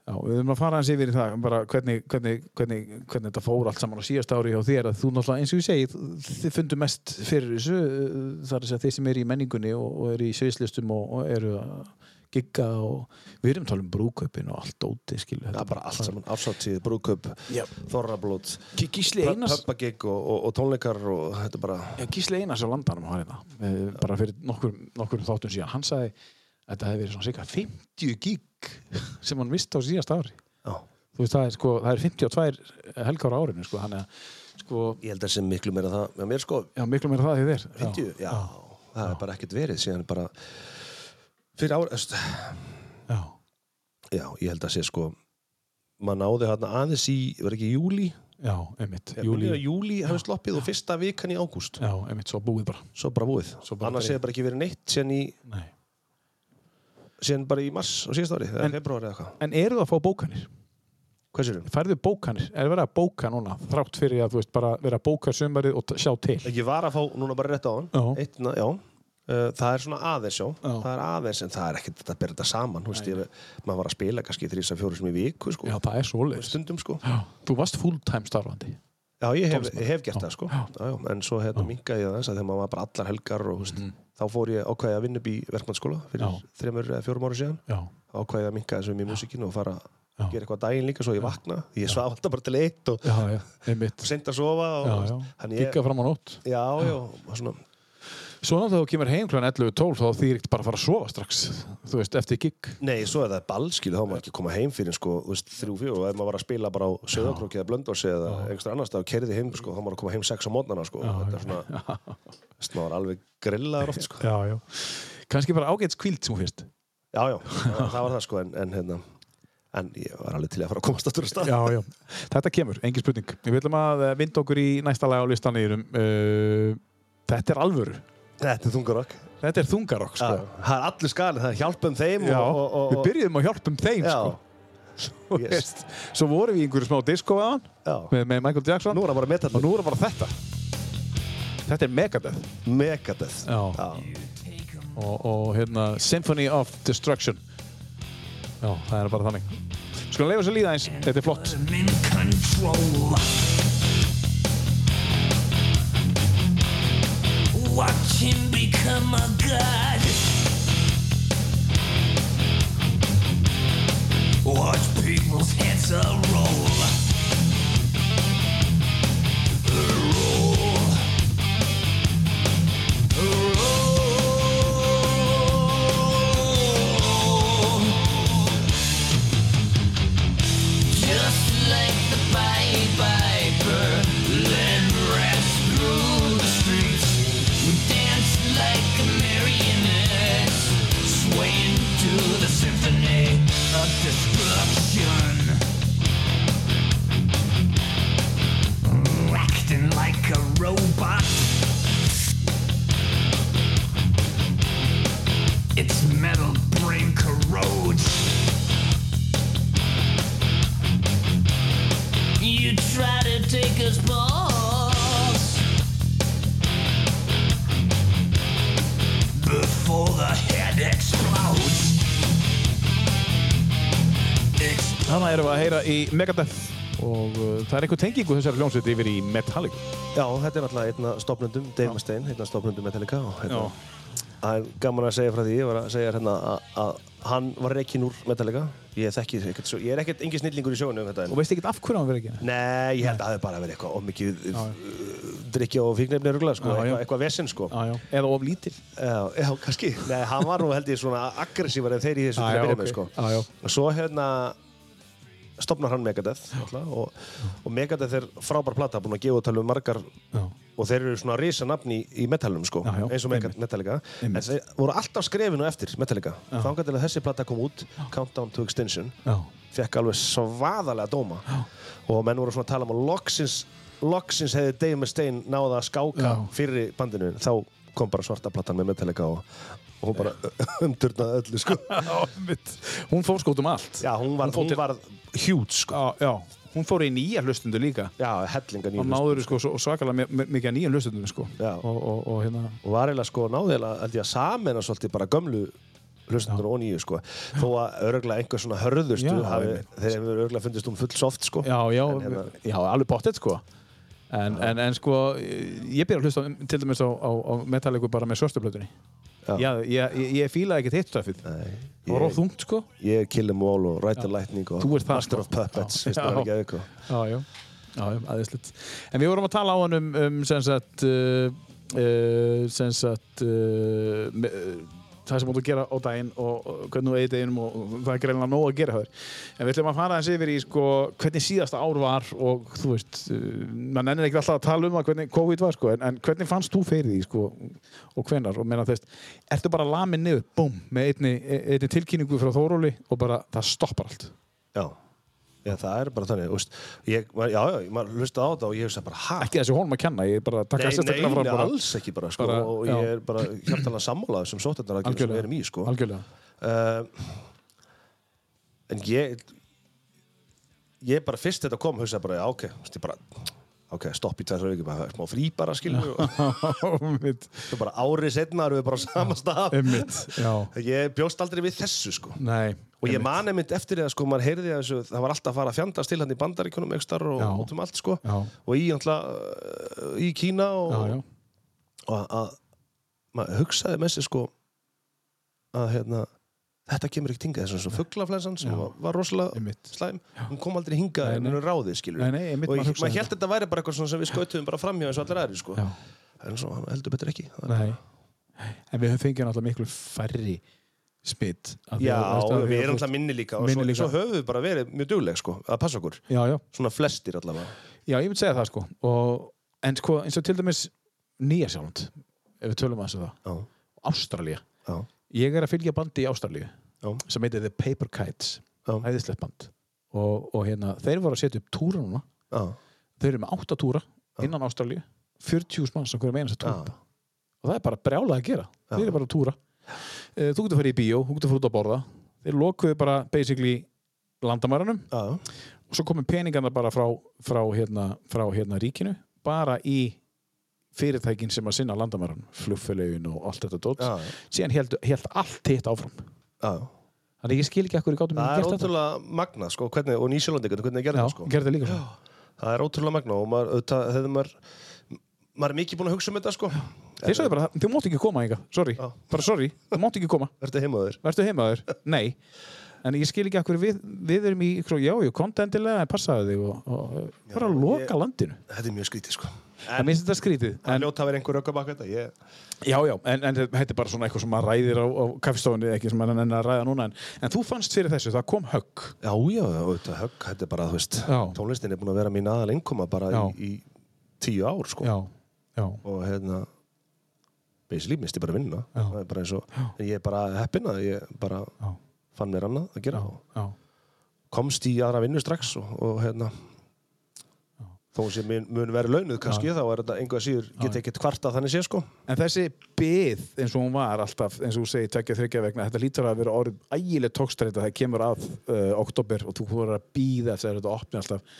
S1: Já, við erum að fara hans yfir í það bara hvernig, hvernig, hvernig, hvernig þetta fór allt saman á síðast ári hjá þér að þú náttúrulega eins og ég segi þið fundu mest fyrir þessu uh, þar þess að þeir sem eru í menningunni og, og eru í sviðslistum og, og eru að gigga og við erum að tala um brúkaupin og allt óti skilu
S2: það er bara allt saman afsáttíð, brúköp,
S1: Já.
S2: þorrablót
S1: Gísli Einars
S2: pöppagigg og, og, og tónleikar og þetta er bara
S1: Já, Gísli Einars á landanum hann hérna, eh, bara fyrir nokkur, nokkur þáttum síðan, hann sagði að þetta hefði verið svona cirka 50 gig sem hann misti á síðast ári
S2: já.
S1: þú veist það er sko, það er 52 helgar á árinu sko, hann er sko,
S2: ég held að sem miklu meira það með mér sko,
S1: já miklu meira það því þér
S2: 50, já, það er bara ekkert verið síðan bara fyrir ára, öst,
S1: já, já,
S2: já, ég held að sé sko maður náði hérna aðeins í, var ekki júli
S1: já, einmitt,
S2: júli,
S1: júli
S2: júli hefði sloppið og fyrsta vikan í ágúst
S1: já, einmitt, svo búið bara
S2: svo bara búið,
S1: Svo bara
S2: annars
S1: byrja.
S2: hefði bara ekki verið neitt síðan í
S1: Nei.
S2: síðan bara í mars á síðast ári,
S1: En-
S2: eða februari eða eitthvað.
S1: en eru það að fá bókanir?
S2: Hvað um? sérum?
S1: færðu bókanir? er verið að bóka núna þrátt fyrir að þú veist bara vera að bóka sömarið og t- sjá til
S2: Ég var að fá núna bara rétt á hann.
S1: Já.
S2: Eitt, na, já. Uh, Það er svona aðeins, já.
S1: Já.
S2: Það er aðeins, en það er ekkert þetta að bera þetta saman. Þú veist, ég, maður var að spila kannski þrýsa fjóru sem í viku, sko.
S1: já, það er svoleiðis
S2: Stundum, sko.
S1: já, þú varst fulltime starfandi
S2: Já, ég hef,
S1: Tónlistarmaður.
S2: ég hef gert
S1: Já.
S2: það, sko.
S1: Já. Mhm.
S2: Já, já. En svo hérna minkaði ég þess að þegar maður var bara allar helgar og, þú veist, þá fór ég ákvæði að vinna upp í verkmannsskóla fyrir
S1: Já.
S2: þremur eða fjórum ára síðan.
S1: já,
S2: Ákvæði að minka þessum í músikinu og fara
S1: Já.
S2: að gera eitthvað á daginn líka svo ég vakna. Ég svaf alltaf bara til eitt og
S1: já, já, einmitt
S2: seint að sofa og,
S1: já,
S2: þú
S1: já,
S2: veist, þannig ég-
S1: gigga fram á nótt
S2: Já, já, og svona,
S1: Svona þegar þú kemur heim kl. 11.12 þá þýr ekkert bara að fara að sofa strax þú veist, eftir gig
S2: Nei, svo er það ballskil, þá má ekki koma heim fyrir sko, þú veist, þrjú, fjóru og ef maður var að spila bara á söðakróki eða blöndósi eða einhverstað annars stað og kerði heim, sko, þá maður að koma heim sex á mótnana, sko, þetta er svona, þú veist, maður er alveg grillaður oft, sko.
S1: Já, já Kannski bara ágæts kvíld sem hún fyrst
S2: Já, já, það var það, sko, en, en hérna, en ég var alveg til í að fara að komast aftur að stað.
S1: Já, já Þetta kemur, engin spurning Við viljum að eh, vinda okkur í næsta lag á listan yfirum uh, Þetta er alvöru
S2: Þetta er þungarokk.
S1: Þetta er þungarokk,
S2: Já,
S1: sko
S2: það er allir skalið, það er hjálpum þeim
S1: Já,
S2: og, og,
S1: við
S2: og,
S1: byrjuðum að hjálpa um þeim,
S2: já,
S1: sko
S2: yes.
S1: yes. Svo vorum við í einhverju smá disco aðan
S2: já,
S1: með, með Michael Jackson
S2: nú er það bara
S1: Og
S2: metallið,
S1: nú er bara þetta Þetta er Megadeth
S2: megadeth.
S1: Já.
S2: já,
S1: og, og hérna Symphony of Destruction Já, það er bara þannig Skulum leifa sér líða eins, þetta er flott
S6: I'm in control. Watch him become a god. Watch people's heads a roll. A roll. A roll. Just like the Pied Piper, led rats through the streets. We danced like marionettes, swaying to the symphony of destruction. Acting like a robot. Its metal brain corrodes. You try to take us balls before the head explodes. Explodes.
S1: Þannig erum við að heyra í Megadeth og uh, það er einhver tengingu þessari hljómsveit yfir í Metallica
S2: já, þetta er náttúrulega einna stopnundum, Dave Mustaine, einna stopnundum Metallica og hérna, Það er gaman að segja frá því, ég var að segja hérna að- að hann var reikinn úr Metallica ég þekki ekkert, svo- ég er ekkert engin snillingur í sjónu um þetta
S1: Og
S2: en
S1: veist ekkert af hverju hann verið ekki
S2: Nei, ég held að það hefði bara verið eitthvað of mikið uh, drikja og fíknefni rugla, sko,
S1: Já, já.
S2: eitthvað, eitthvað vesinn, sko.
S1: Já, já, eða of lítil
S2: Já, já, kannski. Nei, hann var nú held ég svona aggressívar en þeir í þessu
S1: Já,
S2: til
S1: já,
S2: að
S1: ok.
S2: byrja með, sko.
S1: Já, já.
S2: Og Svo hérna stopnar hann Megadeth, alltaf, og, og Megadeth er frábær plata, búin að gefa út talveg margar
S1: Já,
S2: og þeir eru svona risa nafni í metalunum sko,
S1: Já, já,
S2: eins og
S1: einmitt.
S2: Megat- Metallica en
S1: Einmitt.
S2: þeir voru alltaf skrefinu eftir Metallica þangar til að þessi plata kom út Countdown to Extinction
S1: Já.
S2: fekk alveg svaðalega dóma og menn voru svona að tala um að loksins loksins hefði Dave Mustaine náða að skáka
S1: Já.
S2: fyrir bandinu þá kom bara svarta platan með Metallica og, og hún bara <laughs> umturnaði
S1: <laughs>
S2: öllu sko
S1: Einmitt. hún fór skótum allt
S2: já, hún var,
S1: fór
S2: hún
S1: til-
S2: var hjút sko
S1: já, já, hún fór í nýja hlustundu líka
S2: já, hellinga
S1: og
S2: nýjum
S1: náður sko, svo- svakalega mi- mi- mikið að nýja hlustundum sko.
S2: Já.
S1: og, og, og hérna
S2: og var eiginlega sko náðilega held ég að samena svolítið bara gömlu hlustendur og nýju sko þó að örgulega einhver svona hörðustu
S1: Já,
S2: hafi,
S1: einmitt.
S2: þeir hefur örgulega fundist um full soft sko
S1: já, já,
S2: En hérna-
S1: já, alveg bóttið sko En, en, en sko, ég byrja að hlusta til dæmis á, á, á Metallica bara með svörstuplötunni.
S2: Já.
S1: Já, ég, ég, ég fílaði ekkert hitt stöfið.
S2: Nei,
S1: Það var
S2: ég,
S1: of þungt, sko.
S2: ég er Kill 'em All og Ride the Lightning og
S1: Þú ert það, sko.
S2: Master of Puppets
S1: Já.
S2: veist það
S1: Já.
S2: var ekki aðeins
S1: Já, já, já, já, aðeinslut. En við vorum að tala á hann um, um sem sagt, uh, uh, sem sagt, uh, me, uh, það sem áttu að gera á daginn og og hvernig þú eigið deginum og og það er greinlega nóg að gera höfður. En við ætlum að fara aðeins yfir í, sko, hvernig síðasta ár var og, þú veist, uh, mann ennir ekki alltaf að tala um það hvernig COVID var, sko, en, en hvernig fannst þú fyrir því, sko, og hvenar, og meina, þú veist, ertu bara lamin niður, búm, með einni, einni tilkynningu frá Þóróli og bara, það stoppar allt.
S2: já Já, það er bara þannig, úst, ég, maður- já, já, maður hlusta á þetta og ég hugsa bara, hæ?
S1: ekki þessi honum að kenna, ég er bara að taka
S2: Nei, nei,
S1: sérstaklega frá
S2: nei,
S1: bara
S2: alls ekki bara, sko,
S1: Bara,
S2: og
S1: já.
S2: ég er bara hjartalega sammálaður sem sótendar að sem við erum í, sko.
S1: algjörlega. <laughs>
S2: uh, en ég ég bara fyrst þetta kom hugsaði bara, já, ok, þú veist, ég bara ok, stopp í tveisra vikur, bara smá frí bara skilur, og
S1: Einmitt,
S2: svo bara árið setna erum við bara á sama stað
S1: einmitt, já
S2: ég bjóst aldrei við þessu, sko
S1: Nei,
S2: og ég man einmitt eftir því að sko, maður heyrði að þessu, það var alltaf að fara að fjandast til hann í bandaríkunum ekstar og
S1: Já.
S2: út um allt, sko
S1: Já.
S2: og í, alltaf, í Kína og,
S1: já, já,
S2: og að- að maður hugsaði með sér sko að hérna þetta kemur ekki tinga þessum svo fugglaflensan sem var, var rosalega
S1: Einmitt.
S2: slæm hún kom aldrei hingað
S1: Nei,
S2: en
S1: nei.
S2: hún er ráðið skilur
S1: Nei, nei, einmitt,
S2: og
S1: maður
S2: ég,
S1: hugsaði
S2: maður
S1: það.
S2: held þetta væri bara eitthvað svona sem við skautum bara framjá eins og allir aðrir sko
S1: já
S2: en svo hann heldur betur ekki Það-
S1: Nei, en við höfum fengið náttúrulega miklu færri smitt
S2: já, við erum alltaf minni líka og
S1: Minni
S2: svo,
S1: líka.
S2: svo höfum við bara verið mjög dugleg sko að passa okkur,
S1: Já, já,
S2: svona flestir allavega
S1: já, ég myndi segja það sko og, En sko, eins og til dæmis Nýja sjálfand, ef við tölum að þessu það
S2: já,
S1: Ástralía
S2: já,
S1: Ég er að fylgja bandi í Ástralíu
S2: Já.
S1: sem heitir The Paper Kites
S2: Já.
S1: æðislegt band og, og hérna, þeir voru að setja upp túra núna
S2: já,
S1: þeir eru með átta túra innan Ástralíu 40 manns á hverjum einasta túra
S2: Já.
S1: og það er bara brjálað að gera þeir eru bara að túra Eh, þú getur að fara í bíó, þú getur að fara út að borða þeir lokuðu bara basically landamæranum
S2: já,
S1: og svo komu peningarna bara frá, frá, hérna, frá hérna ríkinu bara í fyrirtækin sem að sinna landamæranum flugfélögin og allt þetta dót
S2: Já.
S1: síðan held, held allt hitt áfram
S2: já.
S1: þannig að ég skil ekki að hverju gátum
S2: það er
S1: að gera þetta
S2: ótrúlega magna sko hvernig, og nýsjólandi hvernig gerði
S1: Já,
S2: það sko
S1: gerðu þetta líka svona.
S2: Það er ótrúlega magna og maður, auðvitað, þegar maður, maður er mikið búin að hugsa um þetta sko.
S1: Þeir sagði bara, þið mátt ekki koma enga, sorry
S2: Já.
S1: bara sorry, þið mátt ekki koma
S2: Verður heimaður?
S1: Vertu heimaður? Nei. En ég skil ekki að hverju við, við erum í, ykkur- já, já, kontentilega, en passaði þig og, og já, bara loka landinu.
S2: Þetta er mjög skrítið sko.
S1: Það minnst þetta skrítið.
S2: En
S1: En,
S2: ljóta að vera einhver rökk að baka þetta. Ég,
S1: já, já, en, en þetta er bara svona eitthvað sem maður ræðir á, á kaffistofunni, ekki sem maður nenni að ræða núna. En, en þú fannst fyrir þessu, það kom högg.
S2: já, já, auðvitað, högg, þetta er bara, þú veist,
S1: Já.
S2: tónlistin er búin að vera mín aðal einkoma bara
S1: Já.
S2: í, í tíu ár sko.
S1: Já, já,
S2: Og hérna, basically, misti bara vinnuna.
S1: Já.
S2: Það er bara eins og, en ég er bara heppin að ég bara
S1: já,
S2: fann mér annað að gera og
S1: já.
S2: komst í aðra vinnu strax og, og hérna, þó sem mun, mun vera launuð kannski þá er þetta einhver síður get ekki kvarta þannig sé sko
S1: En þessi byð eins og hún var alltaf, eins og þú segir, tveggja þryggja vegna, þetta lítur að vera orðið ægileg tókstrætt að það kemur að uh, oktober og þú voru að býða eftir að þetta opni alltaf,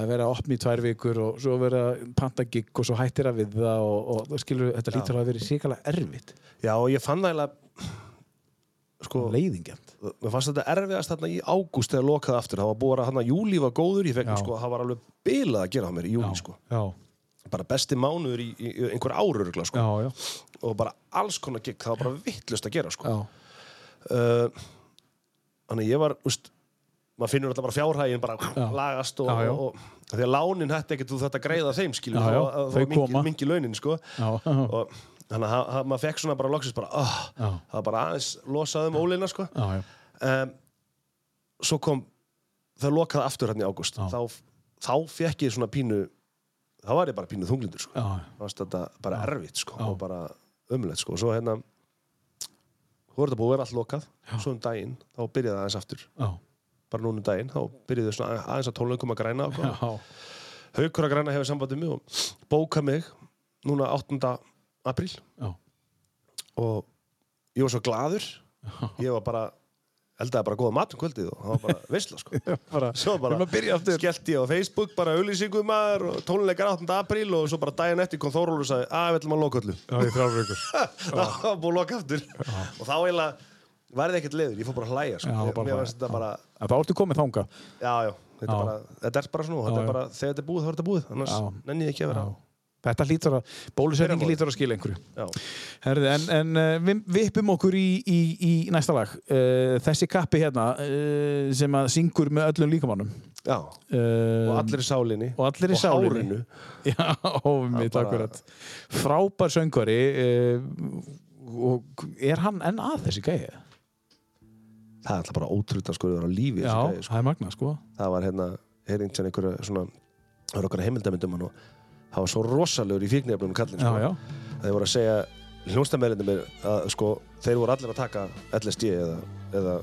S1: að vera að opni í tvær vikur og svo vera pantagigg og svo hættir að við það og, og þú skilur, þetta lítur að vera síkala erfitt,
S2: Já, og ég fann það eiginlega sko,
S1: leiðingjand.
S2: mér fannst þetta erfiðast þarna í ágúst þegar lokaði aftur, það var búið að hann að júli var góður, ég fekk
S1: Já.
S2: sko, það var alveg bilað að gera á mér í júli sko,
S1: já,
S2: bara besti mánuður í, í, í einhver árurugla sko,
S1: já, já,
S2: og bara alls konar gikk, það var bara vittlust að gera sko,
S1: já,
S2: uh, þannig að ég var, úst maður finnur alltaf bara fjárhægin bara lagast og,
S1: Já, já.
S2: og, og því að lánin hætti ekkert þú þetta greiða þeim skilur
S1: Já, já, þau koma.
S2: mingi launin sko
S1: já, <laughs>
S2: og þannig að ha- ha- maður fekk svona bara loksins bara, oh,
S1: Já.
S2: það var bara aðeins losað um ólina sko
S1: já, já,
S2: um, hérna svo kom það lokaði aftur hann í ágúst þá, þá fekk ég svona pínu þá var ég bara pínu þunglindur sko.
S1: Já.
S2: Þá varst þetta bara erfitt sko, og bara umlegt sko. og svo hérna þú voru þetta búið að vera allt lokað svo um daginn, þá byrjaði það aðeins aftur
S1: Já.
S2: bara núna um daginn, þá byrjaði svona að- aðeins að tónleikum að græna og hvað.
S1: Já.
S2: haukur að græna hefur sambandi mig og bóka mig núna 8. apríl
S1: Já.
S2: og ég var svo gladur ég var bara eldaði bara góða mat um kvöldið og það var bara veistla
S1: <laughs>
S2: sko
S1: Bara,
S2: svo bara,
S1: Við erum að byrja aftur.
S2: skellti ég á Facebook bara auðlýsingum maður og tónleikar 8. apríl og svo bara daginn eftir kom Þórólur og sagði að við ætlum að loka öllu
S1: Já, ég þrjáfur ykkur.
S2: <laughs> það var búið að loka aftur og þá eiginlega var það ekkert leiður, ég fór bara að hlæja sko.
S1: Já,
S2: Ég-
S1: bara
S2: mér
S1: hlæja.
S2: varst þetta bara,
S1: En þá ertu komið þanga.
S2: já, já þetta,
S1: Já.
S2: Bara, þetta er bara svona, og þetta
S1: Já, já.
S2: er bara þegar þetta er búið þá er þetta búið, annars
S1: Já.
S2: nenni ég ekki að vera
S1: Þetta lítur að, bólusetningi
S2: Fyrramálið.
S1: lítur að skila einhverju.
S2: já.
S1: Herði, en, en eh, við vippum okkur í, í, í næsta lag. Eh, Þessi kappi hérna eh, sem að syngur með öllum líkamannum.
S2: já, og allir í sálinni
S1: og allir í sálinni.
S2: hárinu.
S1: <laughs> Já, ómið,
S2: bara-
S1: takk fyrir Frábær söngvari eh, og er hann enn að þessi gæði?
S2: það er alltaf bara ótrúta sko, það er á
S1: Já,
S2: lífi þessi gæi, sko.
S1: það er magna, sko.
S2: það var hérna, heyrðing sem einhverja svona, það var okkar heimildamindum hann og það var svo rosalegur í fíknefnum kallin,
S1: Já,
S2: sko,
S1: já.
S2: Að þeir voru að segja hljónstamælindir mér að sko, þeir voru allir að taka LSD eða, eða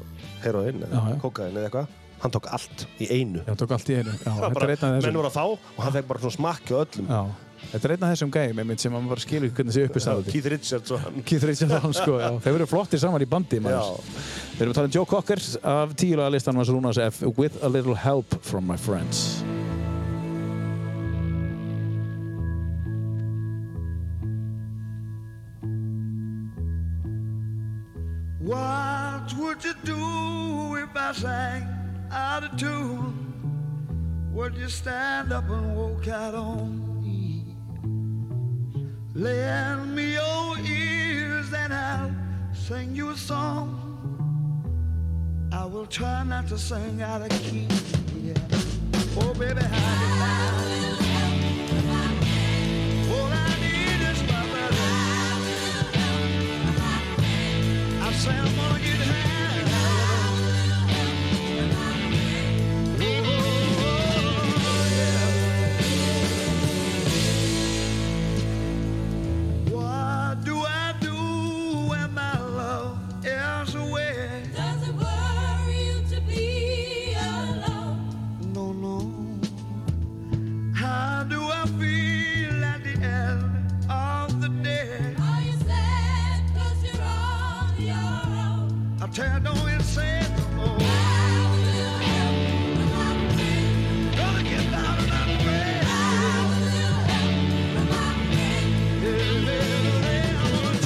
S2: heroin eða
S1: Já, já.
S2: kokain eða eitthvað hann tók allt í einu
S1: Já, tók allt í einu. <laughs> Já,
S2: Það var
S1: þetta er
S2: bara,
S1: einn af
S2: menn
S1: þessum.
S2: voru að fá og hann fekk bara svona smakki á öllum
S1: Já, þetta er einn af þessum gæðum, einmitt, sem maður bara skilur hvernig þessi uppistafið.
S2: Keith Richards og hann
S1: Keith Richards og hann sko, já. Þeir verður flottir saman í bandi, maður. Við erum að tala um Joe Cocker af tílaða listan hans Rúnas F. With a little help from my friends.
S3: What would you do if I sang out of tune? Would you stand up and walk out on me? Lend me your ears and I'll sing you a song. I will try not to sing out of key. yeah. Oh, baby, how you like? All I need is my melody. I say I'm gonna get Oh, high. Oh, yeah. What do I do when my love is away?
S6: Does it worry you to be alone?
S3: No, no. How do I feel at the end of the day?
S6: Are you sad cause you're on your own?
S3: I tell no one say no.
S6: I will help,
S3: Gonna get out of my way.
S6: I will help from my friends. I will help from my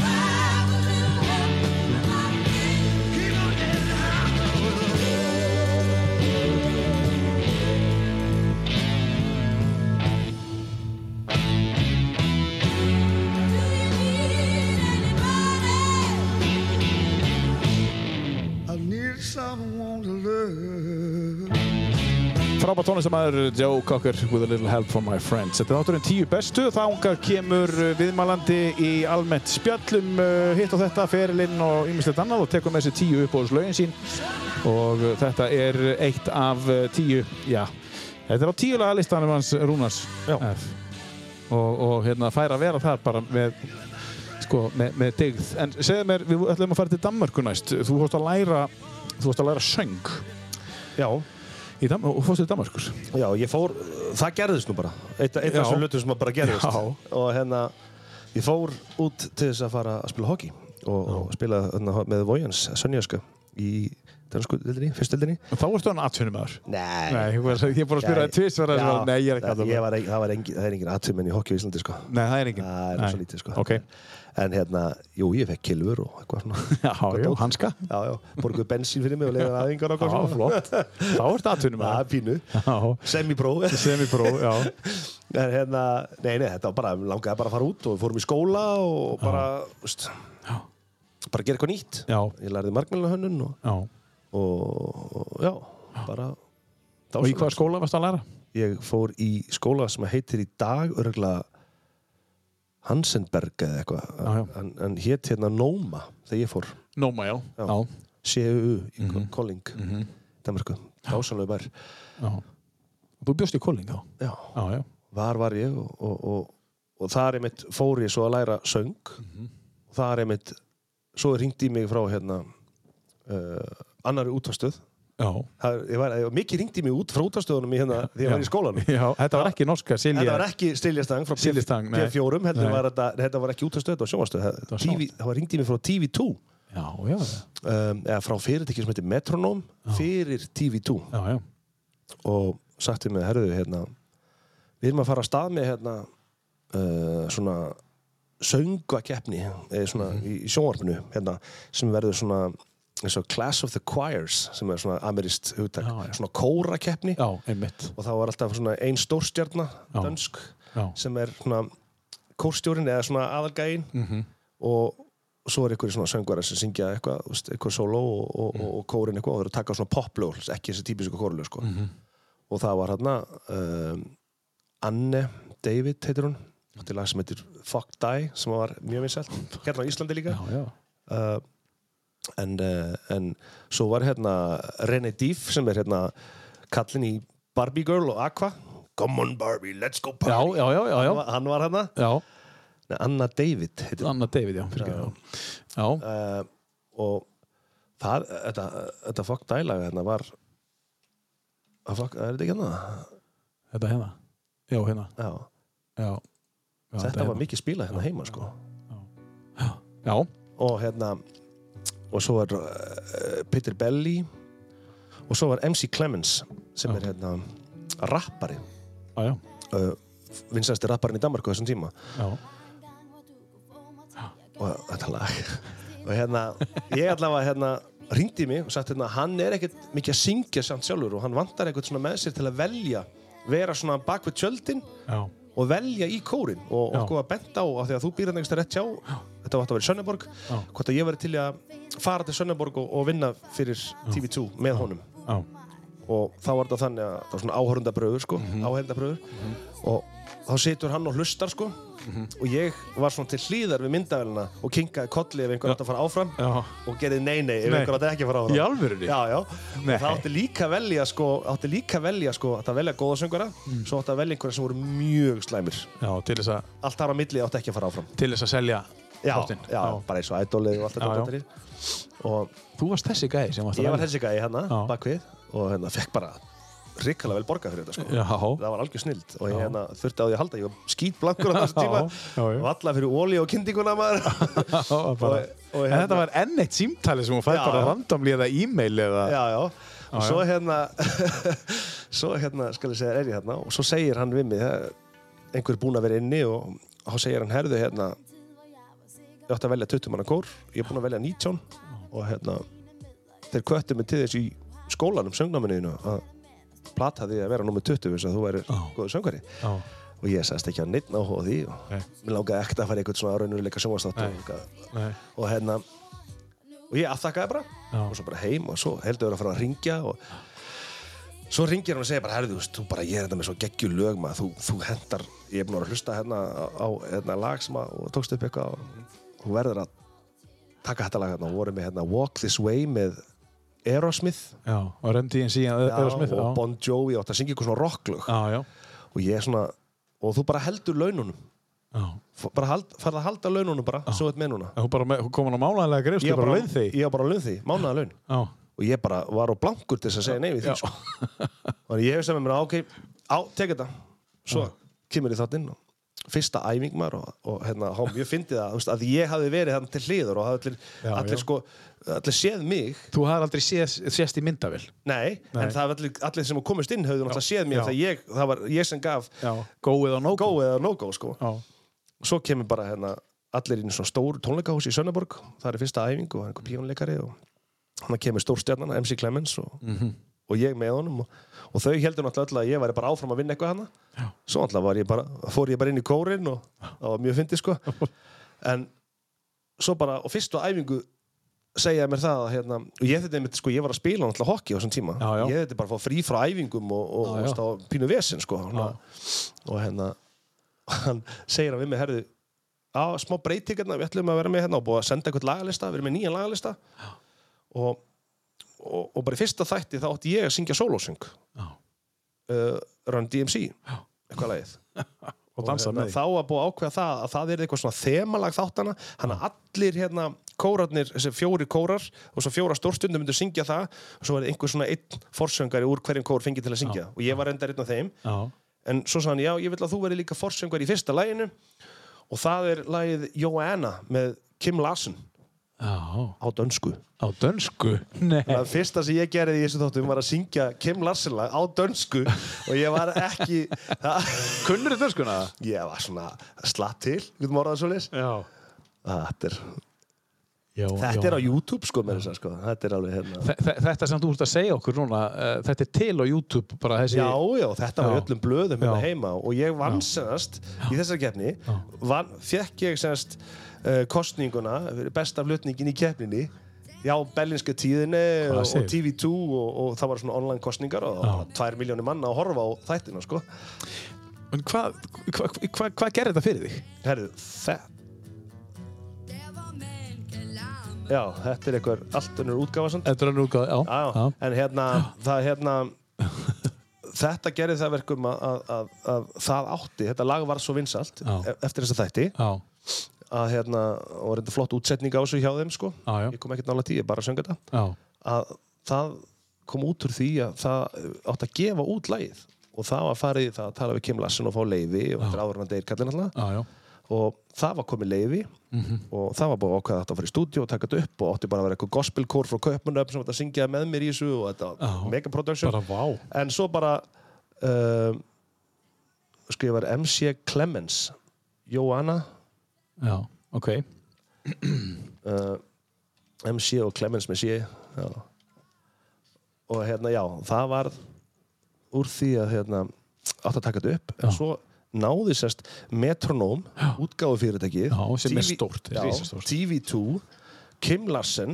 S6: friends. Do you need anybody?
S3: I need someone to love.
S1: Frábært tónlistamæður Joe Cocker with a little help from my friends. Þetta er þátturinn tíu bestu, þángar kemur uh, viðmælandi í almennt spjallum uh, hitt og þetta, ferilinn og ýmislegt annað og tekur með sér tíu uppbóðslaugin sín og uh, þetta er eitt af uh, tíu, já, þetta er á tíu lagalistanum hans Rúnars
S2: Já.
S1: F. Og, og hérna fær að vera þar bara með sko, með, með digð. En segðu mér, við ætlum að fara til Danmörku næst. Þú vorst að læra, þú vorst að læra söng
S2: já.
S1: í Dam og fórstu til Danmarkur.
S2: já, ég fór, það gerðist nú bara eitt, eitt
S1: Já.
S2: af þessum hlutum sem bara gerðist
S1: Já.
S2: og hérna, ég fór út til þess að fara að spila hockey og, og spila hérna, með Vojans Sönjaska í dansku dildinni, fyrst dildinni
S1: Þá ertu hann atvinnumæður.
S2: Nei,
S1: Nei, ég var, ég er bara að spyrja það tvist var að
S2: Já,
S1: nei, ég er ekki
S2: það-
S1: að um
S2: ég var ekki- það var engin, það er engin atvinnmenn í hockey í Íslandi sko
S1: Nei, það er enginn.
S2: það er
S1: Nei.
S2: svo lítið sko
S1: Ok.
S2: en hérna, jú, ég fekk kilfur og eitthvað svona
S1: <laughs> Já, já, hanska.
S2: já, já, borguðu bensín fyrir mig og leiðan aðingar og
S1: Já,
S2: eitthvað svona
S1: flott. Þá ertu
S2: það
S1: atvinnumæður.
S2: er pínu,
S1: Já,
S2: semi-pro
S1: semipró, já.
S2: en hérna, nei, nei, þetta var bara langaði bara að fara út og við fórum í skóla og bara, veist bara gera eitthvað nýtt
S1: Já.
S2: ég lærði margmælunahönnun og,
S1: Já.
S2: og, og já, bara
S1: Og í hvaða skóla varst að læra?
S2: ég fór í skóla sem heitir í dag örgulega Hansenberg eða
S1: Já, já.
S2: eitthvað en, en hétt hérna Nóma þegar ég fór
S1: Nóma, já. Já,
S2: CEU í
S1: Mhm.
S2: mm Kolling mm -hmm. Danmarku, dásalögu bær
S1: já. Þú bjóst í Kóling þá?
S2: já,
S1: Já, já.
S2: var var ég og, og, og, og þar er mitt fór ég svo að læra söng
S1: Mhm.
S2: og þar er mitt svo ringdi í mig frá hérna uh, annari útastöð
S1: Já.
S2: það, er- ég var, ég, mikið ringdi í mig út frá útastöðunum í hérna því ég var í skólanum
S1: Já, þetta var ekki norska Silja.
S2: Þetta var ekki Stiljastang frá
S1: Silja Stang, nei.
S2: P4 heldur
S1: Nei.
S2: var þetta, þetta var ekki útastöð, þetta var sjónvastöð
S1: var
S2: það, TV, það var ringdi í mig frá TV2
S1: Já, já,
S2: um, eða frá fyrirtæki sem heitir Metronome fyrir TV2
S1: já, já.
S2: og sagt við mig, herðu, hérna við erum að fara að stað með hérna uh, svona söngakeppni eh, svona,
S1: Mhm.
S2: í, í sjónvarpinu hérna, sem verður svona eins og Class of the Choirs sem er svona amerist hugtak,
S1: Já, já.
S2: svona kórakeppni
S1: Já, einmitt.
S2: og þá var alltaf svona ein stórstjarna
S1: Já.
S2: dönsk
S1: Já.
S2: sem er svona kórstjórin eða svona aðalgæin
S1: Mhm.
S2: -hmm. og svo er einhverjir svona söngvarar sem syngja eitthvað, þú veist, eitthvað solo og, og,
S1: Mhm.
S2: og, og kórin eitthvað og þeir eru að taka svona poplög ekki þessi típisku kórlög sko.
S1: Mhm.
S2: -hmm. og það var hérna um, Anne David heitir hún átti lag sem heitir Fuck Die sem var mjög vinsælt,
S1: <laughs>
S2: hérna á Íslandi líka
S1: Já, já.
S2: uh, en, uh, en svo var hérna René Dýf sem er hérna kallinn í Barbie Girl og Aqua Come on Barbie, let's go
S1: Já,
S2: party
S1: já, já, já,
S2: Hann
S1: já.
S2: var- hann var hérna
S1: Já,
S2: Nei, Anna David heitir hún.
S1: Anna David, já. fyrir ekki, Já, já.
S2: uh, og það, þetta, þetta fokk dælaga hérna var að fokk, er þetta ekki hérna?
S1: þetta hérna. Já, hérna.
S2: Já,
S1: Já. já
S2: þetta var
S1: hérna.
S2: mikið spilað hérna heima sko
S1: Já,
S2: og hérna og svo var uh, Peter Belli og svo var MC Clemens sem er hérna rappari
S1: já, já.
S2: uh, vinsæsti rapparinn í Danmarku á þessum tíma
S1: Já,
S2: og þetta lag og hérna, ég allavega hérna ringdi mig og sagt hérna, hann er ekkert mikið að syngja samt sjálfur og hann vantar eitthvað svona með sér til að velja vera svona bak við tjöldin
S1: já.
S2: og velja í kórin og
S1: Já.
S2: okkur var bent á, af því að þú býr hann einhversta rétt hjá þetta var þetta að vera í Sönneborg hvort að ég verið til í að fara til Sönneborg og, og vinna fyrir TV2 með honum
S1: Já,
S2: og þá var þetta þannig að það var svona áhörundabröður sko,
S1: Mhm.
S2: áhörundabröður og þá situr hann og hlustar sko
S1: Mhm.
S2: og ég var svona til hlýðar við myndavélina og kinkaði kolli ef einhver átti að fara áfram
S1: Já.
S2: og gerði nei nei ef
S1: Nei.
S2: einhver átti ekki að fara áfram
S1: Í alvörunni?
S2: Já, já
S1: Nei.
S2: og það átti líka að velja sko, átti líka að velja sko, átti að velja góða söngvara
S1: Mm.
S2: svo átti að velja einhverja sem voru mjög slæmir
S1: já, til þess að,
S2: allt þar á milli átti ekki að fara áfram
S1: til þess að selja
S2: Já,
S1: þáttinn.
S2: já, bara eins og ædolið og allt
S1: Já,
S2: þetta
S1: já.
S2: dóttarið. og
S1: Þú varst þessi gæði sem varst að
S2: ég var
S1: velja.
S2: þessi gæði hérna
S1: Já.
S2: bakvið og hérna fekk bara ríkala vel borgað fyrir þetta sko
S1: Já,
S2: það var algjör snild og ég hérna, þurfti á því að halda ég var
S1: <laughs>
S2: skítblankur á þessu tíma
S1: Já, já, já.
S2: valla fyrir óli og kynninguna maður
S1: <laughs> já, bara.
S2: Og- og
S1: En
S2: hérna-
S1: þetta var enn eitt símtali sem hún fæði
S2: Já,
S1: bara
S2: já.
S1: randomli eða e-mail eða...
S2: já, já. og svo hérna <laughs> svo hérna, skal ég segja, er ég hérna og svo segir hann við mig það er einhver búinn að vera inni og þá segir hann herðu hérna ég átti að velja 20 manna kór ég er búinn að velja 19 og hérna þeir kvöttu mig til þess í skólanum söngnáminuðinu að plata því að vera nummer 20 þess að þú væri
S1: Já.
S2: góður söngari
S1: já.
S2: og ég sagðist ekki að neitt áhuga á því og
S1: Nei.
S2: mér langaði ekkert að fara í eitthvað svona raunuruleika sjónvastátt
S1: Nei.
S2: og, eitthvað.
S1: Nei,
S2: og hérna og ég aftakkaði bara
S1: Já.
S2: og svo bara heim og svo heldur að fara að ringja og svo ringir hann og segir bara herðu, þú veist, þú bara, ég er þetta með svo geggjul lög maður, þú, þú hendar, ég er búin að vera að hlusta hérna á, á hérna lag sem að og tókst upp eitthvað og þú verður að taka þetta lag hérna og voru með hérna Walk This Way með Aerosmith
S1: já, og röndi eins í eða smið.
S2: og Bon Jovi átt að syngja eitthvað svona rocklög
S1: Já, já,
S2: og ég er svona, og þú bara heldur laununum
S1: já.
S2: F- bara hald, farið að halda laununum bara, svo þetta með núna
S1: En Hún bara með, hún kom hann á málanlega greifstu,
S2: ég var
S1: bara leið þig.
S2: ég var bara laun því, mánuða laun
S1: Já,
S2: og ég bara var á blankur til þess að segja nei við því sko. og ég hef sem með mér, ok, á, tek þetta svo kemur ég þáttinn og fyrsta æfing maður og, og hérna, há, ég fyndi það, þú veist, að ég hafi verið þannig til hliður og hafði allir,
S1: Já, já.
S2: allir, sko, allir séð mig
S1: þú hafði aldrei séð, sést í myndavill.
S2: nei,
S1: Nei.
S2: en það hafði allir, allir sem komist inn höfðu náttúrulega séð mig
S1: já.
S2: það, ég, það var ég sem gaf
S1: Já, góið og nóg.
S2: go eða no go sko.
S1: Já,
S2: svo kemur bara hérna allir inn í svona stór tónleikahús í Sönneborg það er fyrsta æfing og það er einhver píónleikari og hann kemur stórstjarnan, MC Clemens og,
S1: Mhm.
S2: og ég með honum og, og þau heldur náttúrulega öll að ég væri bara áfram að vinna eitthvað hana svo náttúrulega var ég bara, fór ég bara inn í kórin og það var mjög fyndið
S1: <laughs>
S2: sko en svo bara, og fyrstu æfingu segja mér það að hérna, og ég þetta einmitt, sko, ég var að spila náttúrulega hokki á þessum tíma
S1: Já, já.
S2: ég þetta bara að fá frí frá æfingum og,
S1: Já,
S2: og, og
S1: já.
S2: stá pínu vesinn sko, og, og hérna <laughs> hann segir að við mig, herðu á smá breytingarna, við ætlum að vera með hérna og búið að senda eitthvað lagalista, við erum með nýjan lagalista og, og, og bara í fyrsta þætti þá átti ég að syngja sólósöng
S1: Já.
S2: uh, Run DMC eitthvað lagið
S1: <laughs> og dansa
S2: hérna,
S1: með
S2: þá var búið að ákveða það að það er eitthvað svona þemalag þáttana hann að allir hérna kórarnir, þessi fjóri kórar og svo fjóra stórstundum myndu syngja það og svo var einhver svona einn forsöngari úr hverjum kór fengið til að syngja og ég var reyndar einn af þeim
S1: Já.
S2: en svo sagði hann, já, ég vil að þú veri líka forsöngari í fyrsta læginu og það er lagið Joanna með Kim Larsen
S1: Já.
S2: á dönsku
S1: Á dönsku? Nei.
S2: Það fyrsta sem ég gerði í þessu þóttum var að syngja Kim Larsen lag á dönsku og ég var ekki, það,
S1: Kunnur þið dönskuna?
S2: ég var svona slatt til, getum orðað svo leys
S1: Já.
S2: Þetta er,
S1: já
S2: þetta
S1: já.
S2: er á YouTube sko með þess að sko Þetta er alveg hérna
S1: Þe- þe- Þetta sem þú ert að segja okkur núna, uh, þetta er til á YouTube bara þessi...
S2: Já, já, þetta var í
S1: Já.
S2: öllum blöðum hérna
S1: Já.
S2: heima og ég vann sennast í þessari keppni vann, fekk ég sennast uh, kostninguna, fyrir besta flutningin í keppninni Já, berlinska tíðinni
S1: Hvað
S2: og, og
S1: segirðu?
S2: TV2 og, og það var svona online kostningar og það var tvær miljónir manna að horfa á þættina sko
S1: En hvað hva, hva, hva gerir þetta fyrir þig?
S2: Herðu, þetta Já, þetta er einhver allt önnur útgáfa samt
S1: Þetta er hann úrgáð, já.
S2: Já, já. en hérna, það hérna
S1: <laughs>
S2: þetta gerði það verkum að, að, að, að það átti, þetta lag var svo vinsalt
S1: Já.
S2: e- eftir þess að þætti
S1: Já.
S2: að hérna, og reynda flott útsetning á þessu hjá þeim sko,
S1: Já, já.
S2: ég kom ekkert nála tí, ég bara söng þetta
S1: Já.
S2: að það kom út úr því að það átti að gefa út lagið og það var farið í það að tala við Kim Lassen og fá leiði og þetta er áður en að deyr kallin alltaf
S1: Já, já.
S2: og það var komið leiði
S1: Mhm.
S2: og það var búið ákveða að þetta fara í stúdíu og taka þetta upp og átti bara að vera eitthvað gospelkór frá Kaupmannöfn sem þetta syngjaði með mér í þessu og þetta var
S1: Já.
S2: mega production
S1: Bara vá.
S2: en svo bara uh, skrifar MC Clemens Joanna
S1: Já, ok.
S2: uh, MC og Clemens með sé já. og hérna já, það var úr því að hérna, átti að taka þetta upp en
S1: Já.
S2: svo náði sérst Metronome, útgáfu fyrirtækið
S1: Já, sem er stórt,
S2: já,
S1: risastórt.
S2: TV2 Kim Larsen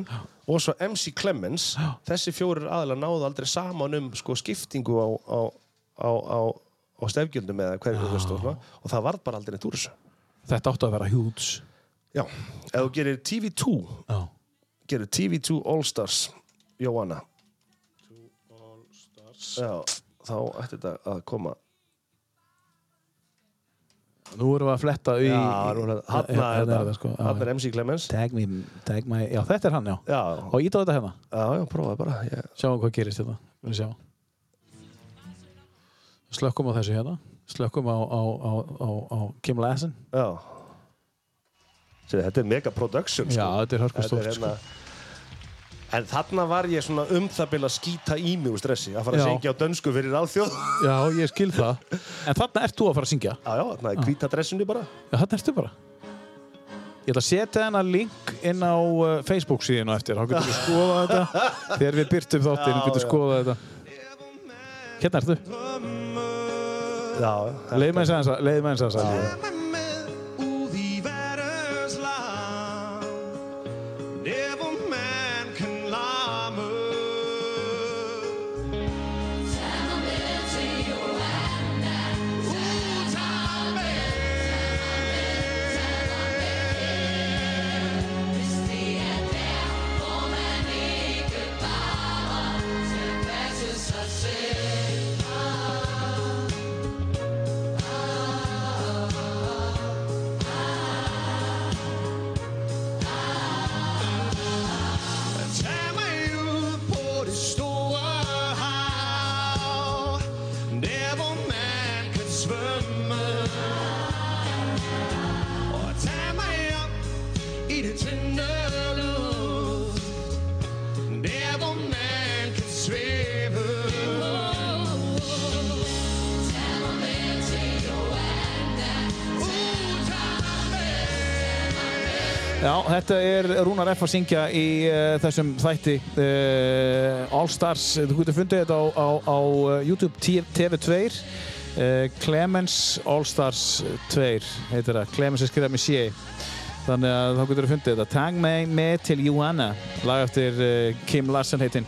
S2: og svo MC Clemens þessi fjórir aðlar náðu aldrei saman um sko, skiptingu á, á, á, á, á stefgjöldum eða hverju þú veist og, svona. og það varð bara aldrei neitt úr þessu
S1: Þetta áttu að vera hjúts.
S2: já, ef þú gerir TV2
S1: Já.
S2: gerir TV2 All Stars Jóanna Já, þá ætti þetta að koma
S1: Nú erum við að fletta í...
S2: hann
S1: Hérna
S2: er,
S1: þetta, sko. Já,
S2: hann
S1: já.
S2: er MC Clemens
S1: Tag me, tag my... Já, þetta er hann, já.
S2: Já,
S1: Og ít á þetta hérna.
S2: já, já, prófaði bara ég,
S1: Sjáum hvað gerist hérna. Við sjáum. Slökkum á þessu hérna. Slökkum á, á, á, á, á Kim Lassen.
S2: Já Sér, Þetta er mega production sko.
S1: Já, þetta er
S2: Þetta
S1: hörkustórt,
S2: er
S1: sko.
S2: hérna En þarna var ég svona um það byrja að skýta í mig úr stressi að fara að
S1: Já.
S2: syngja á dönsku fyrir alþjóð Já,
S1: Já, ég skil það. En þarna ert þú að fara að syngja.
S2: já, þarna er hvíta dressinu bara
S1: Já, þarna ertu bara. Ég ætla að setja hennar link inn á uh, Facebook síðan og eftir. Þá getur við skoða þetta. Þegar við byrtum þáttinn, getur við skoða þetta. Hérna ertu.
S2: Já,
S1: Leið með eins aðeins að, leið með eins aðeins að.
S3: Úr því verðurs land Never man can lama Tag mig ud på det store hav Der hvor man kan svømme Og tag mig op i det tynde luft Der hvor man kan svæve
S1: Já, þetta er Rúnar F. að syngja í uh, þessum þætti uh, All Stars, þú getur fundið þetta á, á, á uh, YouTube T- TV2 uh, Clemens All Stars 2 heitir það, Clemens er skrifað með sé þannig að þá getur þú fundið þetta Tag mig með til Joanna lag eftir uh, Kim Larsen heitinn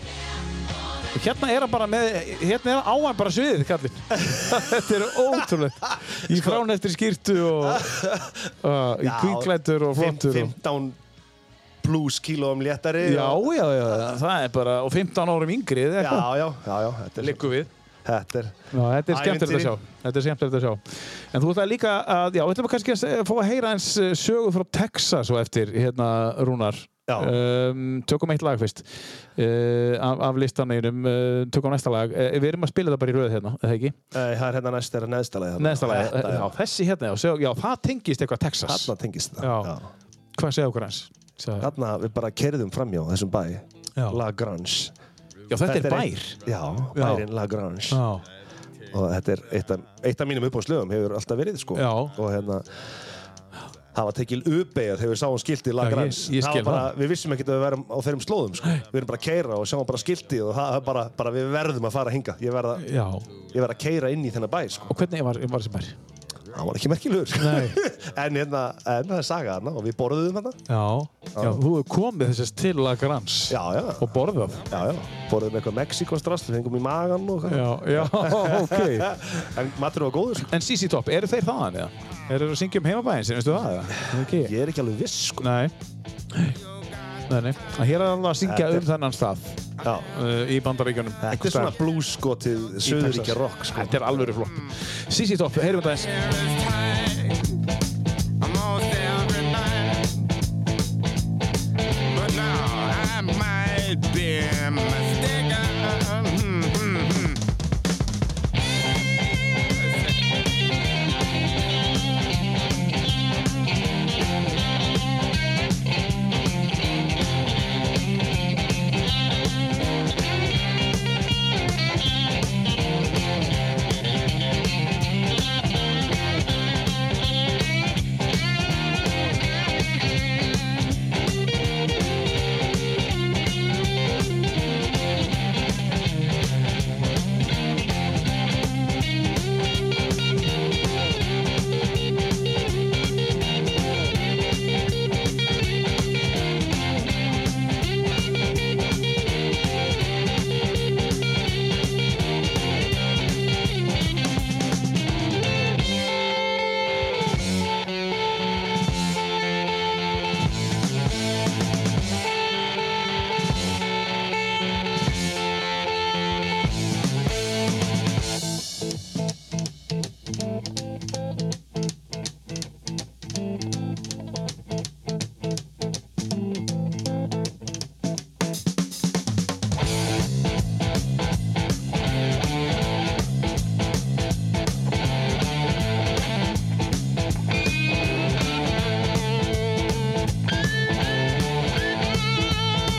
S1: Og Hérna er hann bara með, hérna er hann áan bara sviðið, kallinn. <laughs> Þetta er ótrúlegt. Í frán eftir skýrtu og uh, í
S2: Já,
S1: kvíklættur og flottur. og-
S2: 15 plus kílóum léttari
S1: Já, já, já, það er bara, og 15 árum yngri, eða
S2: Já,
S1: eitthvað,
S2: já, já, já, þetta er
S1: liggur við.
S2: Þetta er
S1: Ná, þetta er skemmtilegt að
S2: Ævintýri.
S1: sjá. Þetta er skemmtilegt að sjá. En þú ætlaði líka að, já, við ætlum að kannski að se- fá að heyra eins eh, sögu frá Texas og eftir, hérna, Rúnar.
S2: Já.
S1: Um, tökum eitt lag fyrst uh, af, af listaneginum, uh, tökum næsta lag. Uh, við erum að spila þetta bara í röð hérna, eða ekki?
S2: Nei, það er hérna næst er neðstalagi
S1: Neðsta lag.
S2: Þetta,
S1: Já,
S2: já,
S1: þessi hérna, já, sjá- já, það tengist eitthvað Texas.
S2: þarna tengist það
S1: Já. Hvað segja okkur eins? Segðu-
S2: Þarna við bara kerðum framjá þessum bæ
S1: Já.
S2: La Grange
S1: Já, þetta, er bær.
S2: eitt- Já, bærin La Grange
S1: Já,
S2: og þetta er eitt af, eitt af mínum uppáðslögum hefur alltaf verið sko
S1: Já.
S2: og hérna það var tekil uppeyjað þegar við sáum skilti í
S1: Já, ég-
S2: Lagrans
S1: ég skil það.
S2: við vissum ekkert að við verðum á þeirrum slóðum sko. við erum bara að keira og sjáum bara skilti og það er bara, bara við verðum að fara að hinga ég verð að,
S1: já.
S2: ég verð að keira inn í þennan bæ sko.
S1: Og hvernig var, var þessi bær?
S2: það var ekki merkilegur
S1: Nei.
S2: <laughs> en, hérna, en það er saga hana og við borðuðum hana
S1: Já, já, þú hefur komið þessast til Lagrans
S2: já, já,
S1: og borðað.
S2: já, já. borðuðum eitthvað Mexikostrasl fengum í magan og hvað
S1: Já, <laughs> já, ok.
S2: <laughs> en matur var góður sko.
S1: En CC Top, eru þeir þaðan eða? Eru þeir að syngja um heimabæðin sinn, veistu það eða? Ekki.
S2: ég er ekki alveg viss sko.
S1: Nei. Nei, nei. En hér er hann að syngja
S2: Þetta er-
S1: um þennan stað
S2: Já.
S1: uh, í bandaríkjunum.
S2: þetta er svona blúskotið söðuríkja rock sko.
S1: Þetta er alvöru flott. CC Top, heyrum þetta eins.
S3: Hmm,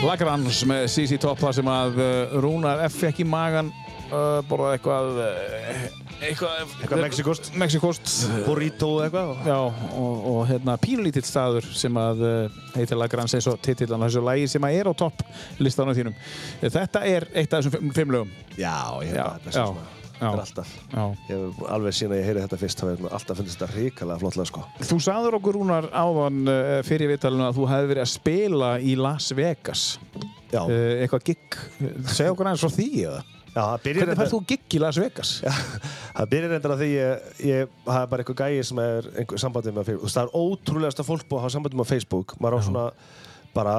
S1: Lagrans með CC Top þar sem að uh, Rúnar F. fekk í magan uh, borðað eitthvað uh, eitthvað,
S2: Eitthvað mexíkost.
S1: Mexikost
S2: burrito eða eitthvað
S1: Já, og, og hérna pínulítill staður sem að uh, heitir Lagrans eins og titillan á þessu lagi sem að er á topp listanum þínum. Þetta er eitt af þessum fimm, fimm lögum.
S2: Já, ég held
S1: Já,
S2: að þetta sé
S1: já,
S2: svona
S1: já.
S2: Þetta er alltaf
S1: Já.
S2: Ég hef alveg síðan að ég heyri þetta fyrst þá hef ég alltaf fundist þetta hrikalega flottlega sko
S1: Þú sagður okkur Rúnar áðan uh, fyrir viðtalinu að þú hefði verið að spila í Las Vegas.
S2: Já,
S1: Uh, eitthvað gig. Segja okkur aðeins frá því eða?
S2: já það byrjar
S1: Hvernig færð þú gig í Las Vegas?
S2: Já, það byrjar reyndar að því ég, ég það er bara eitthvað gæi sem er einhver sambandið með á Facebook Þú veist, það er ótrúlegasta fólk búið að hafa sambandið með á Facebook maður á svona bara,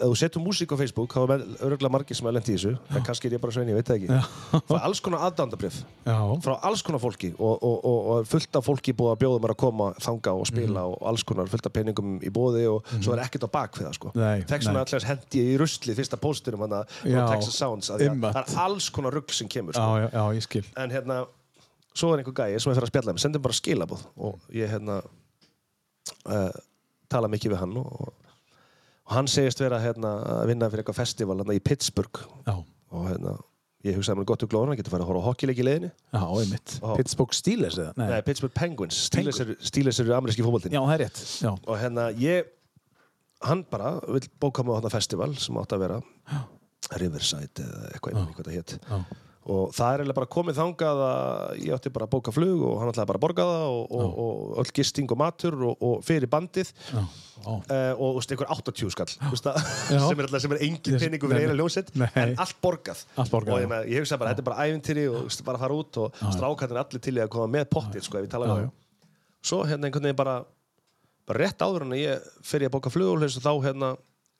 S2: ef þú setur músík á Facebook þá er örgulega margir sem er lent í þessu en kannski er ég bara svein, ég veit það ekki Það er alls konar aðdandabrif
S1: Já.
S2: frá alls konar fólki og, og, og, og fullt af fólki búið að bjóða mér að koma þanga og
S1: Mhm.
S2: spila og alls konar fullt af peningum í bóði og svo er ekkert á bak við það sko.
S1: Nei,
S2: Þess vegna
S1: nei.
S2: allars hendi ég í rusli fyrsta póstinum hann að
S1: Já,
S2: Texas Sounds að því að
S1: einmitt.
S2: það er alls konar rugg sem kemur sko.
S1: Já, já, já, ég skil.
S2: en hérna, svo er einhver gæi sem ég fyrir að spjalla með, sendir bara skilabóð og ég hérna uh, tala mikið við hann og, og, og hann segist vera hérna, að vinna fyrir eitthvað festival hérna, í Pittsburgh
S1: Já,
S2: og hérna, ég hugsaði mér gott og glóðan hann getur farið að horfa á hockeyleik í leiðinni
S1: já, einmitt.
S2: Já.
S1: Pittsburgh Steelers eða? Nei.
S2: Nei, Pittsburgh Penguins Steelers eru, Steelers eru ameríski fótboltinn
S1: Já, það er rétt. Já,
S2: og hérna ég hann bara vill bóka mig á þarna festival sem átt að vera Riverside eða eitthvað, ég man ekki hvað það hétt og það er eiginlega bara komið þangað að ég átti bara að bóka flug og hann ætlaði bara að borga það og, og, og öll gisting og matur og, og fyrir bandið
S1: já, já.
S2: Uh, og þú veist, einhver 80 skall þú veist, það,
S1: Já.
S2: <laughs> sem er alltaf sem er engin
S1: Yes,
S2: peningu fyrir
S1: nei,
S2: eina
S1: nei.
S2: ljósett
S1: Nei.
S2: en allt borgað,
S1: Allt borgað,
S2: og
S1: já.
S2: ég, með, ég hugsa bara, þetta er bara ævintýri og þú veist, bara fara út og strákarnir allir til í að koma með pottið sko, ef ég tala
S1: Já,
S2: um
S1: já.
S2: það svo hérna einhvern veginn bara, bara rétt áður en að ég fer ég að bóka flugulhus og þá hérna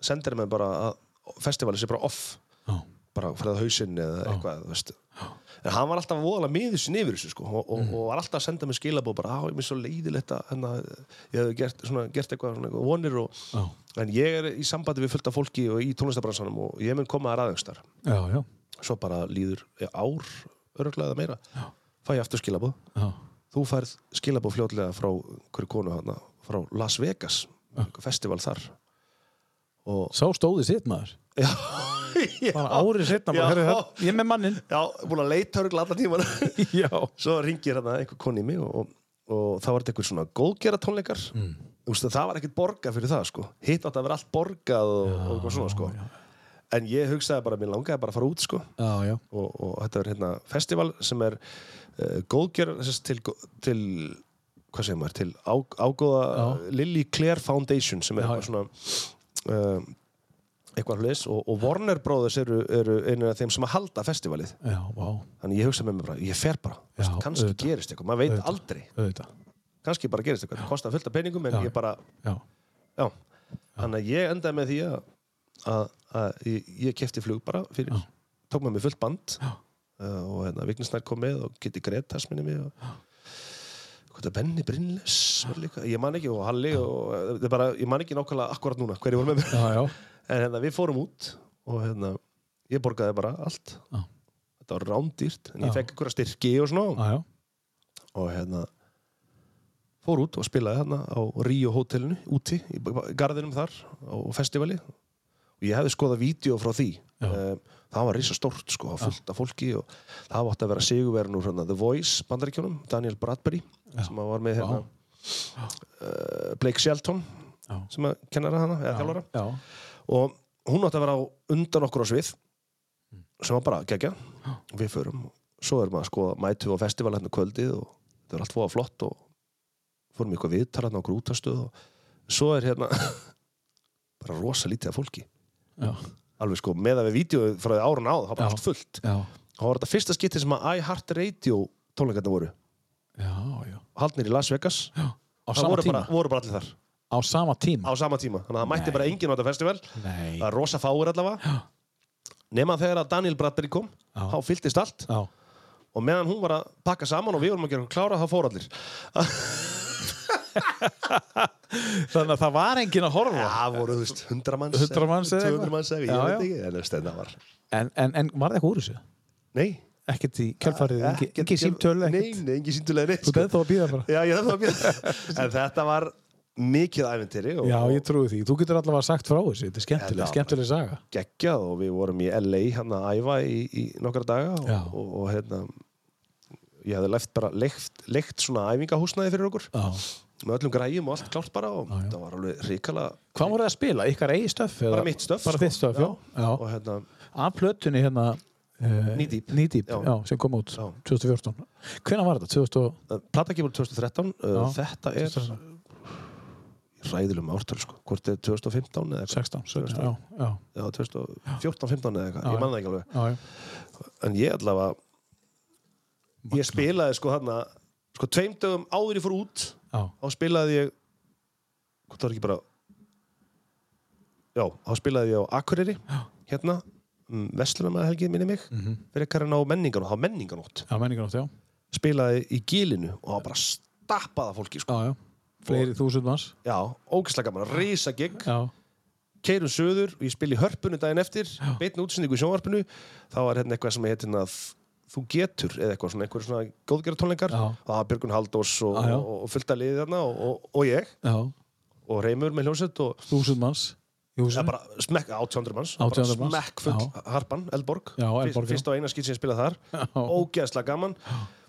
S2: sendir mér bara að festivalið sé bara off
S1: Já.
S2: bara færða hausinn eða eitthvað þú veist, en hann var alltaf voðalega miður sinni yfir þessu sko, og, og,
S1: Mhm.
S2: og var alltaf að senda mér skilabóð bara, á, ég er mér svo leiðilegt að hérna, ég hef gert, svona, gert eitthvað, svona, eitthvað vonir og, en ég er í sambandi við fullta fólki og í tónlistabransanum og ég mun koma að raðengstar
S1: já, já,
S2: svo bara líður ár öruglega eða meira, já. fæ ég aftur skilabóð
S1: já.
S2: þú færð skilabóð fljótlega frá hverju konu hana, frá Las Vegas einhver festival þar og
S1: Sá stóði sitt maður.
S2: já,
S1: Bara árið setna
S2: Já.
S1: bara, herri það, ég er með mannin.
S2: já, búin að leita öruglega allan tíman
S1: Já.
S2: <laughs> svo ringir hann einhver koni í mig og, og, og það var eitthvað svona góðgera tónleikar mm. Ústu, það var ekkert borgað fyrir það sko. hitt átt að vera allt borgað og, og eitthvað svona sko. en ég hugsaði bara mér langaði bara að fara út sko.
S1: Já, já.
S2: og, og þetta er hérna festival sem er uh, góðgera sess, til, gó- til hvað segir maður, til á, ágóða Lily Claire Foundation sem er eitthvað svona uh, eitthvað hlis og, og Warner Brothers eru, eru einu af þeim sem að halda festivalið
S1: Já, vá.
S2: Þannig ég hugsa með mér bara, ég fer bara
S1: Já,
S2: Vist, kannski
S1: auðvitað.
S2: gerist eitthvað, maður veit
S1: Auðvitað.
S2: aldrei
S1: Auðvitað.
S2: kannski bara gerist eitthvað, það kostar fullt af peningum en
S1: Já.
S2: ég bara,
S1: Já.
S2: já. þannig að ég endaði með því að, að, að ég, ég kefti flug bara fyrir, tók með mér fullt band uh, og hérna Vignisnær kom með og Kitty Gretas minni mig og hvað það Benny Brynles var líka, ég man ekki og Halli og eh, þetta er bara, ég man ekki nákvæmlega akkurat núna hverju voru
S1: <laughs>
S2: með mér,
S1: Já, já.
S2: en hérna við fórum út og hérna, ég borgaði bara allt
S1: Já.
S2: þetta var rándýrt, en ég
S1: Já.
S2: fekk einhverja styrki og svona
S1: Já, já.
S2: og hérna fór út og spilaði hérna á Ríó hótelinu úti í b- garðinum þar á festivali og ég hefði skoðað vídeo frá því um, það var risa stórt sko, það var fullt af fólki og það átti að vera sigurverðin úr hérna, The Voice bandaríkjónum, Daniel Bradbury sem að var með hérna, uh, Blake Shelton
S1: Já.
S2: sem að kennara hana, eða þjálfara
S1: Já.
S2: og hún átti að vera á undan okkur á svið sem var bara gegja við förum, svo erum við að skoða mætu á festival hérna kvöldið og þetta var allt fóða flott og fórum í eitthvað viðtal hérna okkur útastöð og svo er hérna <laughs> bara rosa lítið af fólki
S1: Já.
S2: alveg sko, með að við vídeo frá því árun áð, það
S1: Já.
S2: var bara allt fullt
S1: Já.
S2: þá var þetta fyrsta skipti sem að iHeartRadio tónleikarnir voru,
S1: Já, já.
S2: haldnir í Las Vegas
S1: Á
S2: það
S1: sama
S2: voru
S1: tíma.
S2: bara, voru bara allir þar
S1: Á sama
S2: á
S1: tíma.
S2: sama tíma, þannig að það mætti bara enginn á þetta festival
S1: Nei.
S2: það er rosa fáir allavega nema þegar að Daniel Bradbury kom
S1: Já.
S2: þá fylltist allt
S1: Já.
S2: og meðan hún var að pakka saman og við vorum að gera okkur klára þá fór allir
S1: Þannig að það var enginn að horfa.
S2: það voru þú veist 100 manns
S1: 100 manns eða
S2: 200
S1: eitthvað.
S2: manns eða
S1: Já,
S2: ég
S1: já.
S2: veit ekki en þú veist, þetta var
S1: En, en, en var það eitthvað úr þessu?
S2: nei
S1: Ekkert í kjálfarið, engin, engin símtöl,
S2: nei,
S1: ekkert.
S2: nei, engin símtöl eða neitt,
S1: Þú beðið þá að býða bara.
S2: já ég þarf þá að bíða. en þetta var mikið æventýri og,
S1: Já, ég trúi því. Þú getur allavega sagt frá þessu. Þetta er
S2: Þetta
S1: skemmtileg,
S2: var-
S1: skemmtileg saga.
S2: og geggjað og við vorum í LA hann að æfa í, í nokkra daga og,
S1: Já.
S2: og, og, hérna ég hefði left bara leikt, leikt svona æfingahúsnaði fyrir okkur
S1: Já.
S2: með öllum græjum og allt klárt bara og það var alveg ríkala
S1: Hvað voruð það að spila? Ykkar eigi stöf?
S2: bara mitt stöf sko.
S1: Bara þitt stöf, já.
S2: og
S1: já.
S2: hérna,
S1: Af plötunni hérna... Uh,
S2: Knee Deep.
S1: Nýdýp,
S2: Já.
S1: já, sem kom út
S2: Já.
S1: 2014. Hvenær var þetta? 2000 og...
S2: uh, plata kemur 2013 uh,
S1: Já.
S2: þetta er ræðilum ártölu sko, hvort er 2015 eða eitthvað
S1: 16, 17, já, já,
S2: já, 2014, 15 eða eitthvað,
S1: Já,
S2: ég man það ekki alveg
S1: já, já.
S2: en ég allavega ég spilaði sko hérna sko tveim dögum áður ég fór út
S1: já.
S2: þá spilaði ég hvort það var ekki bara já, þá spilaði ég á Akureyri hérna, um, Vestlunamæðahelgið minni mig, mm
S1: Mhm.
S2: -hmm. fyrir karinn á menningan og þá menninganótt,
S1: Já, menningarnátt, já.
S2: spilaði í gilinu og það bara stappaða fólki sko.
S1: Já, já. Fleiri þúsund manns.
S2: já, ógæslega gaman, risa gig
S1: Já,
S2: keirum söður og ég spila í hörpunni daginn eftir beitna útsendingu í sjónvarpinu þá var hérna eitthvað sem heit hérna Þ- þú getur eða eitthvað svona, einhverjum svona góðgerða tónleikar
S1: Já.
S2: það var Björgun Haldós og,
S1: Já, já.
S2: og, og fullta liðið þarna og, og, og ég
S1: já.
S2: og Reymur með hljóset og
S1: Þúsund manns. í húsinu.
S2: Já, bara smekk, 800 manns,
S1: 800
S2: bara
S1: manns.
S2: smekk full
S1: Já.
S2: harpan, Eldborg,
S1: Já, Eldborg,
S2: Fyrst, fyrst og eina skýt sem ég spilaði þar,
S1: Já.
S2: ógeðslega gaman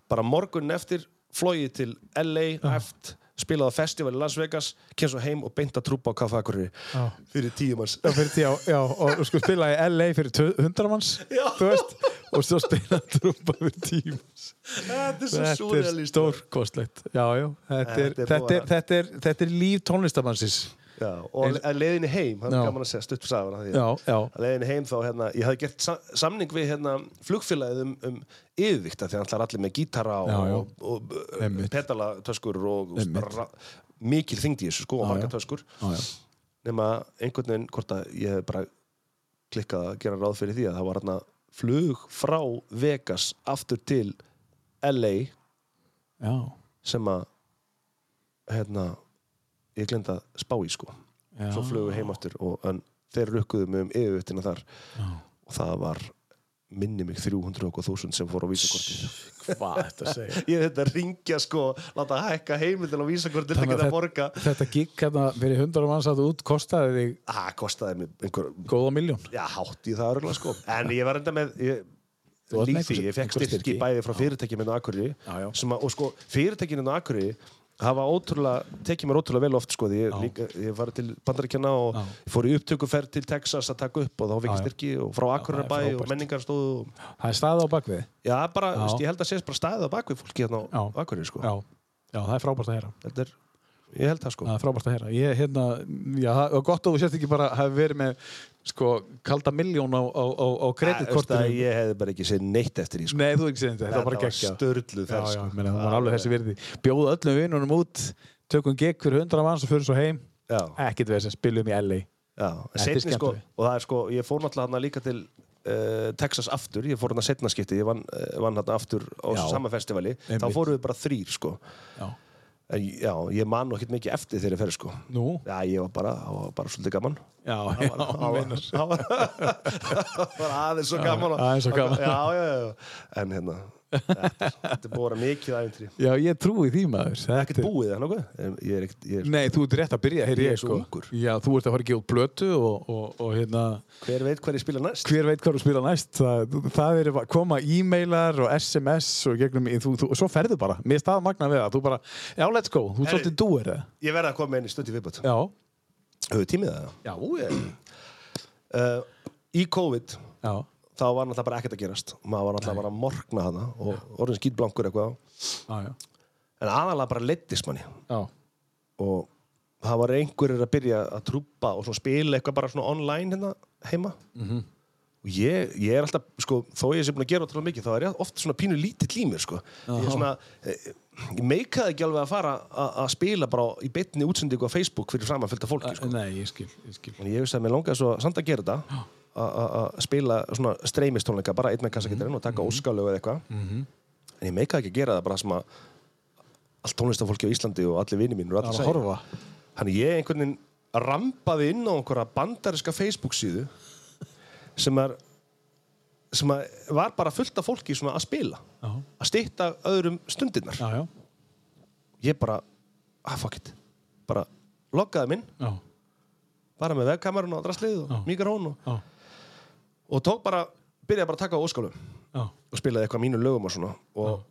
S2: bara morgun eftir flogið til LA, eft spilaði á festival í Las Vegas, kemst svo heim og beinta trúpa á kaffakurri
S1: Já.
S2: fyrir tíu manns
S1: Já, fyrir tíu, já, og þú sko spila í LA fyrir 200 manns,
S2: Já.
S1: þú veist, og svo spila trúpa fyrir tíu manns.
S2: <laughs> þetta er svo
S1: Þetta er
S2: súrealist
S1: stórkostlegt, já, já, þetta er,
S2: Þetta er
S1: þetta er,
S2: bara-
S1: þetta er, þetta er líf tónlistamannsins.
S2: Já, og að leiðinni heim, hann
S1: Já.
S2: er gaman að segja stutt sagði hann, af því
S1: Já,
S2: að-
S1: já.
S2: að leiðinni heim þá, hérna, ég hafði gert sa samning við hérna, flugfélagið um, um yfirvíkta því að hann ætlar allir með gítara og,
S1: Já, já.
S2: og, og, og
S1: Einmitt.
S2: pedalatöskur og, og
S1: Einmitt.
S2: bara, mikil þyngd í þessu sko og
S1: Já,
S2: marga
S1: já.
S2: töskur
S1: Já, já.
S2: nema einhvern veginn hvort að ég hef bara klikkað að gera ráð fyrir því að það var hérna flug frá Vegas aftur til LA
S1: Já,
S2: sem að hérna, ég glinda spá í sko
S1: já.
S2: svo flugu heim aftur og en, þeir rukkuðu mig um yfirvittina þar og það var minni mig 300.000 sem fór á vísakortið
S1: Hvað þetta segir?
S2: <laughs> ég er þetta að ringja sko láta hækka heimildin á vísakortið til að
S1: Þannig að
S2: geta
S1: þetta-
S2: borga
S1: Þetta gigg hérna fyrir hundar manns að út kostaði þig
S2: það Ah, kostaði mig einhver
S1: góða miljón.
S2: já, hátt í það örgulega sko en ég var enda með ég,
S1: Þú varst með
S2: lífi,
S1: einhver-
S2: ég fekk
S1: einhver
S2: styrki,
S1: styrki.
S2: bæði frá fyrirtækjum inn á Akureyri
S1: Já, já.
S2: sem að, og sko, fyrirtækjum inn á Akureyri hafa ótrúlega, tekið mér ótrúlega vel oft sko, því ég, líka, ég var til bandaríkjana og
S1: Já.
S2: fór í upptökuferð til Texas að taka upp og þá fekk
S1: Já,
S2: ég
S1: já.
S2: styrki og frá Akureyrabæ
S1: það er
S2: og
S1: frábært.
S2: menningarstóð og,
S1: Það er staða á bakvið.
S2: já, bara,
S1: Já.
S2: veist, ég held að sést bara staðið á bakvið fólki hérna á
S1: Já.
S2: Akureyri sko.
S1: Já. já, það er frábært að heyra.
S2: þetta er, ég held það sko
S1: Það er frábært að heyra. Ég, hérna, já, það er gott að þú sért ekki bara hafi verið með, sko, kalda miljón á, á, á, á
S2: Æ, veist að
S1: kreditkortinu.
S2: ég hefði bara ekki séð neitt eftir því sko.
S1: Nei, þú ekki segið þetta. Þetta var bara geggja.
S2: störluð
S1: Já, já, ég meina, það var alveg þessi virði. Bjóðu öllum vinnunum út, tökum gigg fyrir hundar manns og fyrir svo heim.
S2: já.
S1: Ekkert veð sem spilum í LA.
S2: Já,
S1: Þetta er
S2: setni sko,
S1: skemmtilegt.
S2: og það er sko, ég fór náttúrulega hann líka til uh, Texas aftur, ég fór hann að setna skipti, ég vann, uh, vann hann aftur á
S1: Já.
S2: þessu sama festivali, þá
S1: Einmitt.
S2: fórum við bara þrýr sko,
S1: Já.
S2: en, já, ég man nú ekkert mikið eftir þeirri ferð sko,
S1: Nú?
S2: já, ég var bara, það var bara svolítið gaman, <laughs>
S1: Já, já,
S2: það var,
S1: meinar.
S2: það var, það var aðeins svo gaman, og-
S1: aðeins svo gaman.
S2: já, já, já, já, en hérna, þetta, þetta er búið að vera mikið æfintri,
S1: Já, ég trúi því maður. Þetta
S2: ekkert búið það nokkuð, Em, ég er ekkert, ég er,
S1: Nei, þú ert rétt að byrja, heyr
S2: Ég
S1: ég
S2: er svo
S1: sko.
S2: ungur.
S1: Já, þú ert að fara að gefa út blötu og, og, og hérna,
S2: hver veit hver ég spila næst,
S1: hver veit hvað þú spila næst það, það er að koma e-mailar og SMS og gegnum, þú, þú, og svo ferðu bara mér stað magna við það, þú bara já, let's go, þú ert
S2: Herri-
S1: svolítið dúer það
S2: ég verða að koma með einn stund í viðbútt,
S1: Já,
S2: höfðu tímið það,
S1: já, ég
S2: uh, í COVID
S1: Já,
S2: þá var náttúrulega bara ekkert að gerast maður var náttúrulega bara að morgna hana og orðin skýtblankur eitthvað
S1: já, já,
S2: en aðalega bara leittist manni
S1: já.
S2: og það var einhverjir að byrja að trúpa og svona spila eitthvað bara svona online hérna heima og ég, ég er alltaf, sko, þó ég sé búin að gera ótrúlega mikið, þá er ég oft svona pínu lítill í mér, sko ég er svona, eh, ég meikaði ekki alveg að fara að að spila bara á- í beinni útsendingu á Facebook fyrir framan fylgta fólki, sko
S1: Nei, ég skil, ég skil
S2: en ég veist að mér langaði svo samt að gera þetta a- a- að spila svona streymistónleika bara einn með
S1: Mhm.
S2: kassakettirinn og taka óskalög eða eitthvað en ég meikaði ekki að gera það bara sem að allt tónlistafólki á Íslandi og allir vinni mínir og allir
S1: Það er að
S2: segja.
S1: horfa
S2: Þannig ég einhvern veginn rampaði inn á einhverja bandariska Facebook síðu sem er sem að var bara fullt af fólki svona að spila
S1: Já,
S2: að stýtta öðrum stundirnar
S1: já, já,
S2: ég bara, ah fuck it bara loggaði minn,
S1: já,
S2: bara með vegkamerun og draslið og mikrofón og
S1: já,
S2: og tók bara, byrjaði bara að taka á óskálum
S1: já.
S2: og spilaði eitthvað mínu lögum og svona og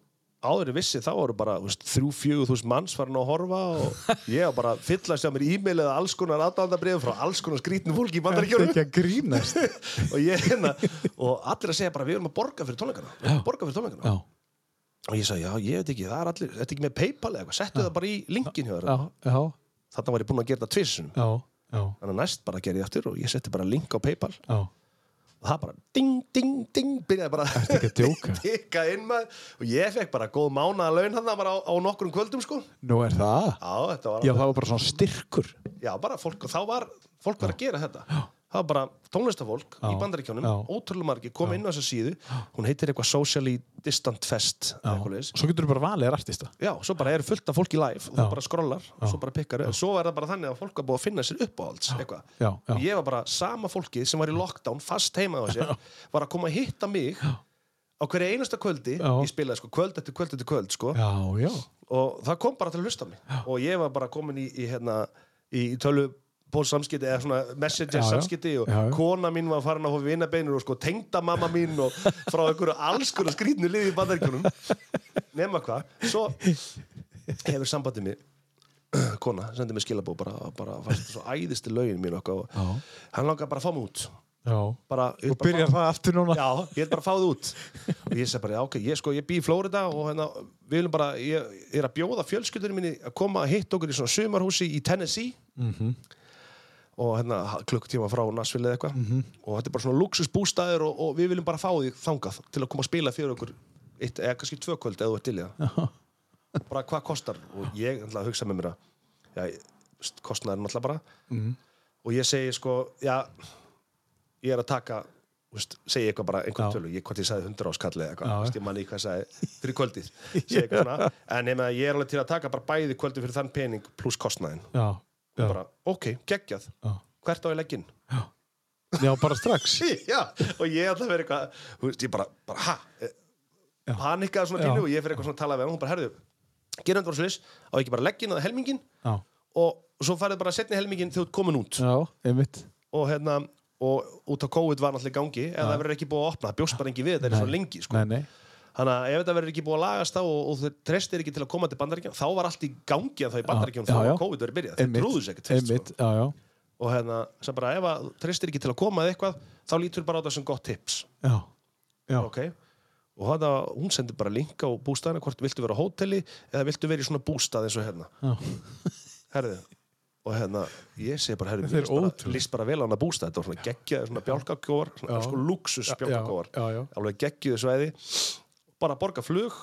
S2: áður en vissi þá voru bara þú veist, þrjú, fjögur þúsund manns farin að horfa
S1: <laughs>
S2: og ég var bara að fyllast hjá mér e-mail eða alls konar aðdándabrið frá alls konar skrítnu fólki í
S1: Ertu <laughs>
S2: bandaríkjörnum
S1: ekki að grínast
S2: og ég hérna og allir að segja bara við erum að borga fyrir tónleikana Við erum að borga fyrir tónleikana
S1: Já,
S2: og ég sagði já, ég veit ekki, það er allir, þetta ekki með Paypal eða eitthvað, settu það bara í linkin hjá þér
S1: já, já,
S2: þarna var ég búinn að gera þetta tvissunum
S1: já, já,
S2: þannig að næst bara gerði ég aftur og ég setti bara link á Paypal
S1: já
S2: og það bara ding, ding, ding byrjaði bara
S1: ekki að
S2: <laughs>
S1: djóka?
S2: tikka inn maður og ég fekk bara góð mánaða laun hann bara á, á nokkrum kvöldum sko já,
S1: Nú er það
S2: þetta var
S1: Já,
S2: já.
S1: það var bara svona styrkur
S2: já, bara fólk og þá var fólk var að gera þetta það var bara tónlistafólk
S1: Já.
S2: í bandaríkjónum
S1: Já.
S2: ótrúlega margir, koma inn á þessa síðu hún heitir eitthvað Socially Distant Fest
S1: Já.
S2: eitthvað leis
S1: Svo getur þú bara valið artista
S2: Já, svo bara eru fullt af fólki live og þú
S1: Já.
S2: bara skrollar og svo bara pikkar og svo er það bara þannig að fólk er búið að finna sér uppáhalds eitthvað.
S1: Já, já.
S2: Ég var bara sama fólkið sem var í lockdown fast heima á sér, var að koma að hitta mig á hverju einasta kvöldi
S1: Já.
S2: ég spilaði sko kvöld eftir kvöld eftir kvöld sko
S1: Já, já,
S2: og það kom bara til að hlusta á mig og ég var bara komin í, í hérna í, í tölvu samskipti eða svona
S1: Já,
S2: messenger
S1: já.
S2: samskipti og
S1: Já, já.
S2: kona mín var farin á hófi vinnabeinur og sko tengda mamma mín og frá einhverju allskuru skrýtnu liði í bandaríkjunum nema hvað, svo hefur sambandið mér <clears throat> kona, sendið mér skilabó bara, bara fannst svo æðisti lögin mín okkar og
S1: Já.
S2: hann langar bara að fá mig út
S1: já
S2: bara, ég vil
S1: Og
S2: bara fá-
S1: byrjar það aftur núna
S2: Já, ég vil bara fá það út og ég segi bara, já, ok, ég, sko, ég bý í Flórida og hérna, við viljum bara, ég, ég er að bjóða fjölskyldurinn minni að koma að hitta okkur í svona sumarhúsi í Tennessee
S1: Mhm.
S2: og hérna klukktíma frá Nashville eða eitthvað
S1: Mhm.
S2: og þetta er bara svona luxusbústæður og, og við viljum bara fá því þangað til að koma að spila fyrir okkur eitt, eða kannski tvö kvöld eða þú ert til í það bara hvað kostar og ég ætla að hugsa með mér að já, ég- kostnaðurinn alltaf bara og ég segi sko, já ég er að taka Úst, segi eitthvað bara einhvern
S1: Já.
S2: tölu, ég, hvort ég sagði 100 áskalli eða eitthvað,
S1: Já.
S2: Þú veist, ég manni hvað ég sagði fyrir kvöldið, segi eitthvað svona
S1: <laughs>
S2: en ef að ég er alveg til að taka bara bæði kvöldið fyrir þann pening pluss kostnæðin,
S1: já, já,
S2: bara ok, geggjað
S1: já.
S2: hvert á ég legginn?
S1: <laughs> já, bara <laughs> strax
S2: já, og ég ætla að vera eitthvað þú veist, ég bara, bara ha eh,
S1: Já.
S2: panikaði svona
S1: Já.
S2: pínu og ég fyrir eitthvað svona að tala við hann, hún bara, herðu, gerum þetta bara slis á ekki bara legginn eða helmingin
S1: Já,
S2: og svo farið bara setni helmingin þegar þú ert komin út
S1: já, einmitt
S2: og hérna og út á COVID var náttúrulega í gangi eða það verður ekki búið að opna, það bjóst bara engin við þetta er
S1: Nei.
S2: svo lengi sko.
S1: Nei, nei,
S2: þannig að ef þetta verður ekki búið að lagast þá og, og þau treystir ekki til að koma til bandaríkjum þá var allt í gangi að það í bandaríkjum þá
S1: já, já.
S2: var COVID verið byrjað, þau trúðu sér ekkert fyrst, sko
S1: einmitt, já, já,
S2: og hérna, sem bara ef að þú treystir ekki til að koma eða eitthvað, þá lítur bara á það sem gott tips
S1: já, já,
S2: ok og hana, hún sendir bara link á bústæðina hvort viltu vera á hóteli eða viltu vera í svona bústað eins og hérna
S1: Já.
S2: <laughs> herðu og hérna, ég segi bara, herðu,
S1: Þetta er
S2: mér líst bara,
S1: ótrúlegt.
S2: líst bara vel á hana bústað þetta var svona geggjaði, svona bjálkakjóar svona
S1: Já.
S2: sko luxus bjálkakjóar
S1: Já, já, já.
S2: alveg geggjuðu svæði bara borga flug,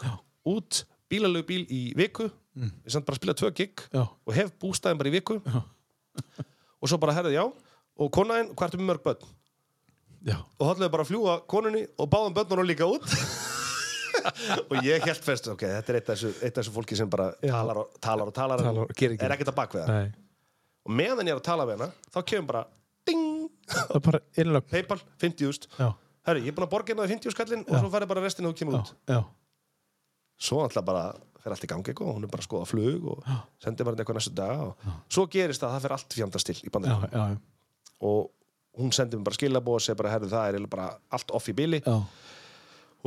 S2: út bílalegu bíl í viku ég send bara að spila tvö gig
S1: Mm. já,
S2: og hef bústæðin bara í viku og svo bara herðu, já og konaðin, hvað ertu með mörg börn?
S1: já
S2: og hotlaði bara að fljúa konunni og báðum börnunum líka út <laughs> og ég held fyrst ok, þetta er eitt af þessu, eitt af þessu fólki sem bara
S1: Já.
S2: talar og talar og talar,
S1: Talar og gerir ekki
S2: er ekkert að bak við það
S1: Nei,
S2: og meðan ég er að tala við hana, þá kemur bara ding,
S1: það er bara innlögn
S2: Paypal, 50.000
S1: Já,
S2: herru, ég er búin að borga hérna 50.000 kallinn og svo færði bara restin og kemur
S1: já,
S2: út
S1: já,
S2: svo alltaf bara fer allt í gangi eitthvað og hún er bara að skoða flug og sendir bara henni eitthvað næstu dag og svo gerist það, það fer allt fjandast til í
S1: já,
S2: bandinu
S1: já,
S2: og hún sendir mér bara skilabóð og segir bara, herru, það er eiginlega bara allt off í bili
S1: já,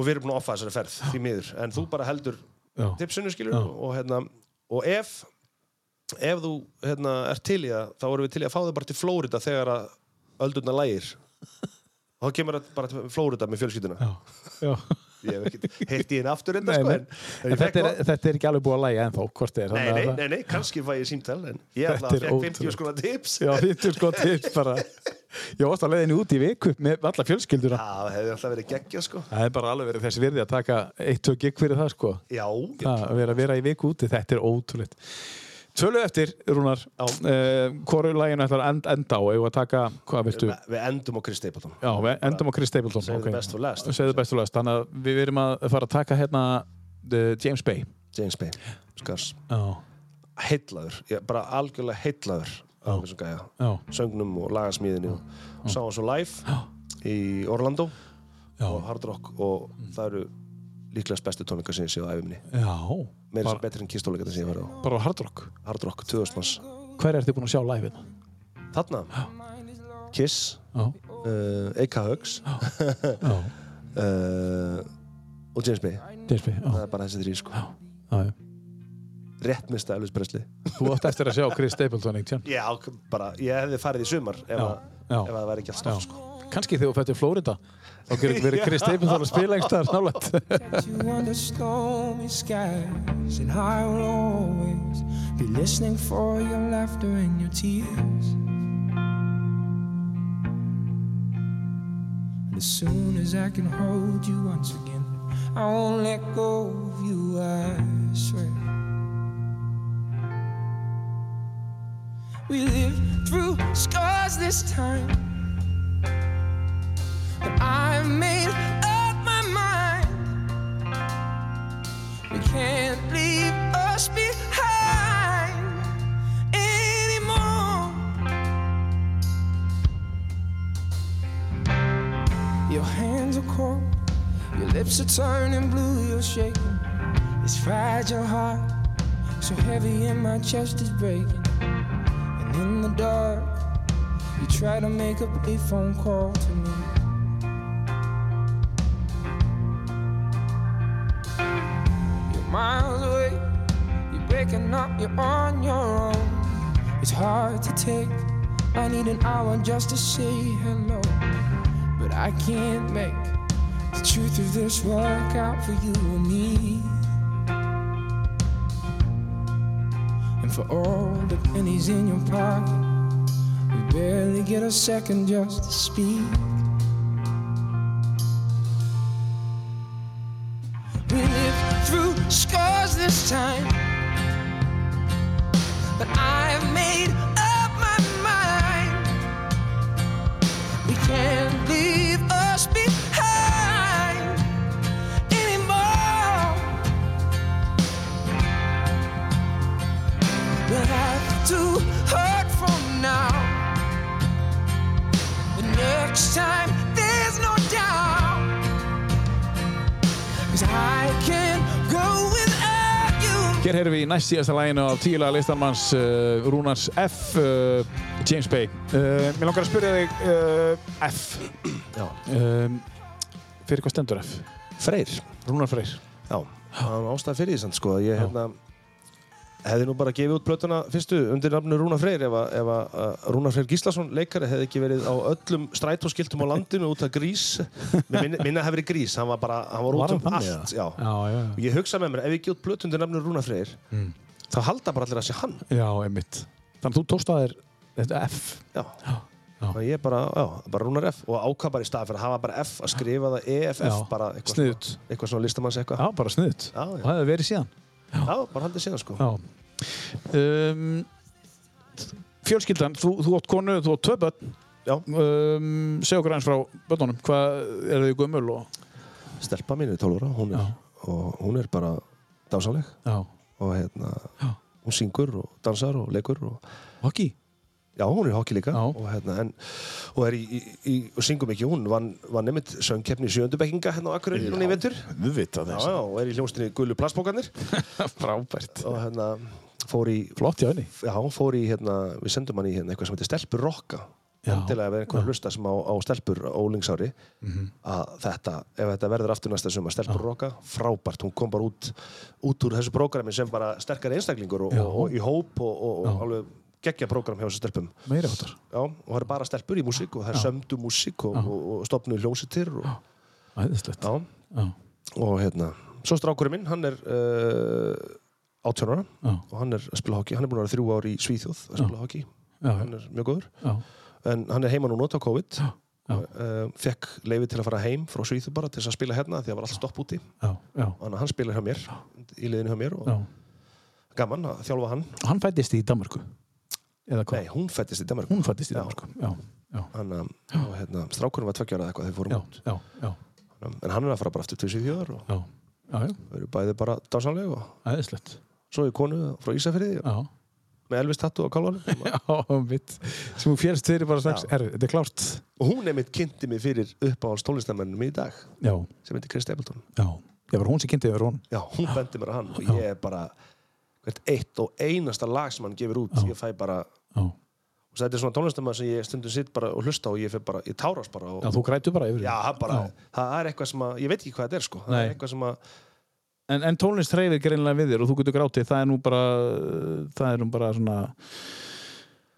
S2: og við erum búin að offa þessari ferð því miður, en þú bara heldur
S1: já,
S2: tipsinu skilur og hérna og ef, ef þú hérna, er til í það, þá erum við til í að fá þau bara til Flórida þegar að öldurna lægir þá kemur það bara til Flórida með fjölskylduna
S1: já, já.
S2: ég hef ekki heitt í henni aftur <laughs> enda
S1: Nei,
S2: sko
S1: nei.
S2: en, en
S1: En
S2: ég
S1: þetta, er,
S2: fekk það-
S1: þetta er ekki alveg búið að lægja ennþá, hvort er
S2: nei,
S1: þannig að
S2: nei,
S1: það-
S2: nei, nei, kannski fæ ég símtal en ég ætla
S1: Þetta
S2: að
S1: er
S2: fekk 50
S1: ótrúlegt.
S2: skona tips
S1: Já, þetta er sko tips bara Ég varst að leiðinu út í viku með alla fjölskylduna
S2: það hefði alltaf verið geggja sko
S1: Það er bara alveg verið þess virði að taka eitt og gig fyrir það sko
S2: já,
S1: Það að vera, vera í viku úti, þetta er ótrúleitt Tölu eftir, Rúnar uh, Hvoru læginu ætlar að end, enda á Eða að taka, hvað viltu?
S2: við endum á Chris Stapleton
S1: Já, við endum á Chris Stapleton
S2: Save the
S1: ok.
S2: best for last.
S1: Save the best for last Þannig að við erum að fara að taka hérna uh, James Bay
S2: James Bay, skars
S1: Já,
S2: heitlaður, ég, bara algjörlega heitlaður af þessum gæja,
S1: já,
S2: söngnum og lagasmíðinni og sá hann svo live í Orlando
S1: Já. Mm.
S2: og Hard Rock og það eru líklegast bestu tónleika sem ég sé á æfimni
S1: já Bara,
S2: meira sem betri en kistóleika sem ég verði á
S1: bara á Hard Rock
S2: Hard Rock 2000 manns
S1: Hver er þið búin að sjá live hérna?
S2: þarna, Kiss
S1: Já,
S2: uh, Eika Hugs
S1: já,
S2: uh, og James Bay
S1: James Bay Já,
S2: það er bara þessi þrý sko,
S1: já, já
S2: rétt mista Elvis Presley
S1: Þú átt eftir að sjá Chris Stapleton eitt tján.
S2: já, bara, ég hefði farið í sumar ef,
S1: Já,
S2: að,
S1: já.
S2: ef að það væri ekki allt
S1: Já.
S2: stóð sko.
S1: Kannski þegar þú fættir Flórida þá getur ekki verið Chris Stapleton að spila einhvers staðar nálægt.
S7: you under stormy skies, and I will always be listening for your laughter and your tears. And as soon as I can hold you once again, I won't let go of you, I swear. We lived through scars this time, but I've made up my mind. We can't leave us behind anymore. Your hands are cold, your lips are turning blue, you're shaking. This fragile heart, so heavy, and my chest is breaking. And in the dark, you try to make a brief phone call to me. You're miles away. You're breaking up. You're on your own. It's hard to take. I need an hour just to say hello. But I can't make the truth of this work out for you and me. And for all the pennies in your pocket, we barely get a second just to speak. We lived through scars this time. But I've made up my mind. We can't leave us behind. to hurt from now. The next time, there's no doubt. Cause I can go without you.
S1: Hér heyrðum við í næst síðasta læginu af tíulega listanmanns uh, Rúnars F. Uh, James Bay. Uh, mér langar að spyrja þig uh, F.
S2: Já.
S1: Um, fyrir hvað stendur F?
S2: Freyr.
S1: Rúnar Freyr.
S2: Já, það var ástæð fyrir því samt sko að ég hérna hefði nú bara gefið út plötuna fyrstu undir nafnu Rúna Freyr ef að, ef að uh, Rúna Freyr Gíslason leikari hefði ekki verið á öllum strætóskiltum
S1: <laughs>
S2: á landinu út af grís Mér minna, minna hefði verið grís, hann var bara hann
S1: Var
S2: var út
S1: hann
S2: um
S1: þannig,
S2: allt já.
S1: Já, já,
S2: Og ég hugsa með mér, ef ég gefið út plötu undir nafnu Rúna Freyr
S1: Mm.
S2: þá halda bara allir að sé hann
S1: já, einmitt. Þannig að þú tókst að þér þetta F.
S2: Já, Þannig að ég bara, já, bara Rúnar F og ákvað bara í stað fyrir að hafa bara F að skrifa það EFF
S1: Já,
S2: bara eitthvað,
S1: sniðugt.
S2: svona- eitthvað svona listamanns eitthvað
S1: Já, bara sniðut.
S2: Já, já.
S1: Og það hefði verið síðan.
S2: já, bara haldið síðan sko
S1: Já. Um, fjölskyldan, þú, þú átt konu, þú átt tvö börn.
S2: Já.
S1: Um, segja okkur aðeins frá börnunum. Hvað er þau gömul og...
S2: stelpa mín er 12 ára hún er,
S1: Já.
S2: og hún er bara dásaleg
S1: Já.
S2: og hérna,
S1: Já.
S2: hún syngur og dansar og leikur og,
S1: Hockey.
S2: já, hún er í hockey líka
S1: Já.
S2: og, hérna, en, og er í, í, í og syngur mikið, hún vann van nefnt söngkeppni sjöndubekkinga hérna á Akureyri núna í vetur já,
S1: Við vita
S2: já, og er í hljómstinni Gullu Plastbókarnir
S1: <laughs> Frábært.
S2: og hérna, fór í
S1: Flott hjá henni.
S2: Já, hún fór í, hérna, við sendum hann í hérna, eitthvað sem heitir Stelpur Rokka
S1: Já. Mhm.
S2: endilega ef einhver hlusta sem á, á Stelpur á ólingsári að þetta, ef þetta verður aftur næsta suma Stelpur Rokka, frábært, hún kom bara út út úr þessu prógrami sem bara sterkari einstaklingur og,
S1: Já.
S2: og, og í hóp og, og, og alveg geggja prógram hjá þessu stelpum
S1: Meira áttar.
S2: Já, og það er bara stelpur í músík og það er sömdu músík og, og, og stopnu hljósitir og,
S1: Æðislegt.
S2: já,
S1: Já.
S2: og hérna svo strákurinn minn, hann er uh, 18 ára
S1: Já.
S2: og hann er að spila hockey, hann er búin að vera þrjú ár í Svíþjóð að spila hockey,
S1: Já,
S2: hann er mjög góður
S1: já.
S2: en hann er heima núna út á COVID
S1: Já. Já.
S2: Uh, fekk leiði til að fara heim frá Svíþjóð bara til þess að spila hérna því að var allt stopp úti
S1: Já, já,
S2: þannig að hann spilar hjá mér, í liðinu hjá mér og
S1: já.
S2: gaman að þjálfa hann
S1: Hann fættist í Danmarku. Eða hvað?
S2: nei, hún fættist í Danmark
S1: Hún fættist í
S2: Já.
S1: Danmarku. Já, já,
S2: hann, um, og hérna, strákurinn var tveggja ára eða eitthvað þeir fórum
S1: já,
S2: út
S1: já, já,
S2: en hann er að fara bara aftur til Svíþjóðar og
S1: já. Já, já,
S2: þau eru bæði bara dásanleg og
S1: æðislegt.
S2: svo er konu frá Ísafirði
S1: Já,
S2: með Elvis Tattu á kálvanum
S1: já, um mitt. Sem hún fjælst fyrir bara strax.
S2: Já.
S1: Herru, þetta er klárt.
S2: og hún einmitt kynnti mig fyrir uppáhalds tónlistamennum í dag
S1: Já,
S2: sem heitir Chris Stapleton
S1: já. Það var hún sem kynntið yfir hún.
S2: já, hún bendi mér að hann og ég er bara hvert eitt og einasta lag sem hann gefur út ég fæ bara,
S1: Já.
S2: og þetta er svona tónlistamenn sem ég stundum sitt bara og hlusta og ég fer bara, ég tárast bara og,
S1: Já, þú grætu bara yfir
S2: já,
S1: því.
S2: það bara, það er eitthvað sem að ég veit ekki hvað þetta er sko, það
S1: Nei.
S2: er eitthvað sem að
S1: En, en tónlist hreyfir greinlega við þér og þú getur grátið. Það er nú bara, það er nú bara svona,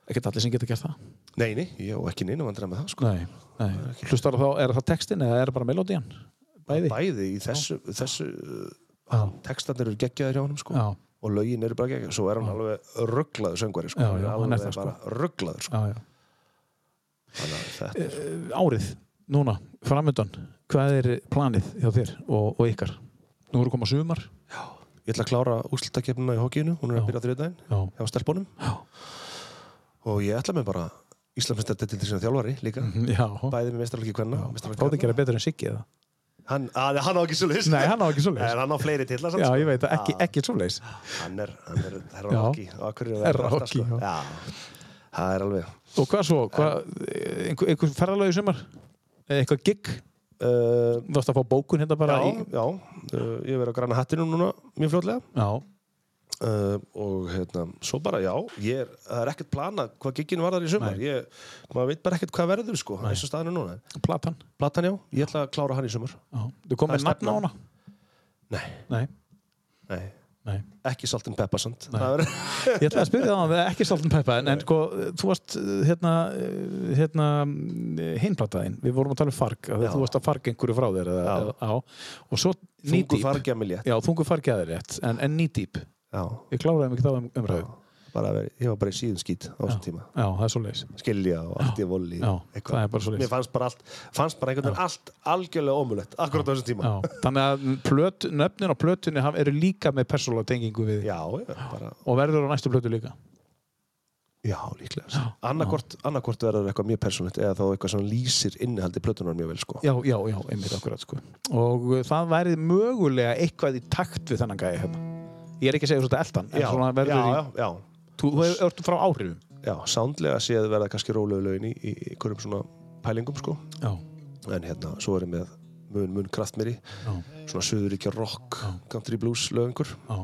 S1: ekkert allir sem getur gert það.
S2: neini, ég og ekki neina vandræð með það sko
S1: Nei, nei. Hlustar þá, er það textin eða er það bara melodían? Bæði?
S2: bæði í þessu, þessu
S1: Já,
S2: tekstarnir eru geggjaðir hjá hann sko
S1: já,
S2: og lögin eru bara geggjaðir, svo er hann alveg rugglaður söngvari sko,
S1: Já,
S2: Hann er
S1: já, hann er
S2: alveg
S1: það, sko.
S2: bara rugglaður sko
S1: já, já.
S2: Þannig að þetta er
S1: Árið, núna, framöndan, hvað er planið hjá þér og, og ykkar? Nú eru koma sumar.
S2: Ég ætla að klára úrslutakefnina í hókíinu, hún er
S1: Já.
S2: að byrja á þriðdæðin
S1: Já,
S2: hjá stelpunum
S1: já,
S2: og ég ætla mér bara Íslandsmestardettil til sinna þjálfari líka,
S1: já.
S2: bæði með mestrarlöki kvenna og mestrarlöki
S1: Fáðu ekki
S2: karla.
S1: að betra en Siggi eða?
S2: Hann, að, hann á ekki svo leys
S1: <laughs> Nei, hann á ekki
S2: <laughs>
S1: svoleiðis.
S2: En hann á fleiri tilla samt,
S1: Já,
S2: sko.
S1: ég veit það, ekki, ekki svoleiðis.
S2: Hann er, hann er herra
S1: Já.
S2: hókí og akkur er
S1: Herra
S2: alltaf, sko.
S1: hockey, já.
S2: Já, það er alveg
S1: Og hvað svo, hvað, einhver, einhver ferðalögi sumar? Eða Eitthvað gig?
S2: uh,
S1: Þú varst að fá bókun hérna bara
S2: Já,
S1: í...
S2: já, uh, ég verið á græna hattinu núna mjög fljótlega
S1: Já,
S2: uh, og hérna, svo bara já ég er, það er ekkert planað hvað gigginu varðar í sumar
S1: Nei.
S2: ég, maður veit bara ekkert hvað verður sko, eins og staðan er núna
S1: platan.
S2: Platan já, ég ætla að klára hann í sumar
S1: Já. Þú kom
S2: Það
S1: með
S2: er
S1: nafn á
S2: stefnan.
S1: hana?
S2: Nei,
S1: Nei,
S2: nei,
S1: nei.
S2: ekki salt and pepper sant Það er,
S1: Ég ætlaði að spyrja það á ekki Salt and Peppa en, en sko, þú varst uh, hérna, uh, hérna hinplataðin við vorum að tala um farg, að
S2: Já.
S1: þú varst að farg einhverju frá þér eða,
S2: Já.
S1: eða, á, og svo
S2: þungu
S1: nýdýp
S2: fargja með létt
S1: Já, þungu fargi aðeir rétt, en, en nýdýp
S2: Já,
S1: Ég kláraði mig þá um, umræðu Já,
S2: bara að vera, ég var bara í síðun skýt á þessum tíma
S1: það er svo leis
S2: skilja og allt í voli
S1: Já, það er bara svoleiðis.
S2: Mér fannst bara allt, fannst bara einhvern veginn allt algjörlega ómulett, akkurat á þessum tíma
S1: Já, þannig að plöt, nöfnin á plötunni haf- eru líka með persóla tengingu við
S2: Já, já, bara,
S1: og verður á næstu plötu líka
S2: já, líklega Annarkvort, annarkvort verður eitthvað mjög persónlegt eða þá eitthvað sem lýsir innihaldi plötunar mjög vel sko
S1: Já, já, já, einmitt akkurat sko og uh, það væri mögulega eitthvað í takt við þennan gæði hérna Ég er ekki að segja svona eldan, en
S2: já,
S1: svona verður
S2: já,
S1: í
S2: já, já.
S1: Þú þú ert frá áhrifum.
S2: já, sándlega séð verða kannski rólegu lögin í, í einhverjum svona pælingum sko
S1: Já.
S2: en hérna, svo erum við mun, mun kraftmeri
S1: Já.
S2: svona söðuríkja rock, country blues lögengur
S1: Já.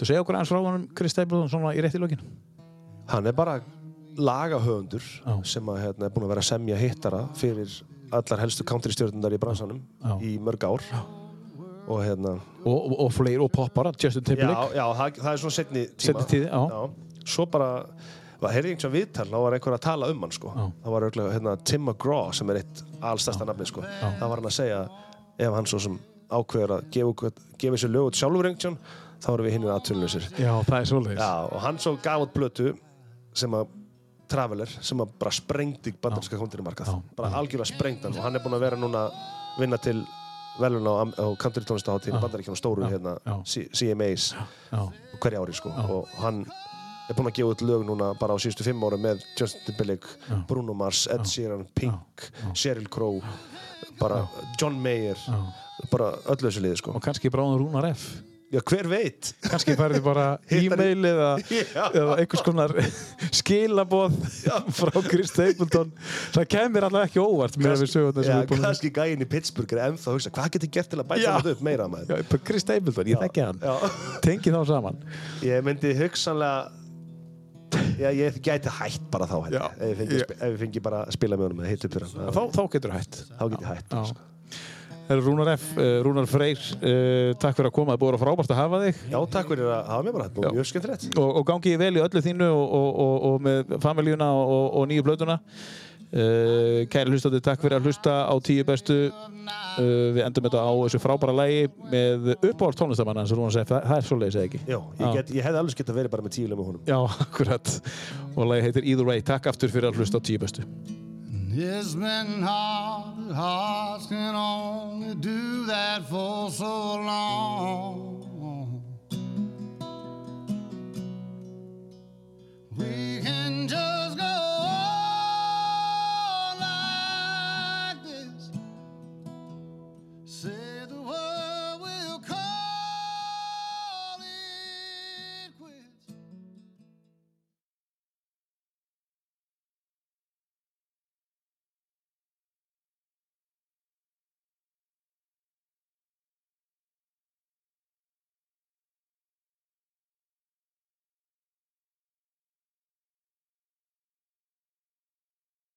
S1: Þú segja okkur aðeins frá honum Chris Stapleton svona í rétti lokin?
S2: hann er bara lagahöfundur
S1: Já.
S2: sem að, hérna, er búin að vera að semja hittara fyrir allar helstu country stjórnundar í bransanum
S1: Já.
S2: í mörg ár og hérna
S1: Og, og, og fleir og poppara, Justin
S2: já,
S1: Timberlake.
S2: já, það, það er svona setni tíma
S1: Seinni tíð, já.
S2: svo bara var heyrði einhvern viðtal, þá var einhver að tala um hann sko.
S1: Já.
S2: það var auðvitað hérna, Tim McGraw sem er eitt allstasta nafni sko. það var hann að segja ef hann svo sem ákveður að gefa, okkur- gefa sér lögut sjálfur einhvern þá erum við hinn aðtunleysir
S1: Já, það er svoleiðis.
S2: Já, og hann svo gaf út blötu sem að Traveler, sem að bara sprengdi bandarinska kontinnumarkað,
S1: Já,
S2: bara algjörlega sprengd hann og hann er búinn að vera núna að vinna til velun á, am- á country tónlistaháttíðin bandaríkjana stóru hérna
S1: já.
S2: C- CMAs
S1: Já.
S2: hverja ári sko og hann er búinn að gefa út lög núna bara á síðustu fimm ára með Justin Timberlake, Bruno Mars, Ed Sheeran, Pink, Sheryl Crow bara John Mayer bara öllu þessu liði sko
S1: Og kannski bráðum Rúnar F.
S2: Já, hver veit?
S1: Kannski <laughs> færði bara e-mail eða,
S2: Já.
S1: eða einhvers konar <laughs> skilaboð frá Chris Stapleton. Það kemur allavega ekki óvart með við sögurnar sem við
S2: Já,
S1: erum búin að
S2: kannski gæinn í Pittsburgh er ennþá að hugsa hvað getur gert til að bæta
S1: Já.
S2: þetta upp meira
S1: <laughs>
S2: maður
S1: Já, bara Chris Stapleton, ég þekki hann.
S2: já.
S1: Tengi þá saman.
S2: ég myndi hugsanlega já, ég gæti hætt bara þá held
S1: Já.
S2: ég. ef ég fengi, ef ég fengi bara að spila með honum eða hitt upp fyrir hann
S1: Þá, þá getur hætt.
S2: þá get ég hætt
S1: Já.
S2: sko.
S1: Herra Rúnar F, uh, Rúnar Freyr, uh, takk fyrir að koma. Það búið að vera frábært að hafa þig.
S2: já, takk fyrir að hafa mér bara þetta var mjög skemmtilegt
S1: og, og gangi ég vel í öllu þínu og, og, og, og með familíuna og, og, og nýju blötuna uh, kæri hlustandi, takk fyrir að hlusta á tíu bestu uh, við endum þetta á þessu frábæra lægi með uppáhald tónlistamann hans Rúnar Seff, það, það er svoleiðis eða ekki
S2: já, ég, get, ég hefði alveg gett að vera bara með tíu lög með honum
S1: Já, <laughs> akkurat og lægi heitir Either Way, takk aftur fyrir að hlusta á tíu bestu
S8: It's been hard, hearts can only do that for so long.